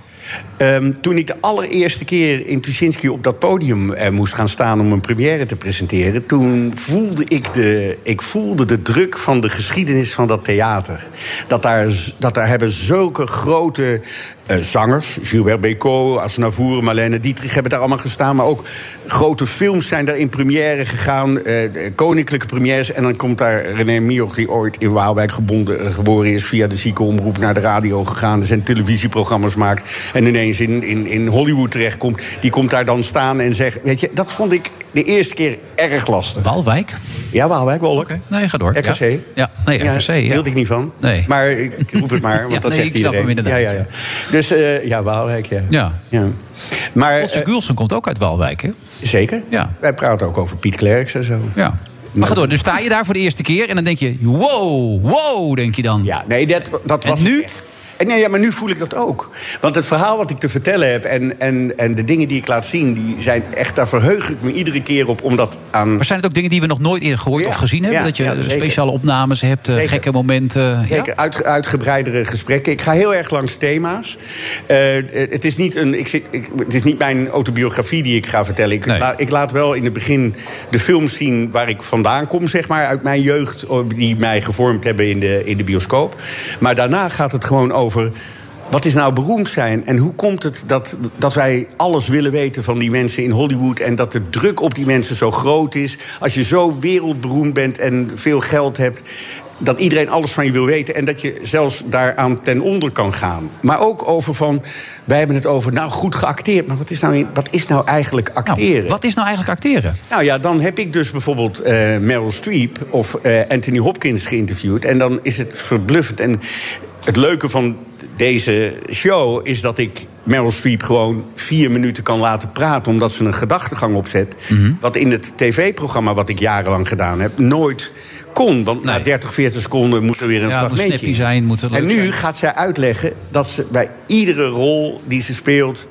S14: Ehm, toen ik de allereerste keer in Tuschinski op dat podium eh, moest gaan staan om een première te presenteren, toen voelde ik de, ik voelde de druk van de geschiedenis van dat theater. Dat daar, z- dat daar hebben zulke grote eh, zangers, Gilbert Bécaud, Asnavour, Marlene Dietrich, hebben daar allemaal gestaan. Maar ook grote films zijn daar in première gegaan, eh, de koninklijke premières. En dan komt daar René Mioch, die ooit in Waalwijk gebonden, eh, geboren is, via de ziekenomroep naar de radio gegaan is en televisieprogramma's maakt. En ineens in, in, in Hollywood terechtkomt. Die komt daar dan staan en zegt: Weet je, dat vond ik de eerste keer erg lastig.
S6: Waalwijk?
S14: Ja, Waalwijk, Wolk.
S6: Nee, ga door.
S14: RKC.
S6: Ja, ja nee, RKC. Ja,
S14: Daar hield ik niet van.
S6: Nee.
S14: Maar ik roep het
S6: *laughs*
S14: maar, want
S6: Ja,
S14: dat
S6: nee,
S14: zegt
S6: ik snap
S14: iedereen.
S6: hem inderdaad,
S14: Ja, ja, ja. Dus eh, ja, Waalwijk, ja.
S6: Ja.
S14: Maar, eh,
S6: Otse Gulsen komt ook uit Waalwijk, hè?
S14: Zeker.
S6: Ja.
S14: Wij praten ook over Piet Klerks en zo.
S6: Ja. Maar ga door. Dus sta je daar voor de eerste keer en dan denk je... wow, wow, denk je dan.
S14: Ja, nee, dat, dat was nu? En nee, ja, maar nu voel ik dat ook. Want het verhaal wat ik te vertellen heb en, en, en de dingen die ik laat zien, die zijn echt, daar verheug ik me iedere keer op. Omdat aan.
S6: Maar zijn het ook dingen die we nog nooit eerder gehoord of gezien hebben?
S14: ja,
S6: dat je dus
S14: ja, zeker.
S6: speciale opnames hebt, eh,
S14: Zeker.
S6: gekke momenten. Ja?
S14: Zeker, uitge- uitgebreidere gesprekken. Ik ga heel erg langs thema's. Eh, eh, het, is niet een, ik zit, ik- het is niet mijn autobiografie die ik ga vertellen. Ik, la- ik laat wel in het begin de films zien waar ik vandaan kom, zeg maar, uit mijn jeugd, oh, die mij gevormd hebben in de, in de bioscoop. Maar daarna gaat het gewoon over. Wat is nou beroemd zijn? En hoe komt het dat, dat wij alles willen weten van die mensen in Hollywood... en dat de druk op die mensen zo groot is? Als je zo wereldberoemd bent en veel geld hebt... dat iedereen alles van je wil weten en dat je zelfs daaraan ten onder kan gaan. Maar ook over van, wij hebben het over, nou goed geacteerd, maar wat is nou, in- wat is nou eigenlijk acteren?
S6: Wat is nou eigenlijk acteren?
S14: Nou ja, dan heb ik dus bijvoorbeeld eh, Meryl Streep of eh, Anthony Hopkins geïnterviewd. En dan is het verbluffend. En het leuke van deze show is dat ik Meryl Streep gewoon vier minuten kan laten praten. omdat ze een gedachtegang opzet. Wat in het tv-programma, wat ik jarenlang gedaan heb, nooit kon. Want na 30, 40 seconden moet er weer een
S6: Ja, het moet
S14: fragmentje
S6: snappy
S14: in.
S6: zijn, moet er leuk
S14: En nu
S6: zijn.
S14: gaat zij uitleggen dat ze bij iedere rol die ze speelt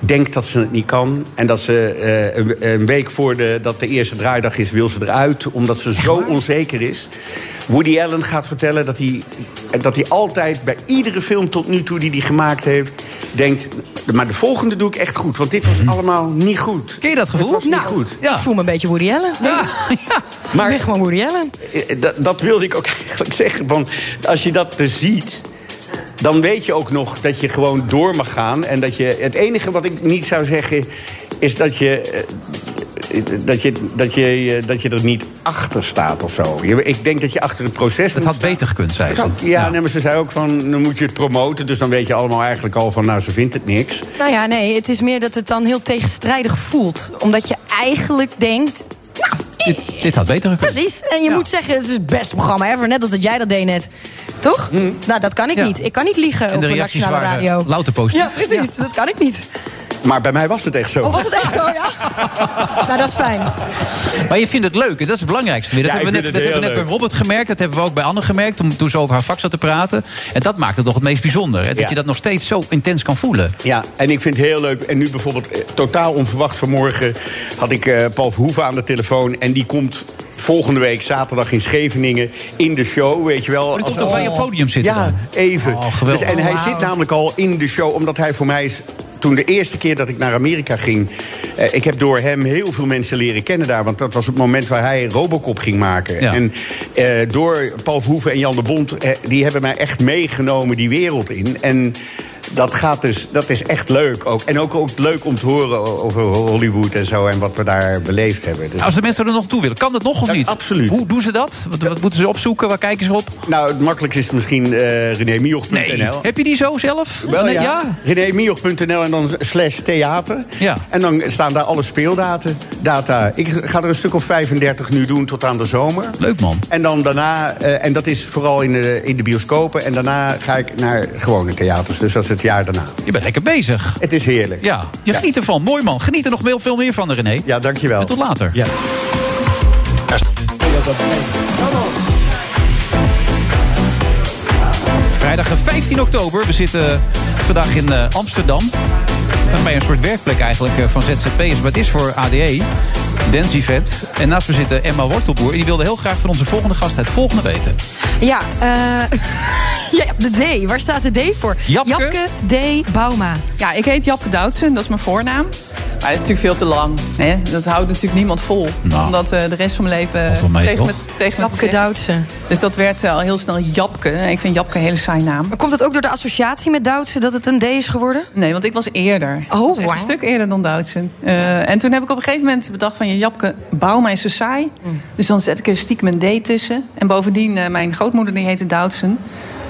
S14: denkt dat ze het niet kan. En dat ze eh, een, een week voor de, dat de eerste draaidag is, wil ze eruit. Omdat ze zo onzeker is. Woody Allen gaat vertellen dat hij, dat hij altijd bij iedere film tot nu toe die hij gemaakt heeft... denkt, maar de volgende doe ik echt goed. Want dit was allemaal niet goed. Mhm. Ken je dat gevoel? Nou, was niet goed.
S7: Ik voel me een beetje Woody Allen. *laughs*
S14: Maar,
S7: ik ben gewoon Woody Allen.
S14: Eh, Dat, dat wilde ik ook *laughs* eigenlijk zeggen. Want als je dat dus ziet. Dan weet je ook nog dat je gewoon door mag gaan. En dat je. Het enige wat ik niet zou zeggen. is dat je. eh, Dat je, dat, je, eh, dat je er niet achter staat of zo. Je- Ik denk dat je achter het proces.
S6: Het had beter gekund, zei ze.
S14: Ja, Nee, maar ze zei ook van. dan moet je het promoten. Dus dan weet je allemaal eigenlijk al van. nou, ze vindt het niks.
S7: Nou ja, nee, het is meer dat het dan heel tegenstrijdig voelt. Omdat je eigenlijk denkt...
S6: Dit, dit had beter gekund.
S7: Precies, en je moet zeggen, het is het beste programma ever. Net als dat jij dat deed net. Toch? Nou, dat kan ik
S14: Hm. Ja.
S7: niet. Ik kan niet liegen
S14: En
S7: op
S14: de
S7: de
S14: reacties
S7: nationale
S14: waren
S7: radio.
S14: louter positief.
S7: Ja, precies. Dat kan ik niet.
S14: Maar bij mij was het echt zo.
S6: Oh,
S7: Of was het echt zo,
S14: *laughs*
S7: ja? nou, dat is fijn.
S6: Maar je vindt het leuk, en dat is het belangrijkste. weer. Dat
S14: Ja,
S6: hebben we
S14: ik vind
S6: net, dat
S14: het
S6: hebben we
S14: heel
S6: net bij Robert gemerkt, dat hebben we ook bij Anne gemerkt... Toen, toen ze over haar vak zat te praten. En dat maakt het nog het meest bijzonder. Hè? Dat
S14: Ja.
S6: je dat nog steeds zo intens kan voelen.
S14: Ja, en ik vind het heel leuk. En nu bijvoorbeeld eh, totaal onverwacht vanmorgen had ik eh, Paul Verhoeven aan de telefoon. En die komt volgende week zaterdag in Scheveningen in de show, weet je wel.
S6: die
S14: Als-
S6: komt ook bij je podium zitten
S14: Ja, even.
S6: Oh, geweldig.
S14: Dus, en hij
S6: Wauw.
S14: zit namelijk al in de show, omdat hij voor mij is... Toen de eerste keer dat ik naar Amerika ging... eh, ik heb door hem heel veel mensen leren kennen daar. Want dat was het moment waar hij Robocop ging maken.
S6: Ja.
S14: En eh, door Paul Verhoeven en Jan de Bond... eh, die hebben mij echt meegenomen die wereld in. En dat, gaat dus, dat is echt leuk ook. En ook, ook leuk om te horen o- over Hollywood en zo... en wat we daar beleefd hebben. Dus-
S6: Nou, Als de mensen er nog toe willen, kan dat nog of niet? Absoluut. Hoe doen ze dat? Wat, wat moeten ze opzoeken? Waar kijken ze op?
S14: Nou, het makkelijkste is misschien eh renémioch.nl.
S6: Heb je die zo zelf?
S14: Wel
S6: Net-
S14: ja. renémioch.nl en dan slash theater. En dan staan daar alle speeldata. Data. Ik ga er een stuk of 35 nu doen tot aan de zomer.
S6: Leuk man.
S14: En dan daarna, eh, en dat is vooral in de, in de bioscopen. En daarna ga ik naar gewone theaters. Dus dat is het jaar daarna.
S6: Je bent lekker bezig.
S14: Het is heerlijk.
S6: Ja, je geniet ervan. Mooi man. Geniet er nog veel, veel meer van, René.
S14: Ja, dankjewel.
S6: En tot later.
S14: Ja.
S6: Vrijdag eh, 15 oktober. We zitten vandaag in eh, Amsterdam. Eh, Bij een soort werkplek eigenlijk eh, van ZZP'ers. Maar het is voor ADE. Dance Event. En naast me zit eh, Emma Wortelboer. En die wilde heel graag van onze volgende gast het volgende weten.
S7: Ja, eh, *laughs* ja, de D. Waar staat de D voor?
S6: Japke?
S7: D. Bauma.
S13: Ja, ik heet Japke Doutsen, dat is mijn voornaam. Maar dat is natuurlijk veel te lang. Hè? Dat houdt natuurlijk niemand vol.
S7: Nou.
S13: Omdat eh, de rest van mijn leven eh,
S7: wel mee,
S13: tegen, me,
S7: toch?
S13: tegen me te
S7: Japke
S13: zeggen.
S7: Doutsen.
S13: Dus dat werd eh, al heel snel Japke. En Ik vind Japke een hele saai naam.
S7: Komt dat ook door de associatie met Doutsen dat het een D is
S6: *laughs*
S7: geworden?
S13: Nee, want ik was eerder.
S7: Oh,
S13: Ik was echt
S7: wauw.
S13: Een stuk eerder dan Doutsen. Eh, en toen heb ik op een gegeven moment bedacht van... je Japke, bouw mij zo saai.
S7: Mm.
S13: Dus dan zet ik er stiekem een D tussen. En bovendien, eh, mijn grootmoeder die heette Doutsen.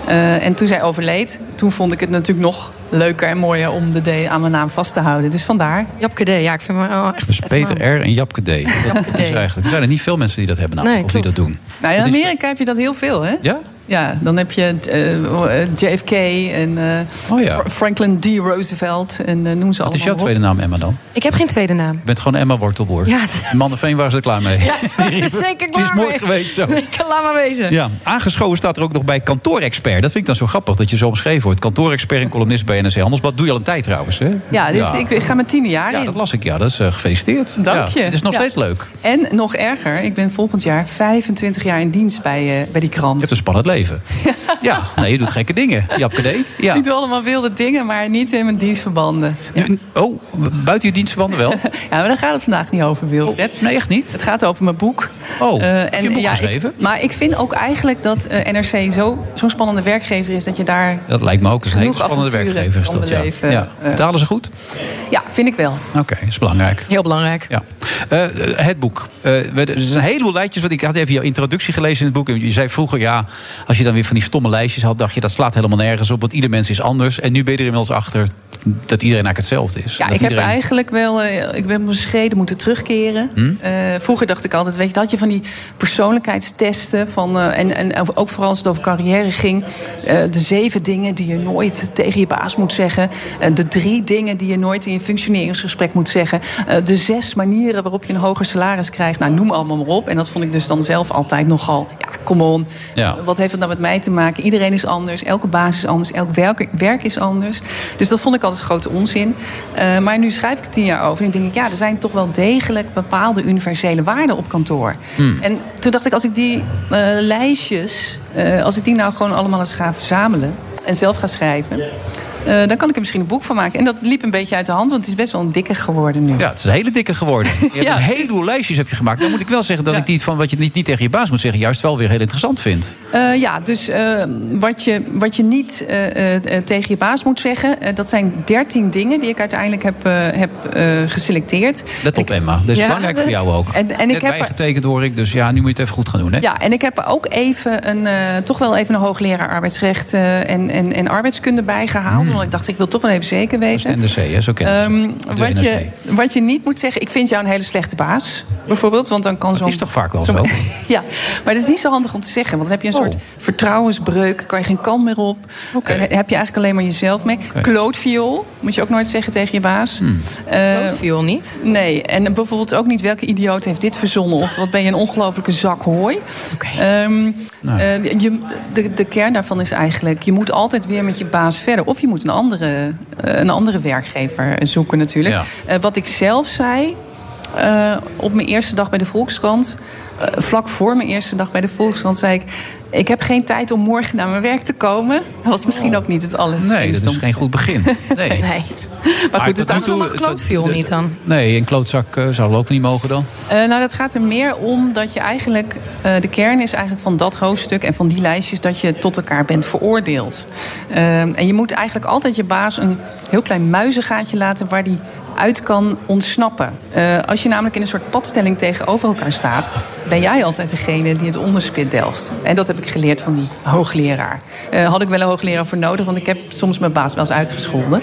S13: Eh, en toen zij overleed, toen vond ik het natuurlijk nog leuker en mooier... om de D aan mijn naam vast te houden. Dus vandaar.
S7: Japke D, ja, ik vind me wel echt...
S6: Dus Peter R. en
S13: *laughs*
S6: Japke D. Dat is eigenlijk, er zijn er niet veel mensen die dat hebben. namelijk,
S13: Nee,
S6: of die dat
S13: klopt.
S6: doen.
S13: Nou, in
S6: Het is-
S13: Amerika heb je dat heel veel, hè?
S6: Ja?
S13: Ja, dan heb je eh, eh, JFK en eh,
S6: Oh ja.
S13: Fra- Franklin D. Roosevelt en eh, noem ze
S6: Wat
S13: allemaal
S6: is jouw
S13: op.
S6: tweede naam, Emma, dan?
S7: Ik heb geen tweede naam.
S6: Je bent gewoon Emma Wortelboer.
S7: Ja, dat is-
S6: Mannenveen waren ze er klaar mee.
S7: Ja, dat is
S6: *laughs*
S7: zeker
S6: Het is
S7: klaar
S6: mooi
S7: mee.
S6: geweest
S7: *laughs*
S6: zo.
S7: Ik kan laat maar wezen.
S6: Ja, aangeschoven staat er ook nog bij kantoorexpert. Dat vind ik dan zo grappig dat je zo omschreven wordt. Kantoorexpert en columnist bij NRC Handelsblad. Doe je al een tijd trouwens, hè?
S13: Ja, dit, Ik, ik ga mijn tiende jaar
S6: Ja,
S13: in.
S6: dat las ik. Ja, dat is eh, gefeliciteerd.
S13: Dank
S6: Ja,
S13: je.
S6: het is nog
S13: Ja.
S6: steeds leuk.
S13: En nog erger, ik ben volgend jaar 25 jaar in dienst bij, eh, bij die krant.
S6: Je hebt een spannend
S13: *laughs*
S6: leven. ja, nee, je doet gekke dingen. Japke D. Ja.
S13: Niet allemaal wilde dingen, maar niet in mijn dienstverbanden.
S6: Nu- Oh, buiten je dienstverbanden
S13: *laughs*
S6: wel? Oh,
S13: Ja, maar daar gaat het vandaag niet over, Wilfred.
S6: nee, echt niet?
S13: Het gaat over mijn boek.
S6: Oh,
S13: Eh,
S6: heb je een boek
S13: ja, ik-
S6: geschreven?
S13: maar Maar ik vind ook eigenlijk dat eh, NRC zo- zo'n spannende werkgever is dat je daar.
S6: Dat lijkt me ook. Dat is een hele
S13: Genoeg
S6: spannende
S13: avonturen
S6: werkgever. Is
S13: kan
S6: dat, ja.
S13: beleven,
S6: Ja.
S13: eh.
S6: Betalen ze goed?
S13: Ja, vind ik wel.
S6: Oké, dat is belangrijk.
S7: Heel belangrijk.
S6: Ja. Eh, het boek. Eh, we- er zijn een heleboel lijstjes. Want ik had even jouw introductie gelezen in het boek. En Je zei vroeger, ja, als je dan weer van die stomme lijstjes had... dacht je, dat slaat helemaal nergens op. Want ieder mens is anders. En nu ben je er inmiddels achter dat iedereen eigenlijk hetzelfde is.
S13: Ja,
S6: dat
S13: ik
S6: iedereen...
S13: heb eigenlijk wel, eh, ik ben op mijn schreden moeten terugkeren.
S6: Hm?
S13: Eh, vroeger dacht ik altijd, weet je, dat had je van die persoonlijkheidstesten van, eh, en, en ook vooral als het over carrière ging, eh, de zeven dingen die je nooit tegen je baas moet zeggen, eh, de drie dingen die je nooit in je functioneringsgesprek moet zeggen, eh, de zes manieren waarop je een hoger salaris krijgt, nou noem allemaal maar op. En dat vond ik dus dan zelf altijd nogal, ja, come on,
S6: Ja.
S13: wat heeft dat nou met mij te maken? Iedereen is anders, elke baas is anders, elk welk- werk is anders. Dus dat vond ik altijd grote onzin. Eh, maar nu schrijf ik er tien jaar over en denk ik, ja, er zijn toch wel degelijk bepaalde universele waarden op kantoor.
S7: Hm.
S15: Hmm.
S13: En toen dacht ik, als ik die eh, lijstjes, eh, als ik die nou gewoon allemaal eens ga verzamelen en zelf ga schrijven, eh, dan kan ik er misschien een boek van maken. En dat liep een beetje uit de hand, want het is best wel een dikke geworden nu.
S6: Ja, het is een hele dikke
S13: *laughs*
S6: geworden. Je hebt een heleboel lijstjes heb je gemaakt. Dan moet ik wel zeggen dat ik die van wat je niet, niet tegen je baas moet zeggen... juist wel weer heel interessant vind.
S13: Eh, ja, dus eh, wat, je, wat je niet eh, eh, tegen je baas moet zeggen, eh, dat zijn dertien dingen die ik uiteindelijk heb, eh, heb eh, geselecteerd.
S6: Let op, Emma. Dat is
S13: Ja.
S6: belangrijk voor jou ook.
S13: En- en ik
S6: Net
S13: heb er-
S6: bijgetekend hoor ik, dus ja, nu moet je het even goed gaan doen. Hè?
S13: Ja, en ik heb ook even een, eh, toch wel even een hoogleraar arbeidsrecht eh, en, en, en arbeidskunde bijgehaald.
S6: Hmm.
S13: Omdat ik dacht, ik wil toch wel even zeker weten.
S6: Dat is NRC, hè? Zo kennen ze.
S13: Ehm,
S6: De
S13: wat,
S6: NRC.
S13: je, wat je niet moet zeggen, ik vind jou een hele slechte baas, bijvoorbeeld. Want dan kan zo'n.
S6: is toch vaak wel
S13: zo'n-
S7: *laughs*
S6: zo?
S13: *laughs* ja, maar dat is niet zo handig om te zeggen. Want dan heb je een soort vertrouwensbreuk, kan je geen kan meer op. En heb je eigenlijk alleen maar jezelf mee. Klootviool moet je ook nooit zeggen tegen je baas. Eh,
S7: Klootviool niet?
S13: Nee, en bijvoorbeeld ook niet welke idioot heeft dit verzonnen... of wat ben je een ongelofelijke zak hooi. Ehm, eh, je, de, de kern daarvan is eigenlijk... je moet altijd weer met je baas verder. Of je moet een andere, eh, een andere werkgever zoeken natuurlijk. Eh, wat ik zelf zei eh, op mijn eerste dag bij de Volkskrant... eh, vlak voor mijn eerste dag bij de Volkskrant zei ik... ik heb geen tijd om morgen naar mijn werk te komen. Dat was misschien ook niet het allerslimste.
S6: Oh. Nee, dat is geen goed begin.
S13: *laughs*
S6: Nee.
S13: Maar goed, dus
S6: tot nu
S13: daarom
S6: toe-
S13: mag klootviool niet dan.
S6: Nee, een klootzak eh, zou lopen niet mogen dan.
S13: Eh, nou, dat gaat er meer om dat je eigenlijk... eh, de kern is eigenlijk van dat hoofdstuk en van die lijstjes... dat je tot elkaar bent veroordeeld. Ehm, en je moet eigenlijk altijd je baas een heel klein muizengaatje laten... waar die uit kan ontsnappen. Eh, als je namelijk in een soort padstelling tegenover elkaar staat... ben jij altijd degene die het onderspit delft. En dat heb ik geleerd van die hoogleraar. Eh, had ik wel een hoogleraar voor nodig, want ik heb soms mijn baas wel eens uitgescholden.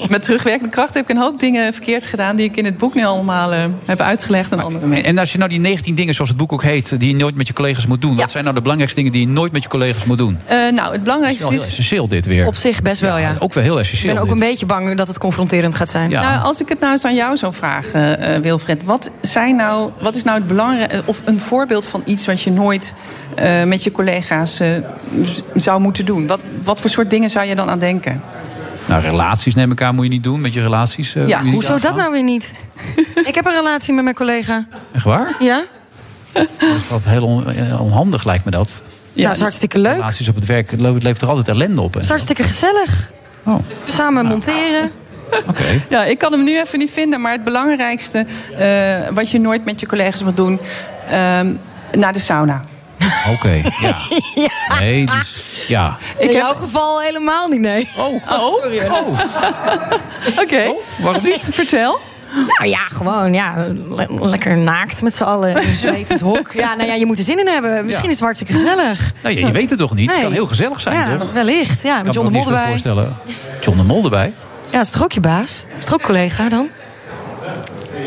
S13: Eh, met terugwerkende kracht heb ik een hoop dingen verkeerd gedaan... die ik in het boek nu allemaal eh, heb uitgelegd aan anderen.
S6: En als je nou die 19 dingen, zoals het boek ook heet, die je nooit met je collega's moet doen. Wat zijn nou de belangrijkste dingen die je nooit met je collega's moet doen?
S13: Eh, nou, het
S6: Dat is wel
S13: belangrijkste
S6: heel
S13: is...
S6: essentieel dit weer.
S7: Op zich best wel, ja.
S6: Ook wel heel
S7: Ik
S6: essentieel.
S7: ben ook
S6: dit.
S7: een beetje bang dat het confronterend gaat zijn.
S13: Nou, als ik het nou eens aan jou zou vragen, eh, Wilfred. Wat, zijn nou, wat is nou het belangrijke... of een voorbeeld van iets wat je nooit eh, met je collega's eh, z- zou moeten doen? Wat, wat voor soort dingen zou je dan aan denken?
S6: Nou, relaties neem elkaar moet je niet doen. Met je relaties. eh, moet je niet
S7: hoezo dat
S6: aangaan.
S7: nou weer
S6: *laughs*
S7: niet? ik heb een relatie met mijn collega.
S6: Echt waar?
S7: Ja?
S6: Dat is wat heel on- eh, onhandig lijkt me dat.
S7: Ja, dat is hartstikke leuk.
S6: Relaties op het werk het levert levert er altijd ellende op. hè?
S7: Het is hartstikke gezellig.
S6: Oh. Nou.
S7: Samen monteren.
S6: *laughs*
S13: Ja, ik kan hem nu even niet vinden. Maar het belangrijkste eh, wat je nooit met je collega's moet doen... ehm, naar de sauna.
S6: *laughs* Oké,
S13: *laughs*
S6: ja.
S7: *laughs*
S6: Nee, dus, ja.
S7: In jouw geval helemaal niet, nee.
S6: Oh,
S7: sorry.
S13: Oké,
S6: waarom niet?
S13: *laughs* Vertel.
S7: *laughs* Nou ja, gewoon ja, le- lekker naakt met z'n allen
S6: *laughs*
S7: in een zwetend hok. Ja, nou ja, je moet er zin in hebben. Misschien is het hartstikke gezellig.
S6: Nou, je, je weet het toch niet? Het
S7: Nee.
S6: kan heel gezellig zijn,
S7: ja,
S6: toch?
S7: wellicht. Ja,
S6: Ik kan
S7: met
S6: me
S7: John
S6: ook
S7: de
S6: niks
S7: Mol
S6: meer
S7: erbij.
S6: voorstellen. John de Mol erbij?
S7: Ja, is toch ook je baas? Is toch ook collega dan?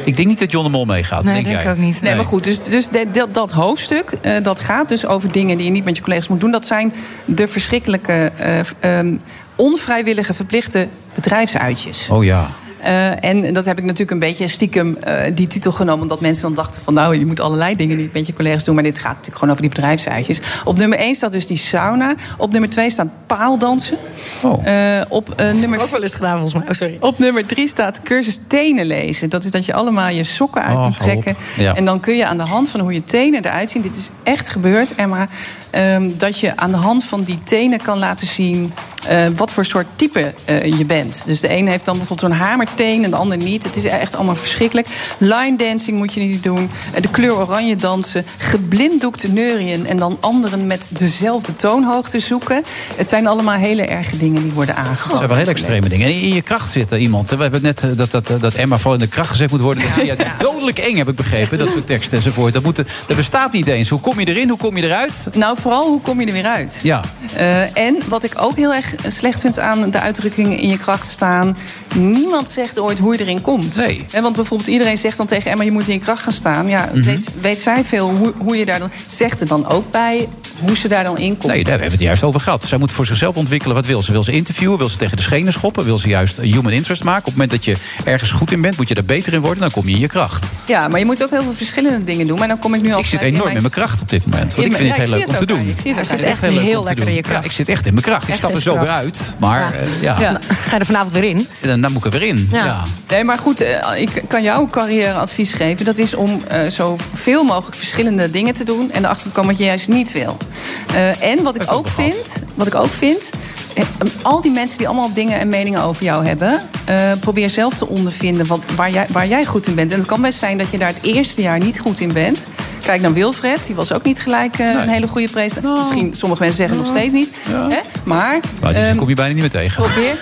S6: Ik denk niet dat John de Mol meegaat.
S7: Nee,
S6: denk
S7: denk
S6: jij?
S7: ik ook niet.
S13: Nee, maar goed, dus, dus de- dat, dat hoofdstuk eh, dat gaat dus over dingen die je niet met je collega's moet doen. Dat zijn de verschrikkelijke, eh, v- ehm, onvrijwillige, verplichte bedrijfsuitjes.
S6: Oh ja.
S13: Eh, en dat heb ik natuurlijk een beetje stiekem eh, die titel genomen. Omdat mensen dan dachten van nou, je moet allerlei dingen niet met je collega's doen. Maar dit gaat natuurlijk gewoon over die bedrijfsuitjes. Op nummer 1 staat dus die sauna. Op nummer 2 staat paaldansen.
S7: Oh.
S13: Eh, op, eh, nummer...
S7: ook wel eens gedaan volgens mij. Oh, sorry.
S13: Op nummer 3 staat cursus tenen lezen. Dat is dat je allemaal je sokken uit
S7: Oh,
S13: moet
S7: hou op.
S13: trekken.
S7: Ja.
S13: En dan kun je aan de hand van hoe je tenen eruit zien... dit is echt gebeurd, Emma... ehm, dat je aan de hand van die tenen kan laten zien... eh, wat voor soort type eh, je bent. Dus de ene heeft dan bijvoorbeeld zo'n hamerteen en de ander niet. Het is echt allemaal verschrikkelijk. Line dancing moet je niet doen. Eh, de kleur oranje dansen. Geblinddoekt neurien en dan anderen met dezelfde toonhoogte zoeken. Het zijn allemaal hele erge dingen die worden
S6: Ze hebben
S13: aangeboden.
S6: wel hele extreme dingen. En in je kracht zitten iemand. We hebben net eh, dat, dat, dat Emma vooral in de kracht gezet moet worden. Dat vind je dodelijk eng, heb ik begrepen. Dat soort teksten enzovoort. Dat, moet, dat bestaat niet eens. Hoe kom je erin? Hoe kom je eruit?
S13: Nou, vooral hoe kom je er weer uit?
S6: Ja.
S13: Eh, en wat ik ook heel erg slecht vind aan de uitdrukkingen in je kracht staan. Niemand zegt ooit hoe je erin komt.
S6: Nee.
S13: En want bijvoorbeeld iedereen zegt dan tegen Emma: je moet in je kracht gaan staan. Ja,
S6: Mhm.
S13: weet, weet zij veel hoe, hoe je daar dan. Zegt er dan ook bij hoe ze daar dan in komt.
S6: Nee, daar hebben we het juist over gehad. Zij moet voor zichzelf ontwikkelen wat wil ze. Wil ze interviewen? Wil ze tegen de schenen schoppen? Wil ze juist een human interest maken? Op het moment dat je ergens goed in bent, moet je daar beter in worden. Dan kom je in je kracht.
S13: Ja, maar je moet ook heel veel verschillende dingen doen. Maar dan kom ik nu al.
S6: Ik zit enorm in mijn kracht op dit moment. Want
S13: Ja,
S6: ik vind
S13: maar-
S6: het heel
S13: ja, ik
S6: leuk om te
S13: zie het ook bij
S6: doen.
S13: je. Ik zie het ook
S6: Ja, ik
S13: bij je.
S6: vind
S13: Hij zit echt
S6: het
S13: heel
S6: leuk om te
S13: lekker
S6: doen.
S13: in je
S6: Ja,
S13: kracht.
S6: ik zit echt in mijn kracht. Ik
S13: Echt
S6: stap
S13: in
S6: er zo weer
S13: kracht.
S6: uit. Maar eh, ja,
S13: Ja.
S7: Ga je er vanavond weer in?
S6: Dan, dan moet ik er weer in. Ja.
S13: Nee, maar goed, eh, ik kan jou carrièreadvies geven. Dat is om eh, zo veel mogelijk verschillende dingen te doen... en erachter te komen wat je juist niet wil. Eh, en wat ik, ook vind, wat ik ook vind... eh, al die mensen die allemaal dingen en meningen over jou hebben... eh, probeer zelf te ondervinden wat, waar, jij, waar jij goed in bent. En het kan best zijn dat je daar het eerste jaar niet goed in bent. Kijk naar Wilfred, die was ook niet gelijk eh, een hele goede presentator.
S6: Oh.
S13: Misschien, sommige mensen zeggen nog steeds niet. Hè? Maar...
S6: Maar die
S13: ehm,
S6: kom je bijna niet meer tegen.
S13: Probeer.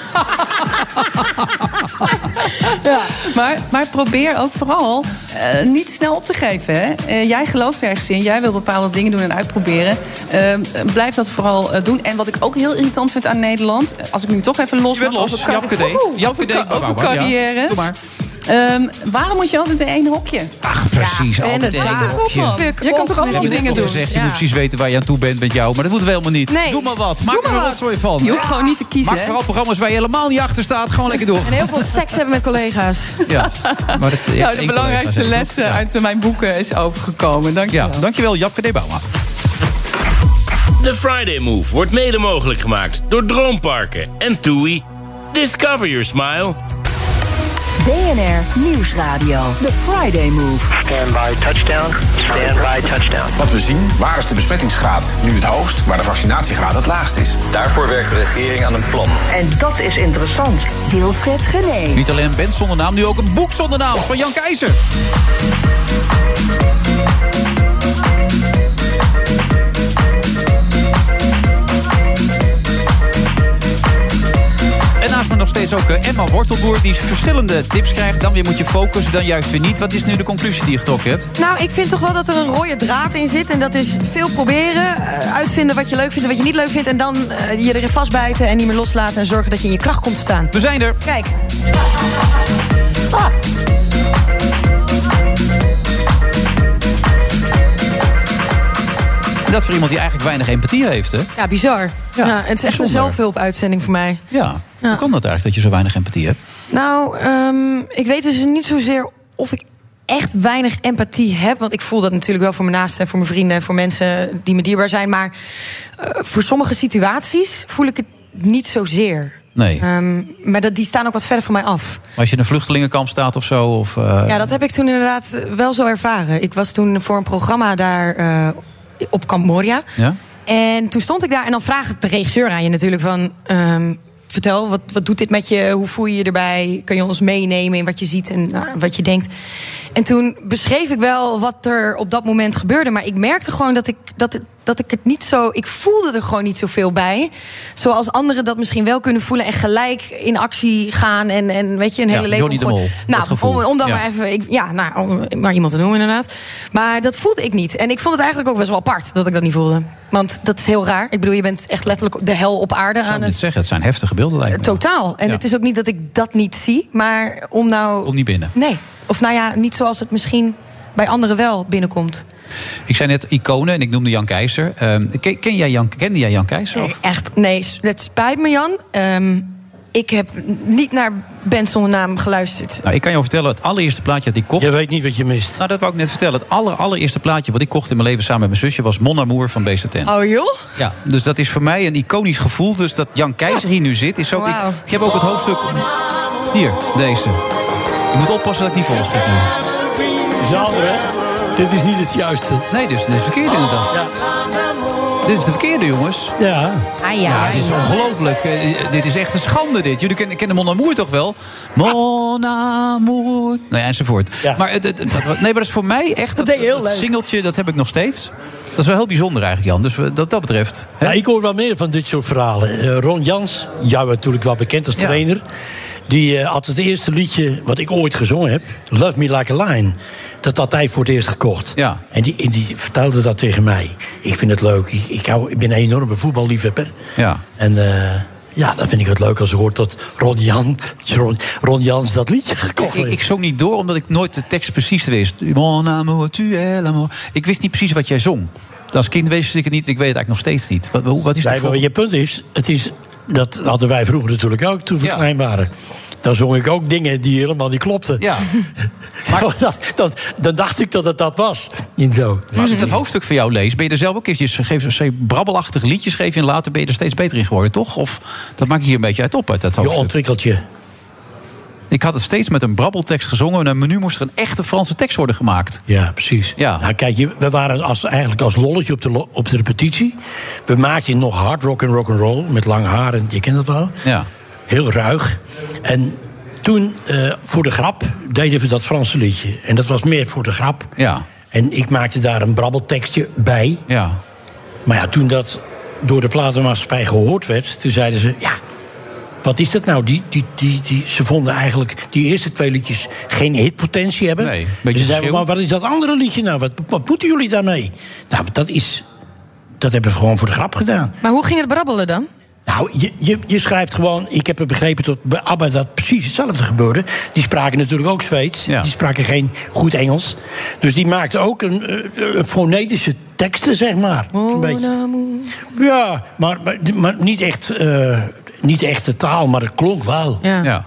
S13: ja, maar, maar probeer ook vooral eh, niet te snel op te geven. Hè? Eh, jij gelooft ergens in, jij wil bepaalde dingen doen en uitproberen. Eh, blijf dat vooral eh, doen. En wat ik ook heel irritant vind aan Nederland, eh, als ik nu toch even los ben,
S6: los. Japke Deen. Japke Deen,
S13: over,
S6: Barbara, ja.
S13: carrières.
S6: Doe maar.
S13: Ehm, waarom moet je altijd in één hokje?
S6: Ach, precies. altijd
S13: inderdaad.
S6: één
S13: Fuck
S6: hokje.
S13: off. Fuck Je kan toch
S6: We
S13: allemaal
S6: hebben
S13: dingen
S6: het
S13: doen?
S6: al gezegd, Je moet
S13: Ja.
S6: precies weten waar je aan toe bent met jou. Maar dat moeten we helemaal niet.
S13: Nee.
S6: Doe maar wat. Maak
S13: Doe
S6: er
S13: maar
S6: wat
S13: wat.
S6: sorry van.
S13: Je hoeft gewoon niet te kiezen,
S6: Maak
S13: hè?
S6: vooral programma's waar je helemaal niet achter staat. Gewoon lekker door.
S7: En heel
S6: *laughs*
S7: veel seks hebben met collega's.
S6: Ja. Maar
S13: *laughs*
S6: dat,
S13: Nou, de belangrijkste les eh, uit mijn boeken is overgekomen. Dank je wel.
S6: Dankjewel, Japke D. Bauma.
S2: De Friday Move wordt mede mogelijk gemaakt door Droomparken en TUI. Discover your smile.
S15: BNR Nieuwsradio. The Friday Move.
S4: Stand by touchdown. Stand by touchdown.
S5: Wat we zien, waar is de besmettingsgraad nu het hoogst, waar de vaccinatiegraad het laagst is? Daarvoor werkt de regering aan een plan.
S15: En dat is interessant. Wilfred Genee.
S6: Niet alleen een band zonder naam, nu ook een boek zonder naam van Jan Keizer. En naast me nog steeds ook eh, Emma Wortelboer, die verschillende tips krijgt. Dan weer moet je focussen, dan juist weer niet. Wat is nu de conclusie die je getrokken hebt?
S7: Nou, ik vind toch wel dat er een rode draad in zit. En dat is veel proberen, eh, uitvinden wat je leuk vindt en wat je niet leuk vindt. En dan eh, je erin vastbijten en niet meer loslaten. En zorgen dat je in je kracht komt te staan.
S6: We zijn er. Ah.
S7: Kijk.
S6: En dat voor iemand die eigenlijk weinig empathie heeft, hè?
S7: Ja, bizar. Ja, het is echt een
S6: bijzonder.
S7: zelfhulp-uitzending voor mij.
S6: Ja. Hoe kan dat eigenlijk, dat je zo weinig empathie hebt?
S7: Nou, ehm, ik weet dus niet zozeer of ik echt weinig empathie heb. Want ik voel dat natuurlijk wel voor mijn naasten, en voor mijn vrienden... en voor mensen die me dierbaar zijn. Maar eh, voor sommige situaties voel ik het niet zozeer.
S6: Nee.
S7: Ehm, maar dat, die staan ook wat verder van mij af.
S6: Maar als je in een vluchtelingenkamp staat of zo, of... eh,
S7: Ja, dat heb ik toen inderdaad wel zo ervaren. Ik was toen voor een programma daar eh, op Kamp Moria.
S6: Ja?
S7: En toen stond ik daar en dan vraagt de regisseur aan je natuurlijk van... ehm, vertel, wat, wat doet dit met je? Hoe voel je je erbij? Kun je ons meenemen in wat je ziet en nou, wat je denkt? En toen beschreef ik wel wat er op dat moment gebeurde. Maar ik merkte gewoon dat ik, dat, het- dat ik het niet zo... Ik voelde er gewoon niet zoveel bij. Zoals anderen dat misschien wel kunnen voelen. En gelijk in actie gaan en, en weet je, een
S6: Ja,
S7: hele leven...
S6: Johnny de
S7: gewoon-
S6: Mol, dat
S7: Nou,
S6: gevoel.
S7: om, om dan
S6: Ja.
S7: maar even... Ik, ja, nou, om maar iemand te noemen inderdaad. Maar dat voelde ik niet. En ik vond het eigenlijk ook best wel apart dat ik dat niet voelde. Want dat is heel raar. Ik bedoel, je bent echt letterlijk de hel op aarde
S6: zou
S7: aan
S6: ik niet
S7: het...
S6: zeggen. Het zijn heftige beelden, lijkt me.
S7: Totaal. En
S6: Ja.
S7: het is ook niet dat ik dat niet zie. Maar om nou...
S6: Komt niet binnen.
S7: Nee. Of nou ja, niet zoals het misschien bij anderen wel binnenkomt.
S6: Ik zei net iconen en ik noemde Jan Keizer. Ehm, ken, ken jij Jan, kende jij Jan Keizer? Of?
S7: Echt, nee, s- het spijt me Jan. Ehm, ik heb n- niet naar Ben zonder naam geluisterd.
S6: Nou, ik kan je wel vertellen, het allereerste plaatje dat ik kocht... Je weet niet wat je mist. Nou, dat wou ik net vertellen. Het aller, allereerste plaatje wat ik kocht in mijn leven samen met mijn zusje... was Mon Amour van BZN.
S7: Oh joh?
S6: Ja, dus dat is voor mij een iconisch gevoel. Dus dat Jan Keizer hier nu zit, is ook...
S7: Wauw.
S6: Ik, ik heb ook het hoofdstuk... Hier, deze. Ik moet oppassen dat ik niet volschiet nu.
S16: Dit is niet het juiste.
S6: Nee, dus dit is verkeerd inderdaad. Dit is de verkeerde, jongens.
S16: Ja.
S7: Ah, ja.
S6: dit is ongelooflijk. Eh, dit is echt een schande, dit. Jullie kennen, kennen Mon Amour toch wel? Mon Amour. Nou ja, enzovoort. Maar het, het- dat, nee, maar dat is voor mij echt... Dat, dat, singeltje, dat heb ik nog steeds. Dat is wel heel bijzonder eigenlijk, Jan. Dus wat dat betreft...
S16: Ja, ik hoor wel meer van dit soort verhalen. Eh, Ron Jans, jou natuurlijk wel bekend als trainer. Die eh, had het eerste liedje wat ik ooit gezongen heb, Love Me Like a Lion. Dat had hij voor het eerst gekocht.
S6: Ja.
S16: En, die, en die vertelde dat tegen mij. Ik vind het leuk. Ik, ik, hou, ik ben een enorme voetballiefhebber.
S6: Ja.
S16: En eh, ja, dan vind ik het leuk als ik hoor dat Ron, Jan, Ron, Ron Jans dat liedje gekocht
S6: Ik,
S16: heeft.
S6: ik zong niet door omdat ik nooit de tekst precies wist. Mon amour, tu es l'amour. Ik wist niet precies wat jij zong. Als kind wist ik het niet en ik weet het eigenlijk nog steeds niet. Wat, hoe- wat is
S16: Nee,
S6: dat
S16: maar
S6: voor...
S16: je punt is, het is, dat hadden wij vroeger natuurlijk ook toen we klein waren. Dan zong ik ook dingen die helemaal niet klopten. *laughs*
S6: Ja.
S16: dat, dat, dan dacht ik dat het dat was. Niet zo.
S6: Maar als ik dat hoofdstuk van jou lees, ben je er zelf ook eens... Je geeft je brabbelachtige liedjes geef je en later ben je er steeds beter in geworden, toch? Of dat maak ik hier een beetje uit op, uit dat hoofdstuk. Je
S16: ontwikkelt je.
S6: Ik had het steeds met een brabbeltekst gezongen... en nu moest er een echte Franse tekst worden gemaakt.
S16: Ja, precies.
S6: Ja.
S16: Nou, kijk, je- we waren als, eigenlijk als lolletje op de, lo- op de repetitie. We maakten nog hard rock en rock and roll met lang haar en je kent het wel.
S6: Ja.
S16: Heel ruig. En toen, eh, voor de grap, deden we dat Franse liedje. En dat was meer voor de grap.
S6: Ja.
S16: En ik maakte daar een brabbeltekstje bij.
S6: Ja.
S16: Maar ja, toen dat door de platenmaatschappij gehoord werd... toen zeiden ze, ja, wat is dat nou? Die, die, die, die, ze vonden eigenlijk die eerste twee liedjes geen hitpotentie hebben. Nee,
S6: beetje
S16: ze zeiden,
S6: verschil.
S16: maar wat is dat andere liedje nou? Wat, wat moeten jullie daarmee? Nou, dat is... Dat hebben we gewoon voor de grap gedaan.
S7: Maar hoe ging het brabbelen dan?
S16: Nou, je, je, je schrijft gewoon... Ik heb het begrepen dat bij ABBA dat precies hetzelfde gebeurde. Die spraken natuurlijk ook Zweeds. Die spraken geen goed Engels. Dus die maakten ook een, eh, eh, fonetische teksten, zeg maar.
S7: Oh,
S16: Een beetje. Ja, maar, maar, maar niet, echt, eh, niet echt de taal, maar het klonk wel.
S7: Ja.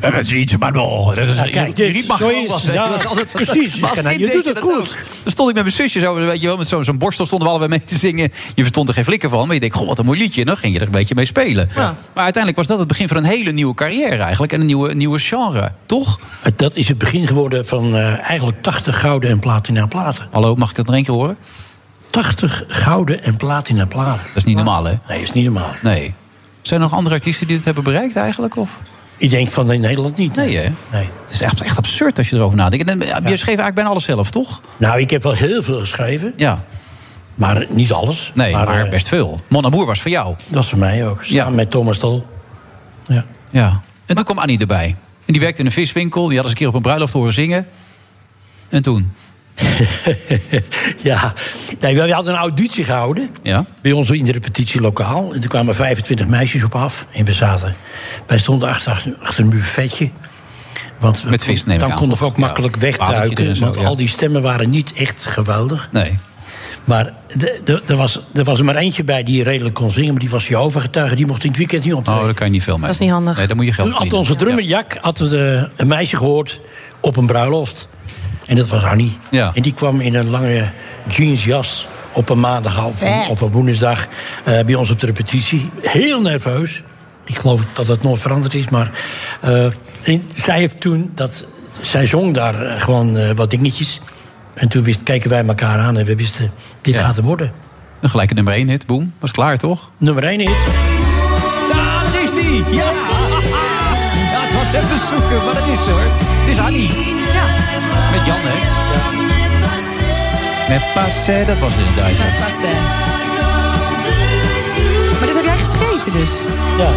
S16: Dat is iets, maar nog. Dat is,
S6: Ja, kijk,
S16: je
S6: je
S16: riep
S6: riet
S16: maar
S6: mag
S16: gewoon wat, weet je, dat is altijd- *laughs*
S6: nou,
S16: Maar als kind deed nou, je dat ook.
S6: Dan stond ik met mijn zusjes over, weet je wel, met zo'n zo'n borstel stonden we allebei mee te zingen. Je verstond er geen flikker van, maar je denkt, goh, wat een mooi liedje. En dan ging je er een beetje mee spelen. Maar uiteindelijk was dat het begin van een hele nieuwe carrière eigenlijk. En een nieuwe, nieuwe genre, toch?
S16: Eh, dat is het begin geworden van eh, eigenlijk 80 gouden en platina platen.
S6: Hallo, mag ik dat nog één keer horen?
S16: 80 gouden en platina platen.
S6: Dat is niet normaal, hè?
S16: Nee, is niet normaal.
S6: Nee. Zijn er nog andere artiesten die dit hebben bereikt eigenlijk? Of?
S16: Ik denk van in Nederland niet.
S6: Nee, hè?
S16: Nee.
S6: Het is echt, echt absurd als je erover nadenkt. En, eh, je schreef eigenlijk bijna alles zelf, toch?
S16: Nou, ik heb wel heel veel geschreven.
S6: Ja.
S16: Maar niet alles.
S6: Nee, maar,
S16: eh,
S6: best veel. Mon Amour was voor jou.
S16: Dat is voor mij ook. Samen met Thomas Tol. Ja.
S6: ja. En toen kwam Annie erbij. En die werkte in een viswinkel. Die had eens een keer op een bruiloft horen zingen. En toen?
S16: *laughs* ja, nee, we hadden een auditie gehouden.
S6: Ja.
S16: Bij ons in de repetitielokaal. En toen kwamen 25 meisjes op af. En we zaten. Wij stonden achter, achter een buffetje. Want we
S6: Met vis, neem ik
S16: dan
S6: aan,
S16: konden we
S6: toch?
S16: ook makkelijk
S6: Ja, watertje
S16: wegduiken.
S6: erin zo,
S16: want
S6: ja.
S16: al die stemmen waren niet echt geweldig.
S6: Nee.
S16: Maar de- de- er was, er was er maar eentje bij die redelijk kon zingen. Maar die was Jehovah-getuige. Die mocht in het weekend niet optreden.
S6: Oh, daar kan je niet veel mee.
S7: Dat is niet handig.
S6: Nee, daar moet je geld
S16: Toen had onze drummer Jack had de, een meisje gehoord op een bruiloft. En dat was Annie.
S6: Ja.
S16: En die kwam in een lange jeansjas op een maandag of een,
S6: Vet.
S16: of een woensdag eh, bij ons op de repetitie. Heel nerveus. Ik geloof dat dat nooit veranderd is. Maar eh, en zij heeft toen dat. Zij zong daar eh, gewoon eh, wat dingetjes. En toen wist, keken wij elkaar aan en we wisten: dit gaat het worden.
S6: Dan gelijk een nummer 1 hit. Boom. Was klaar, toch?
S16: Nummer 1 hit.
S6: Daar is die! Ja! *laughs* Ja, het was even zoeken, maar dat is ze, hoor. Het is Annie. Met Jan, hè? Met Passé, dat was het inderdaad. ja.
S7: Maar dit heb jij geschreven dus?
S16: Ja.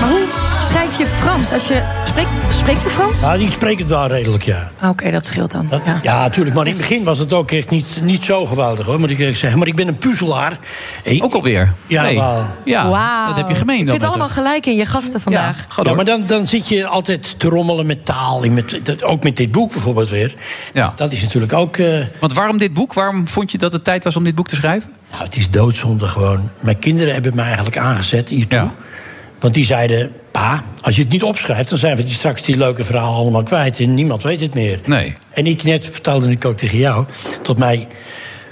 S7: Maar hoe schrijf je Frans? Als je... Spreek, spreekt u Frans?
S16: Ah, die spreekt het wel redelijk, ja.
S7: Ah, Oké, dat scheelt dan. ja.
S16: *laughs* Ja, natuurlijk. Maar in het begin was het ook echt niet, niet zo geweldig, hoor, moet ik eerlijk zeggen. Maar ik ben een puzzelaar. ook
S6: alweer?
S16: Ja,
S6: Nee.
S16: wel.
S6: Ja,
S7: Wauw.
S16: gemeend
S7: Ik vind het allemaal gelijk in je gasten vandaag.
S16: ja, maar dan, dan zit je altijd te rommelen met taal. in Met, dat, ook met dit boek bijvoorbeeld weer. Dat is natuurlijk ook... eh,
S6: Want waarom dit boek? Waarom vond je dat het tijd was om dit boek te schrijven?
S16: Nou, het is doodzonde gewoon. Mijn kinderen hebben mij eigenlijk aangezet hiertoe. Want die zeiden, pa, als je het niet opschrijft... dan zijn we die straks die leuke verhalen allemaal kwijt... en niemand weet het meer.
S6: Nee.
S16: En ik net vertelde ik ook tegen jou... dat mij...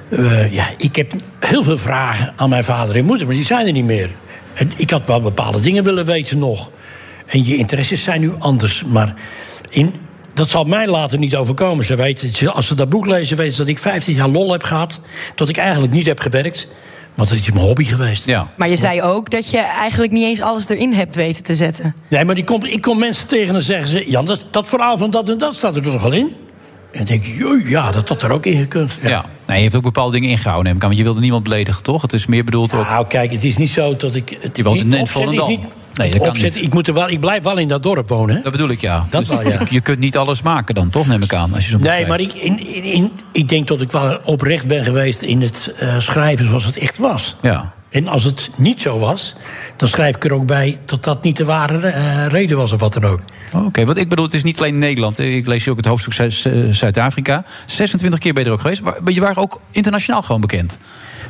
S16: eh, ja, ik heb heel veel vragen aan mijn vader en moeder... maar die zijn er niet meer. En ik had wel bepaalde dingen willen weten nog. En je interesses zijn nu anders. Maar in, dat zal mij later niet overkomen. Ze weten, ze- als ze dat boek lezen, weten ze dat ik 15 jaar lol heb gehad. Dat ik eigenlijk niet heb gewerkt. Want het is mijn hobby geweest.
S6: Ja.
S7: Maar je zei ook dat je eigenlijk niet eens alles erin hebt weten te zetten.
S16: Nee, maar die komt, ik kom mensen tegen en zeggen ze... Jan, dat, dat verhaal van dat en dat staat er toch wel in? En dan denk ik, joh, ja, dat had er ook in gekund.
S6: Ja. Nee, je hebt ook bepaalde dingen ingehouden, neem ik aan. Want je wilde niemand beledigen, toch? Het is meer bedoeld ook...
S16: Nou, kijk, het is niet zo dat ik... Het
S6: je woont
S16: niet-
S6: in in
S16: opzet is
S6: Volendam.
S16: niet-
S6: nee, dat kan
S16: opzet-
S6: niet.
S16: Ik, moet er wel, ik blijf wel in dat dorp wonen. hè?
S6: Dat bedoel ik, ja. Dus
S16: Dat wel, ja.
S6: je, je kunt niet alles maken dan, toch, neem ik aan. Als je zo
S16: Nee, maar ik, in, in, in- ik denk dat ik wel oprecht ben geweest in het eh, schrijven zoals het echt was.
S6: Ja.
S16: En als het niet zo was, dan schrijf ik er ook bij dat dat niet de ware eh, reden was of wat dan ook.
S6: Oh, Oké, want ik bedoel, het is niet alleen Nederland. Ik lees hier ook het hoofdstuk Zuid- eh, Zuid-Afrika. 26 keer ben je er ook geweest. Maar je waren ook internationaal gewoon bekend.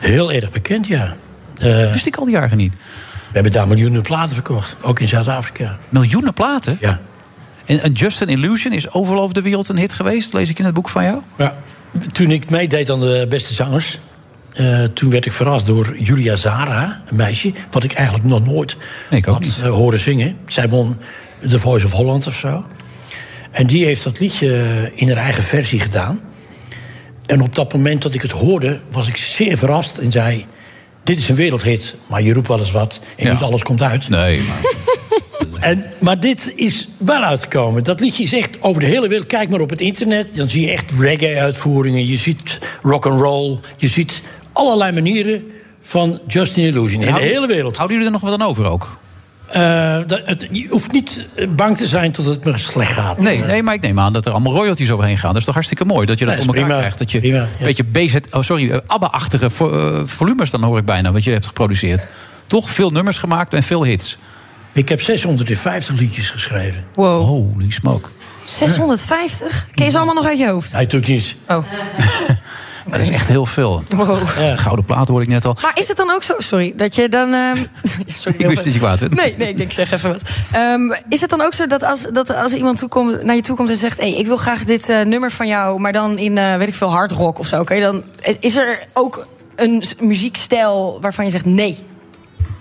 S6: Dus
S16: Heel erg bekend, ja. Eh,
S6: Wist ik al die jaren niet.
S16: We hebben daar miljoenen platen verkocht, ook in Zuid-Afrika.
S6: Miljoenen platen?
S16: Ja.
S6: En, en Just an Illusion is overal over de wereld een hit geweest. Lees ik in het boek van jou.
S16: Ja. Toen ik meedeed aan de beste zangers, eh, toen werd ik verrast door Julia Zara, een meisje, wat ik eigenlijk nog nooit had eh, horen zingen. Zij won The Voice of Holland of zo. En die heeft dat liedje eh, in haar eigen versie gedaan. En op dat moment dat ik het hoorde, was ik zeer verrast en zei: Dit is een wereldhit, maar je roept wel eens wat en
S6: Ja.
S16: niet alles komt uit.
S6: Nee, maar...
S16: En, maar dit is wel uitgekomen. Dat liedje is echt over de hele wereld. Kijk maar op het internet. Dan zie je echt reggae-uitvoeringen. Je ziet rock and roll. Je ziet allerlei manieren van Justin Illusion. In de
S6: Houden-
S16: hele wereld.
S6: Houden jullie er nog wat aan over ook?
S16: Eh, dat, het, je hoeft niet eh, bang te zijn tot het me slecht gaat.
S6: Nee, nee, maar ik neem aan dat er allemaal royalties overheen gaan. Dat is toch hartstikke mooi dat je dat
S16: Nee, is
S6: voor elkaar
S16: prima.
S6: krijgt. Dat je
S16: Prima, ja.
S6: een beetje BZ, oh, sorry, eh, ABBA-achtige vo- eh, volumes dan hoor ik bijna wat je hebt geproduceerd. Toch veel nummers gemaakt en veel hits.
S16: Ik heb 650 liedjes geschreven.
S7: Wow.
S6: Holy smoke.
S7: 650? Ken je ze allemaal nog uit je hoofd?
S16: Nee, natuurlijk niet.
S7: Oh.
S16: *laughs*
S6: Dat is echt heel veel. Gouden plaat hoorde ik net al.
S7: Maar is het dan ook zo, sorry, dat je dan... ehm, *laughs* sorry,
S6: Ik wist dat je kwaad werd.
S7: Nee, nee, ik denk, ik zeg even wat. Ehm, is het dan ook zo dat als, dat als iemand toekomt, naar je toe komt en zegt... Hey, ik wil graag dit eh, nummer van jou, maar dan in, eh, weet ik veel, hard rock of zo... oké, dan is er ook een s- muziekstijl waarvan je zegt nee,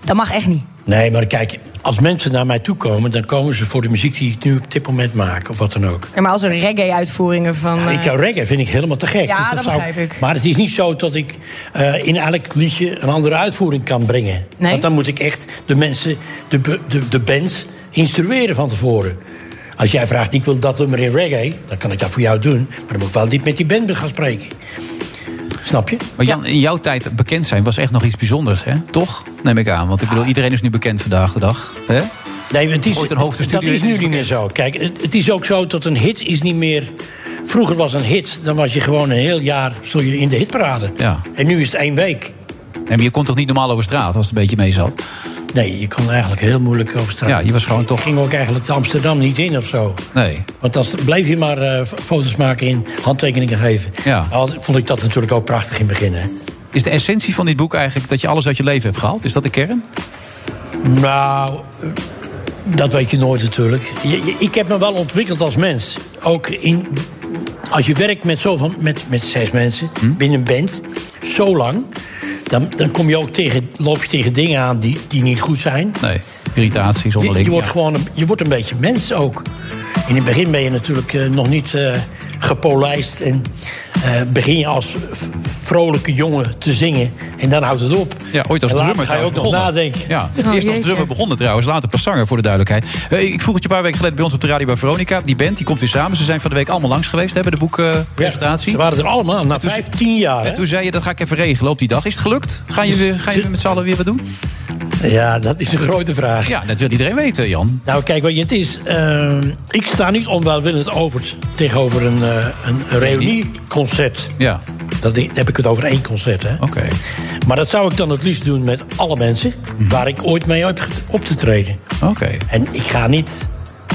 S7: dat mag echt niet.
S16: Nee, maar kijk, als mensen naar mij toe komen... dan komen ze voor de muziek die ik nu op dit moment maak. Of wat dan ook.
S7: Ja, maar als er reggae-uitvoeringen van...
S16: Ja, ik
S7: eh,
S16: jou reggae vind ik helemaal te gek.
S7: Ja,
S16: Dus
S7: dat
S16: zou-
S7: begrijp ik.
S16: Maar het is niet zo dat ik eh, in elk liedje een andere uitvoering kan brengen.
S7: Nee.
S16: Want dan moet ik echt de mensen, de, be- de, de bands, instrueren van tevoren. Als jij vraagt, ik wil dat nummer in reggae, dan kan ik dat voor jou doen. Maar dan moet ik wel niet met die band gaan spreken. Snap je?
S6: Maar Jan, in jouw tijd bekend zijn was echt nog iets bijzonders, hè? Toch? Neem ik aan. Want ik bedoel, iedereen is nu bekend vandaag de dag. Hè?
S16: Nee, het is,
S6: Ooit een hoofd de
S16: dat
S6: studio
S16: is
S6: in
S16: nu
S6: is
S16: niet meer zo. Kijk, het, het is ook zo dat een hit is niet meer... Vroeger was een hit, dan was je gewoon een heel jaar stond je in de hitparade.
S6: Ja.
S16: En nu is het één week.
S6: En je kon toch niet normaal over straat als het een beetje mee zat?
S16: Nee, je kon eigenlijk heel moeilijk over straat.
S6: Ja, je was gewoon toch...
S16: ging ook eigenlijk Amsterdam niet in of zo.
S6: Nee.
S16: Want dan bleef je maar eh, foto's maken en handtekeningen geven.
S6: Ja.
S16: Al vond ik dat natuurlijk ook prachtig in het begin. Hè.
S6: Is de essentie van dit boek eigenlijk dat je alles uit je leven hebt gehaald? Is dat de kern?
S16: Nou, eh, dat weet je nooit natuurlijk. Je- je- ik heb me wel ontwikkeld als mens. Ook in, als je werkt met, zoveel, met, met zes mensen
S6: Hm?
S16: binnen een band, zo lang... Dan, dan kom je ook tegen, loop je tegen dingen aan die, die niet goed zijn.
S6: Nee. Irritaties
S16: Je,
S6: onderling.
S16: je wordt
S6: ja.
S16: gewoon een, je wordt een beetje mens ook. In het begin ben je natuurlijk eh, nog niet eh, gepolijst. En eh, begin je als v- vrolijke jongen te zingen. En dan houdt het op.
S6: Ja, ooit als
S16: En later
S6: drummer
S16: ga je ook
S6: trouwens
S16: nog
S6: begonnen.
S16: nadenken.
S6: Ja,
S16: Oh,
S6: eerst als
S16: jeetje.
S6: drummer begonnen trouwens, later pas zanger voor de duidelijkheid. Eh, ik vroeg het je een paar weken geleden bij ons op de radio bij Veronica. Die band, die komt weer samen. Ze zijn van de week allemaal langs geweest, hebben de boekpresentatie.
S16: Ze waren er allemaal, na 15 jaar.
S6: En toen zei je, dat ga ik even regelen op die dag. Is het gelukt? Gaan je, weer- ga je weer met z'n allen weer wat doen?
S16: Ja, dat is een grote vraag.
S6: Ja, dat wil iedereen weten, Jan.
S16: Nou, kijk wat je het is. Ehm, ik sta niet onwelwillend over tegenover een, eh, een reunieconcert.
S6: Ja.
S16: Dat i- heb ik het over één concert, hè? Oké. Maar dat zou ik dan het liefst doen met alle mensen waar ik ooit mee heb get- op te treden.
S6: Mhm. Oké.
S16: En ik ga niet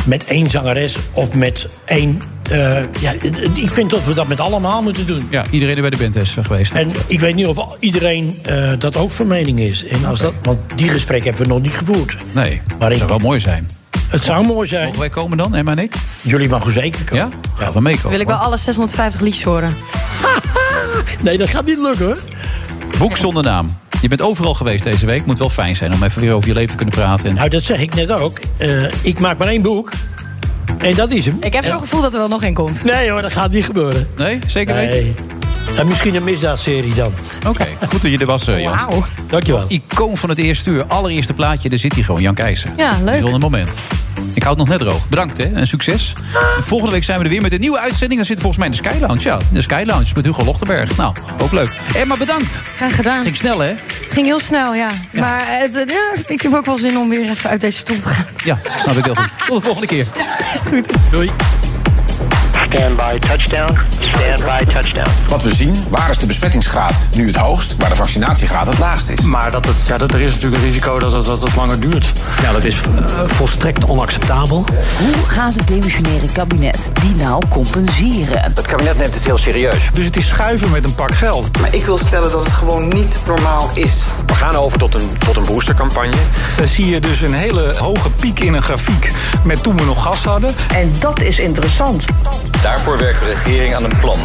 S16: met één zangeres of met één. eh, ja, het- het- ik vind dat we dat met allemaal moeten doen.
S6: Ja, iedereen die bij de band is eh, geweest.
S16: En ik weet niet of iedereen eh, dat ook van mening is. En als dat, want die gesprek hebben we nog niet gevoerd.
S6: Nee,
S16: Maar
S6: dat
S16: ik-
S6: zou wel mooi zijn.
S16: Het zou mooi zijn. Mogen
S6: wij komen dan, Emma en ik?
S16: Jullie mogen zeker komen.
S6: Ja? Gaan we meekomen?
S7: wil ik wel alle 650 liedjes horen.
S16: *laughs* nee, dat gaat niet lukken hoor.
S6: Boek zonder naam. Je bent overal geweest deze week. Moet wel fijn zijn om even weer over je leven te kunnen praten. En...
S16: Nou, dat zeg ik net ook. Eh, ik maak maar één boek. En dat is hem.
S7: Ik heb zo'n gevoel dat er wel nog één komt.
S16: Nee hoor, dat gaat niet gebeuren.
S6: Nee, zeker
S16: Nee.
S6: weten?
S16: En misschien een misdaadserie dan.
S6: Oké, *laughs* goed dat je er was, eh, Jan.
S16: Wauw. Dankjewel.
S6: Icoon van het eerste uur. Allereerste plaatje, daar zit hij gewoon, Jan Keijzer.
S16: Ja, leuk.
S6: Bijzonder moment. Ik houd het nog net droog. Bedankt, hè. En succes. Volgende week zijn we er weer met een nieuwe uitzending. Dan zit volgens mij in de Sky Lounge. Ja, in de Sky Lounge met Hugo Lochtenberg. Nou, ook leuk. Emma, bedankt.
S7: Graag gedaan.
S6: Ging snel, hè?
S7: Ging heel snel, ja. Maar het, eh, ja, ik heb ook wel zin om weer even uit deze stoel te gaan.
S6: Ja, snap ik heel goed. Tot de volgende keer.
S7: *laughs* Is goed.
S6: Doei.
S17: Stand by touchdown. Stand by touchdown.
S5: Wat we zien, waar is de besmettingsgraad nu het hoogst, waar de vaccinatiegraad het laagst is?
S18: Maar dat het, ja, dat, er is natuurlijk een risico dat het, dat het langer duurt. Ja, dat is volstrekt onacceptabel.
S12: Hoe gaat het demissionaire kabinet die nou compenseren?
S19: Het kabinet neemt het heel serieus.
S18: Dus het is schuiven met een pak geld.
S19: Maar ik wil stellen dat het gewoon niet normaal is. We gaan over tot een, tot een boostercampagne.
S18: Dan zie je dus een hele hoge piek in een grafiek met toen we nog gas hadden.
S12: En dat is interessant.
S5: Daarvoor werkt de regering aan een plan.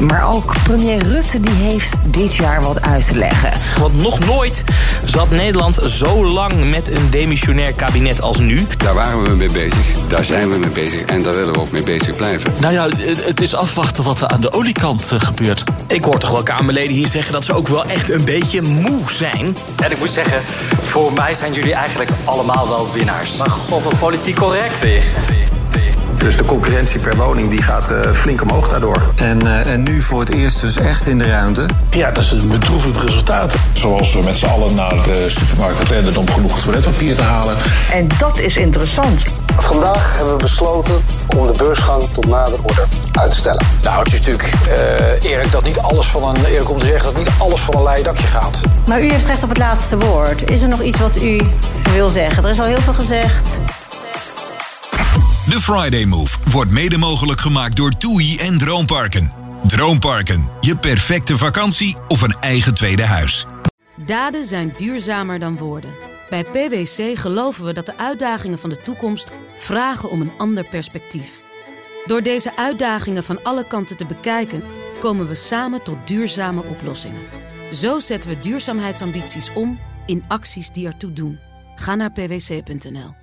S12: Maar ook premier Rutte die heeft dit jaar wat uit te leggen.
S9: Want nog nooit zat Nederland zo lang met een demissionair kabinet als nu.
S20: Daar waren we mee bezig, daar zijn we mee bezig en daar willen we ook mee bezig blijven.
S21: Nou ja, het- het is afwachten wat er aan de oliekant eh, gebeurt.
S9: Ik hoor toch wel Kamerleden hier zeggen dat ze ook wel echt een beetje moe zijn.
S19: En ik moet zeggen, voor mij zijn jullie eigenlijk allemaal wel winnaars. Maar god, wat politiek correct weer.
S22: Dus de concurrentie per woning die gaat eh, flink omhoog daardoor. En, eh, en nu voor het eerst dus echt in de ruimte.
S5: Ja, dat is een bedroevend resultaat. Zoals we met z'n allen naar de supermarkt rennen om genoeg toiletpapier te halen.
S12: En dat is interessant.
S23: Vandaag hebben we besloten om de beursgang tot nader order uit te stellen.
S19: Nou, het is natuurlijk eh, eerlijk dat niet alles van een eerlijk om te zeggen dat niet alles van een lei dakje gaat.
S3: Maar u heeft recht op het laatste woord. Is er nog iets wat u wil zeggen? Er is al heel veel gezegd.
S24: De Friday Move wordt mede mogelijk gemaakt door TUI en Droomparken. Droomparken, je perfecte vakantie of een eigen tweede huis.
S1: Daden zijn duurzamer dan woorden. Bij PwC geloven we dat de uitdagingen van de toekomst vragen om een ander perspectief. Door deze uitdagingen van alle kanten te bekijken, komen we samen tot duurzame oplossingen. Zo zetten we duurzaamheidsambities om in acties die ertoe doen. Ga naar pwc.nl.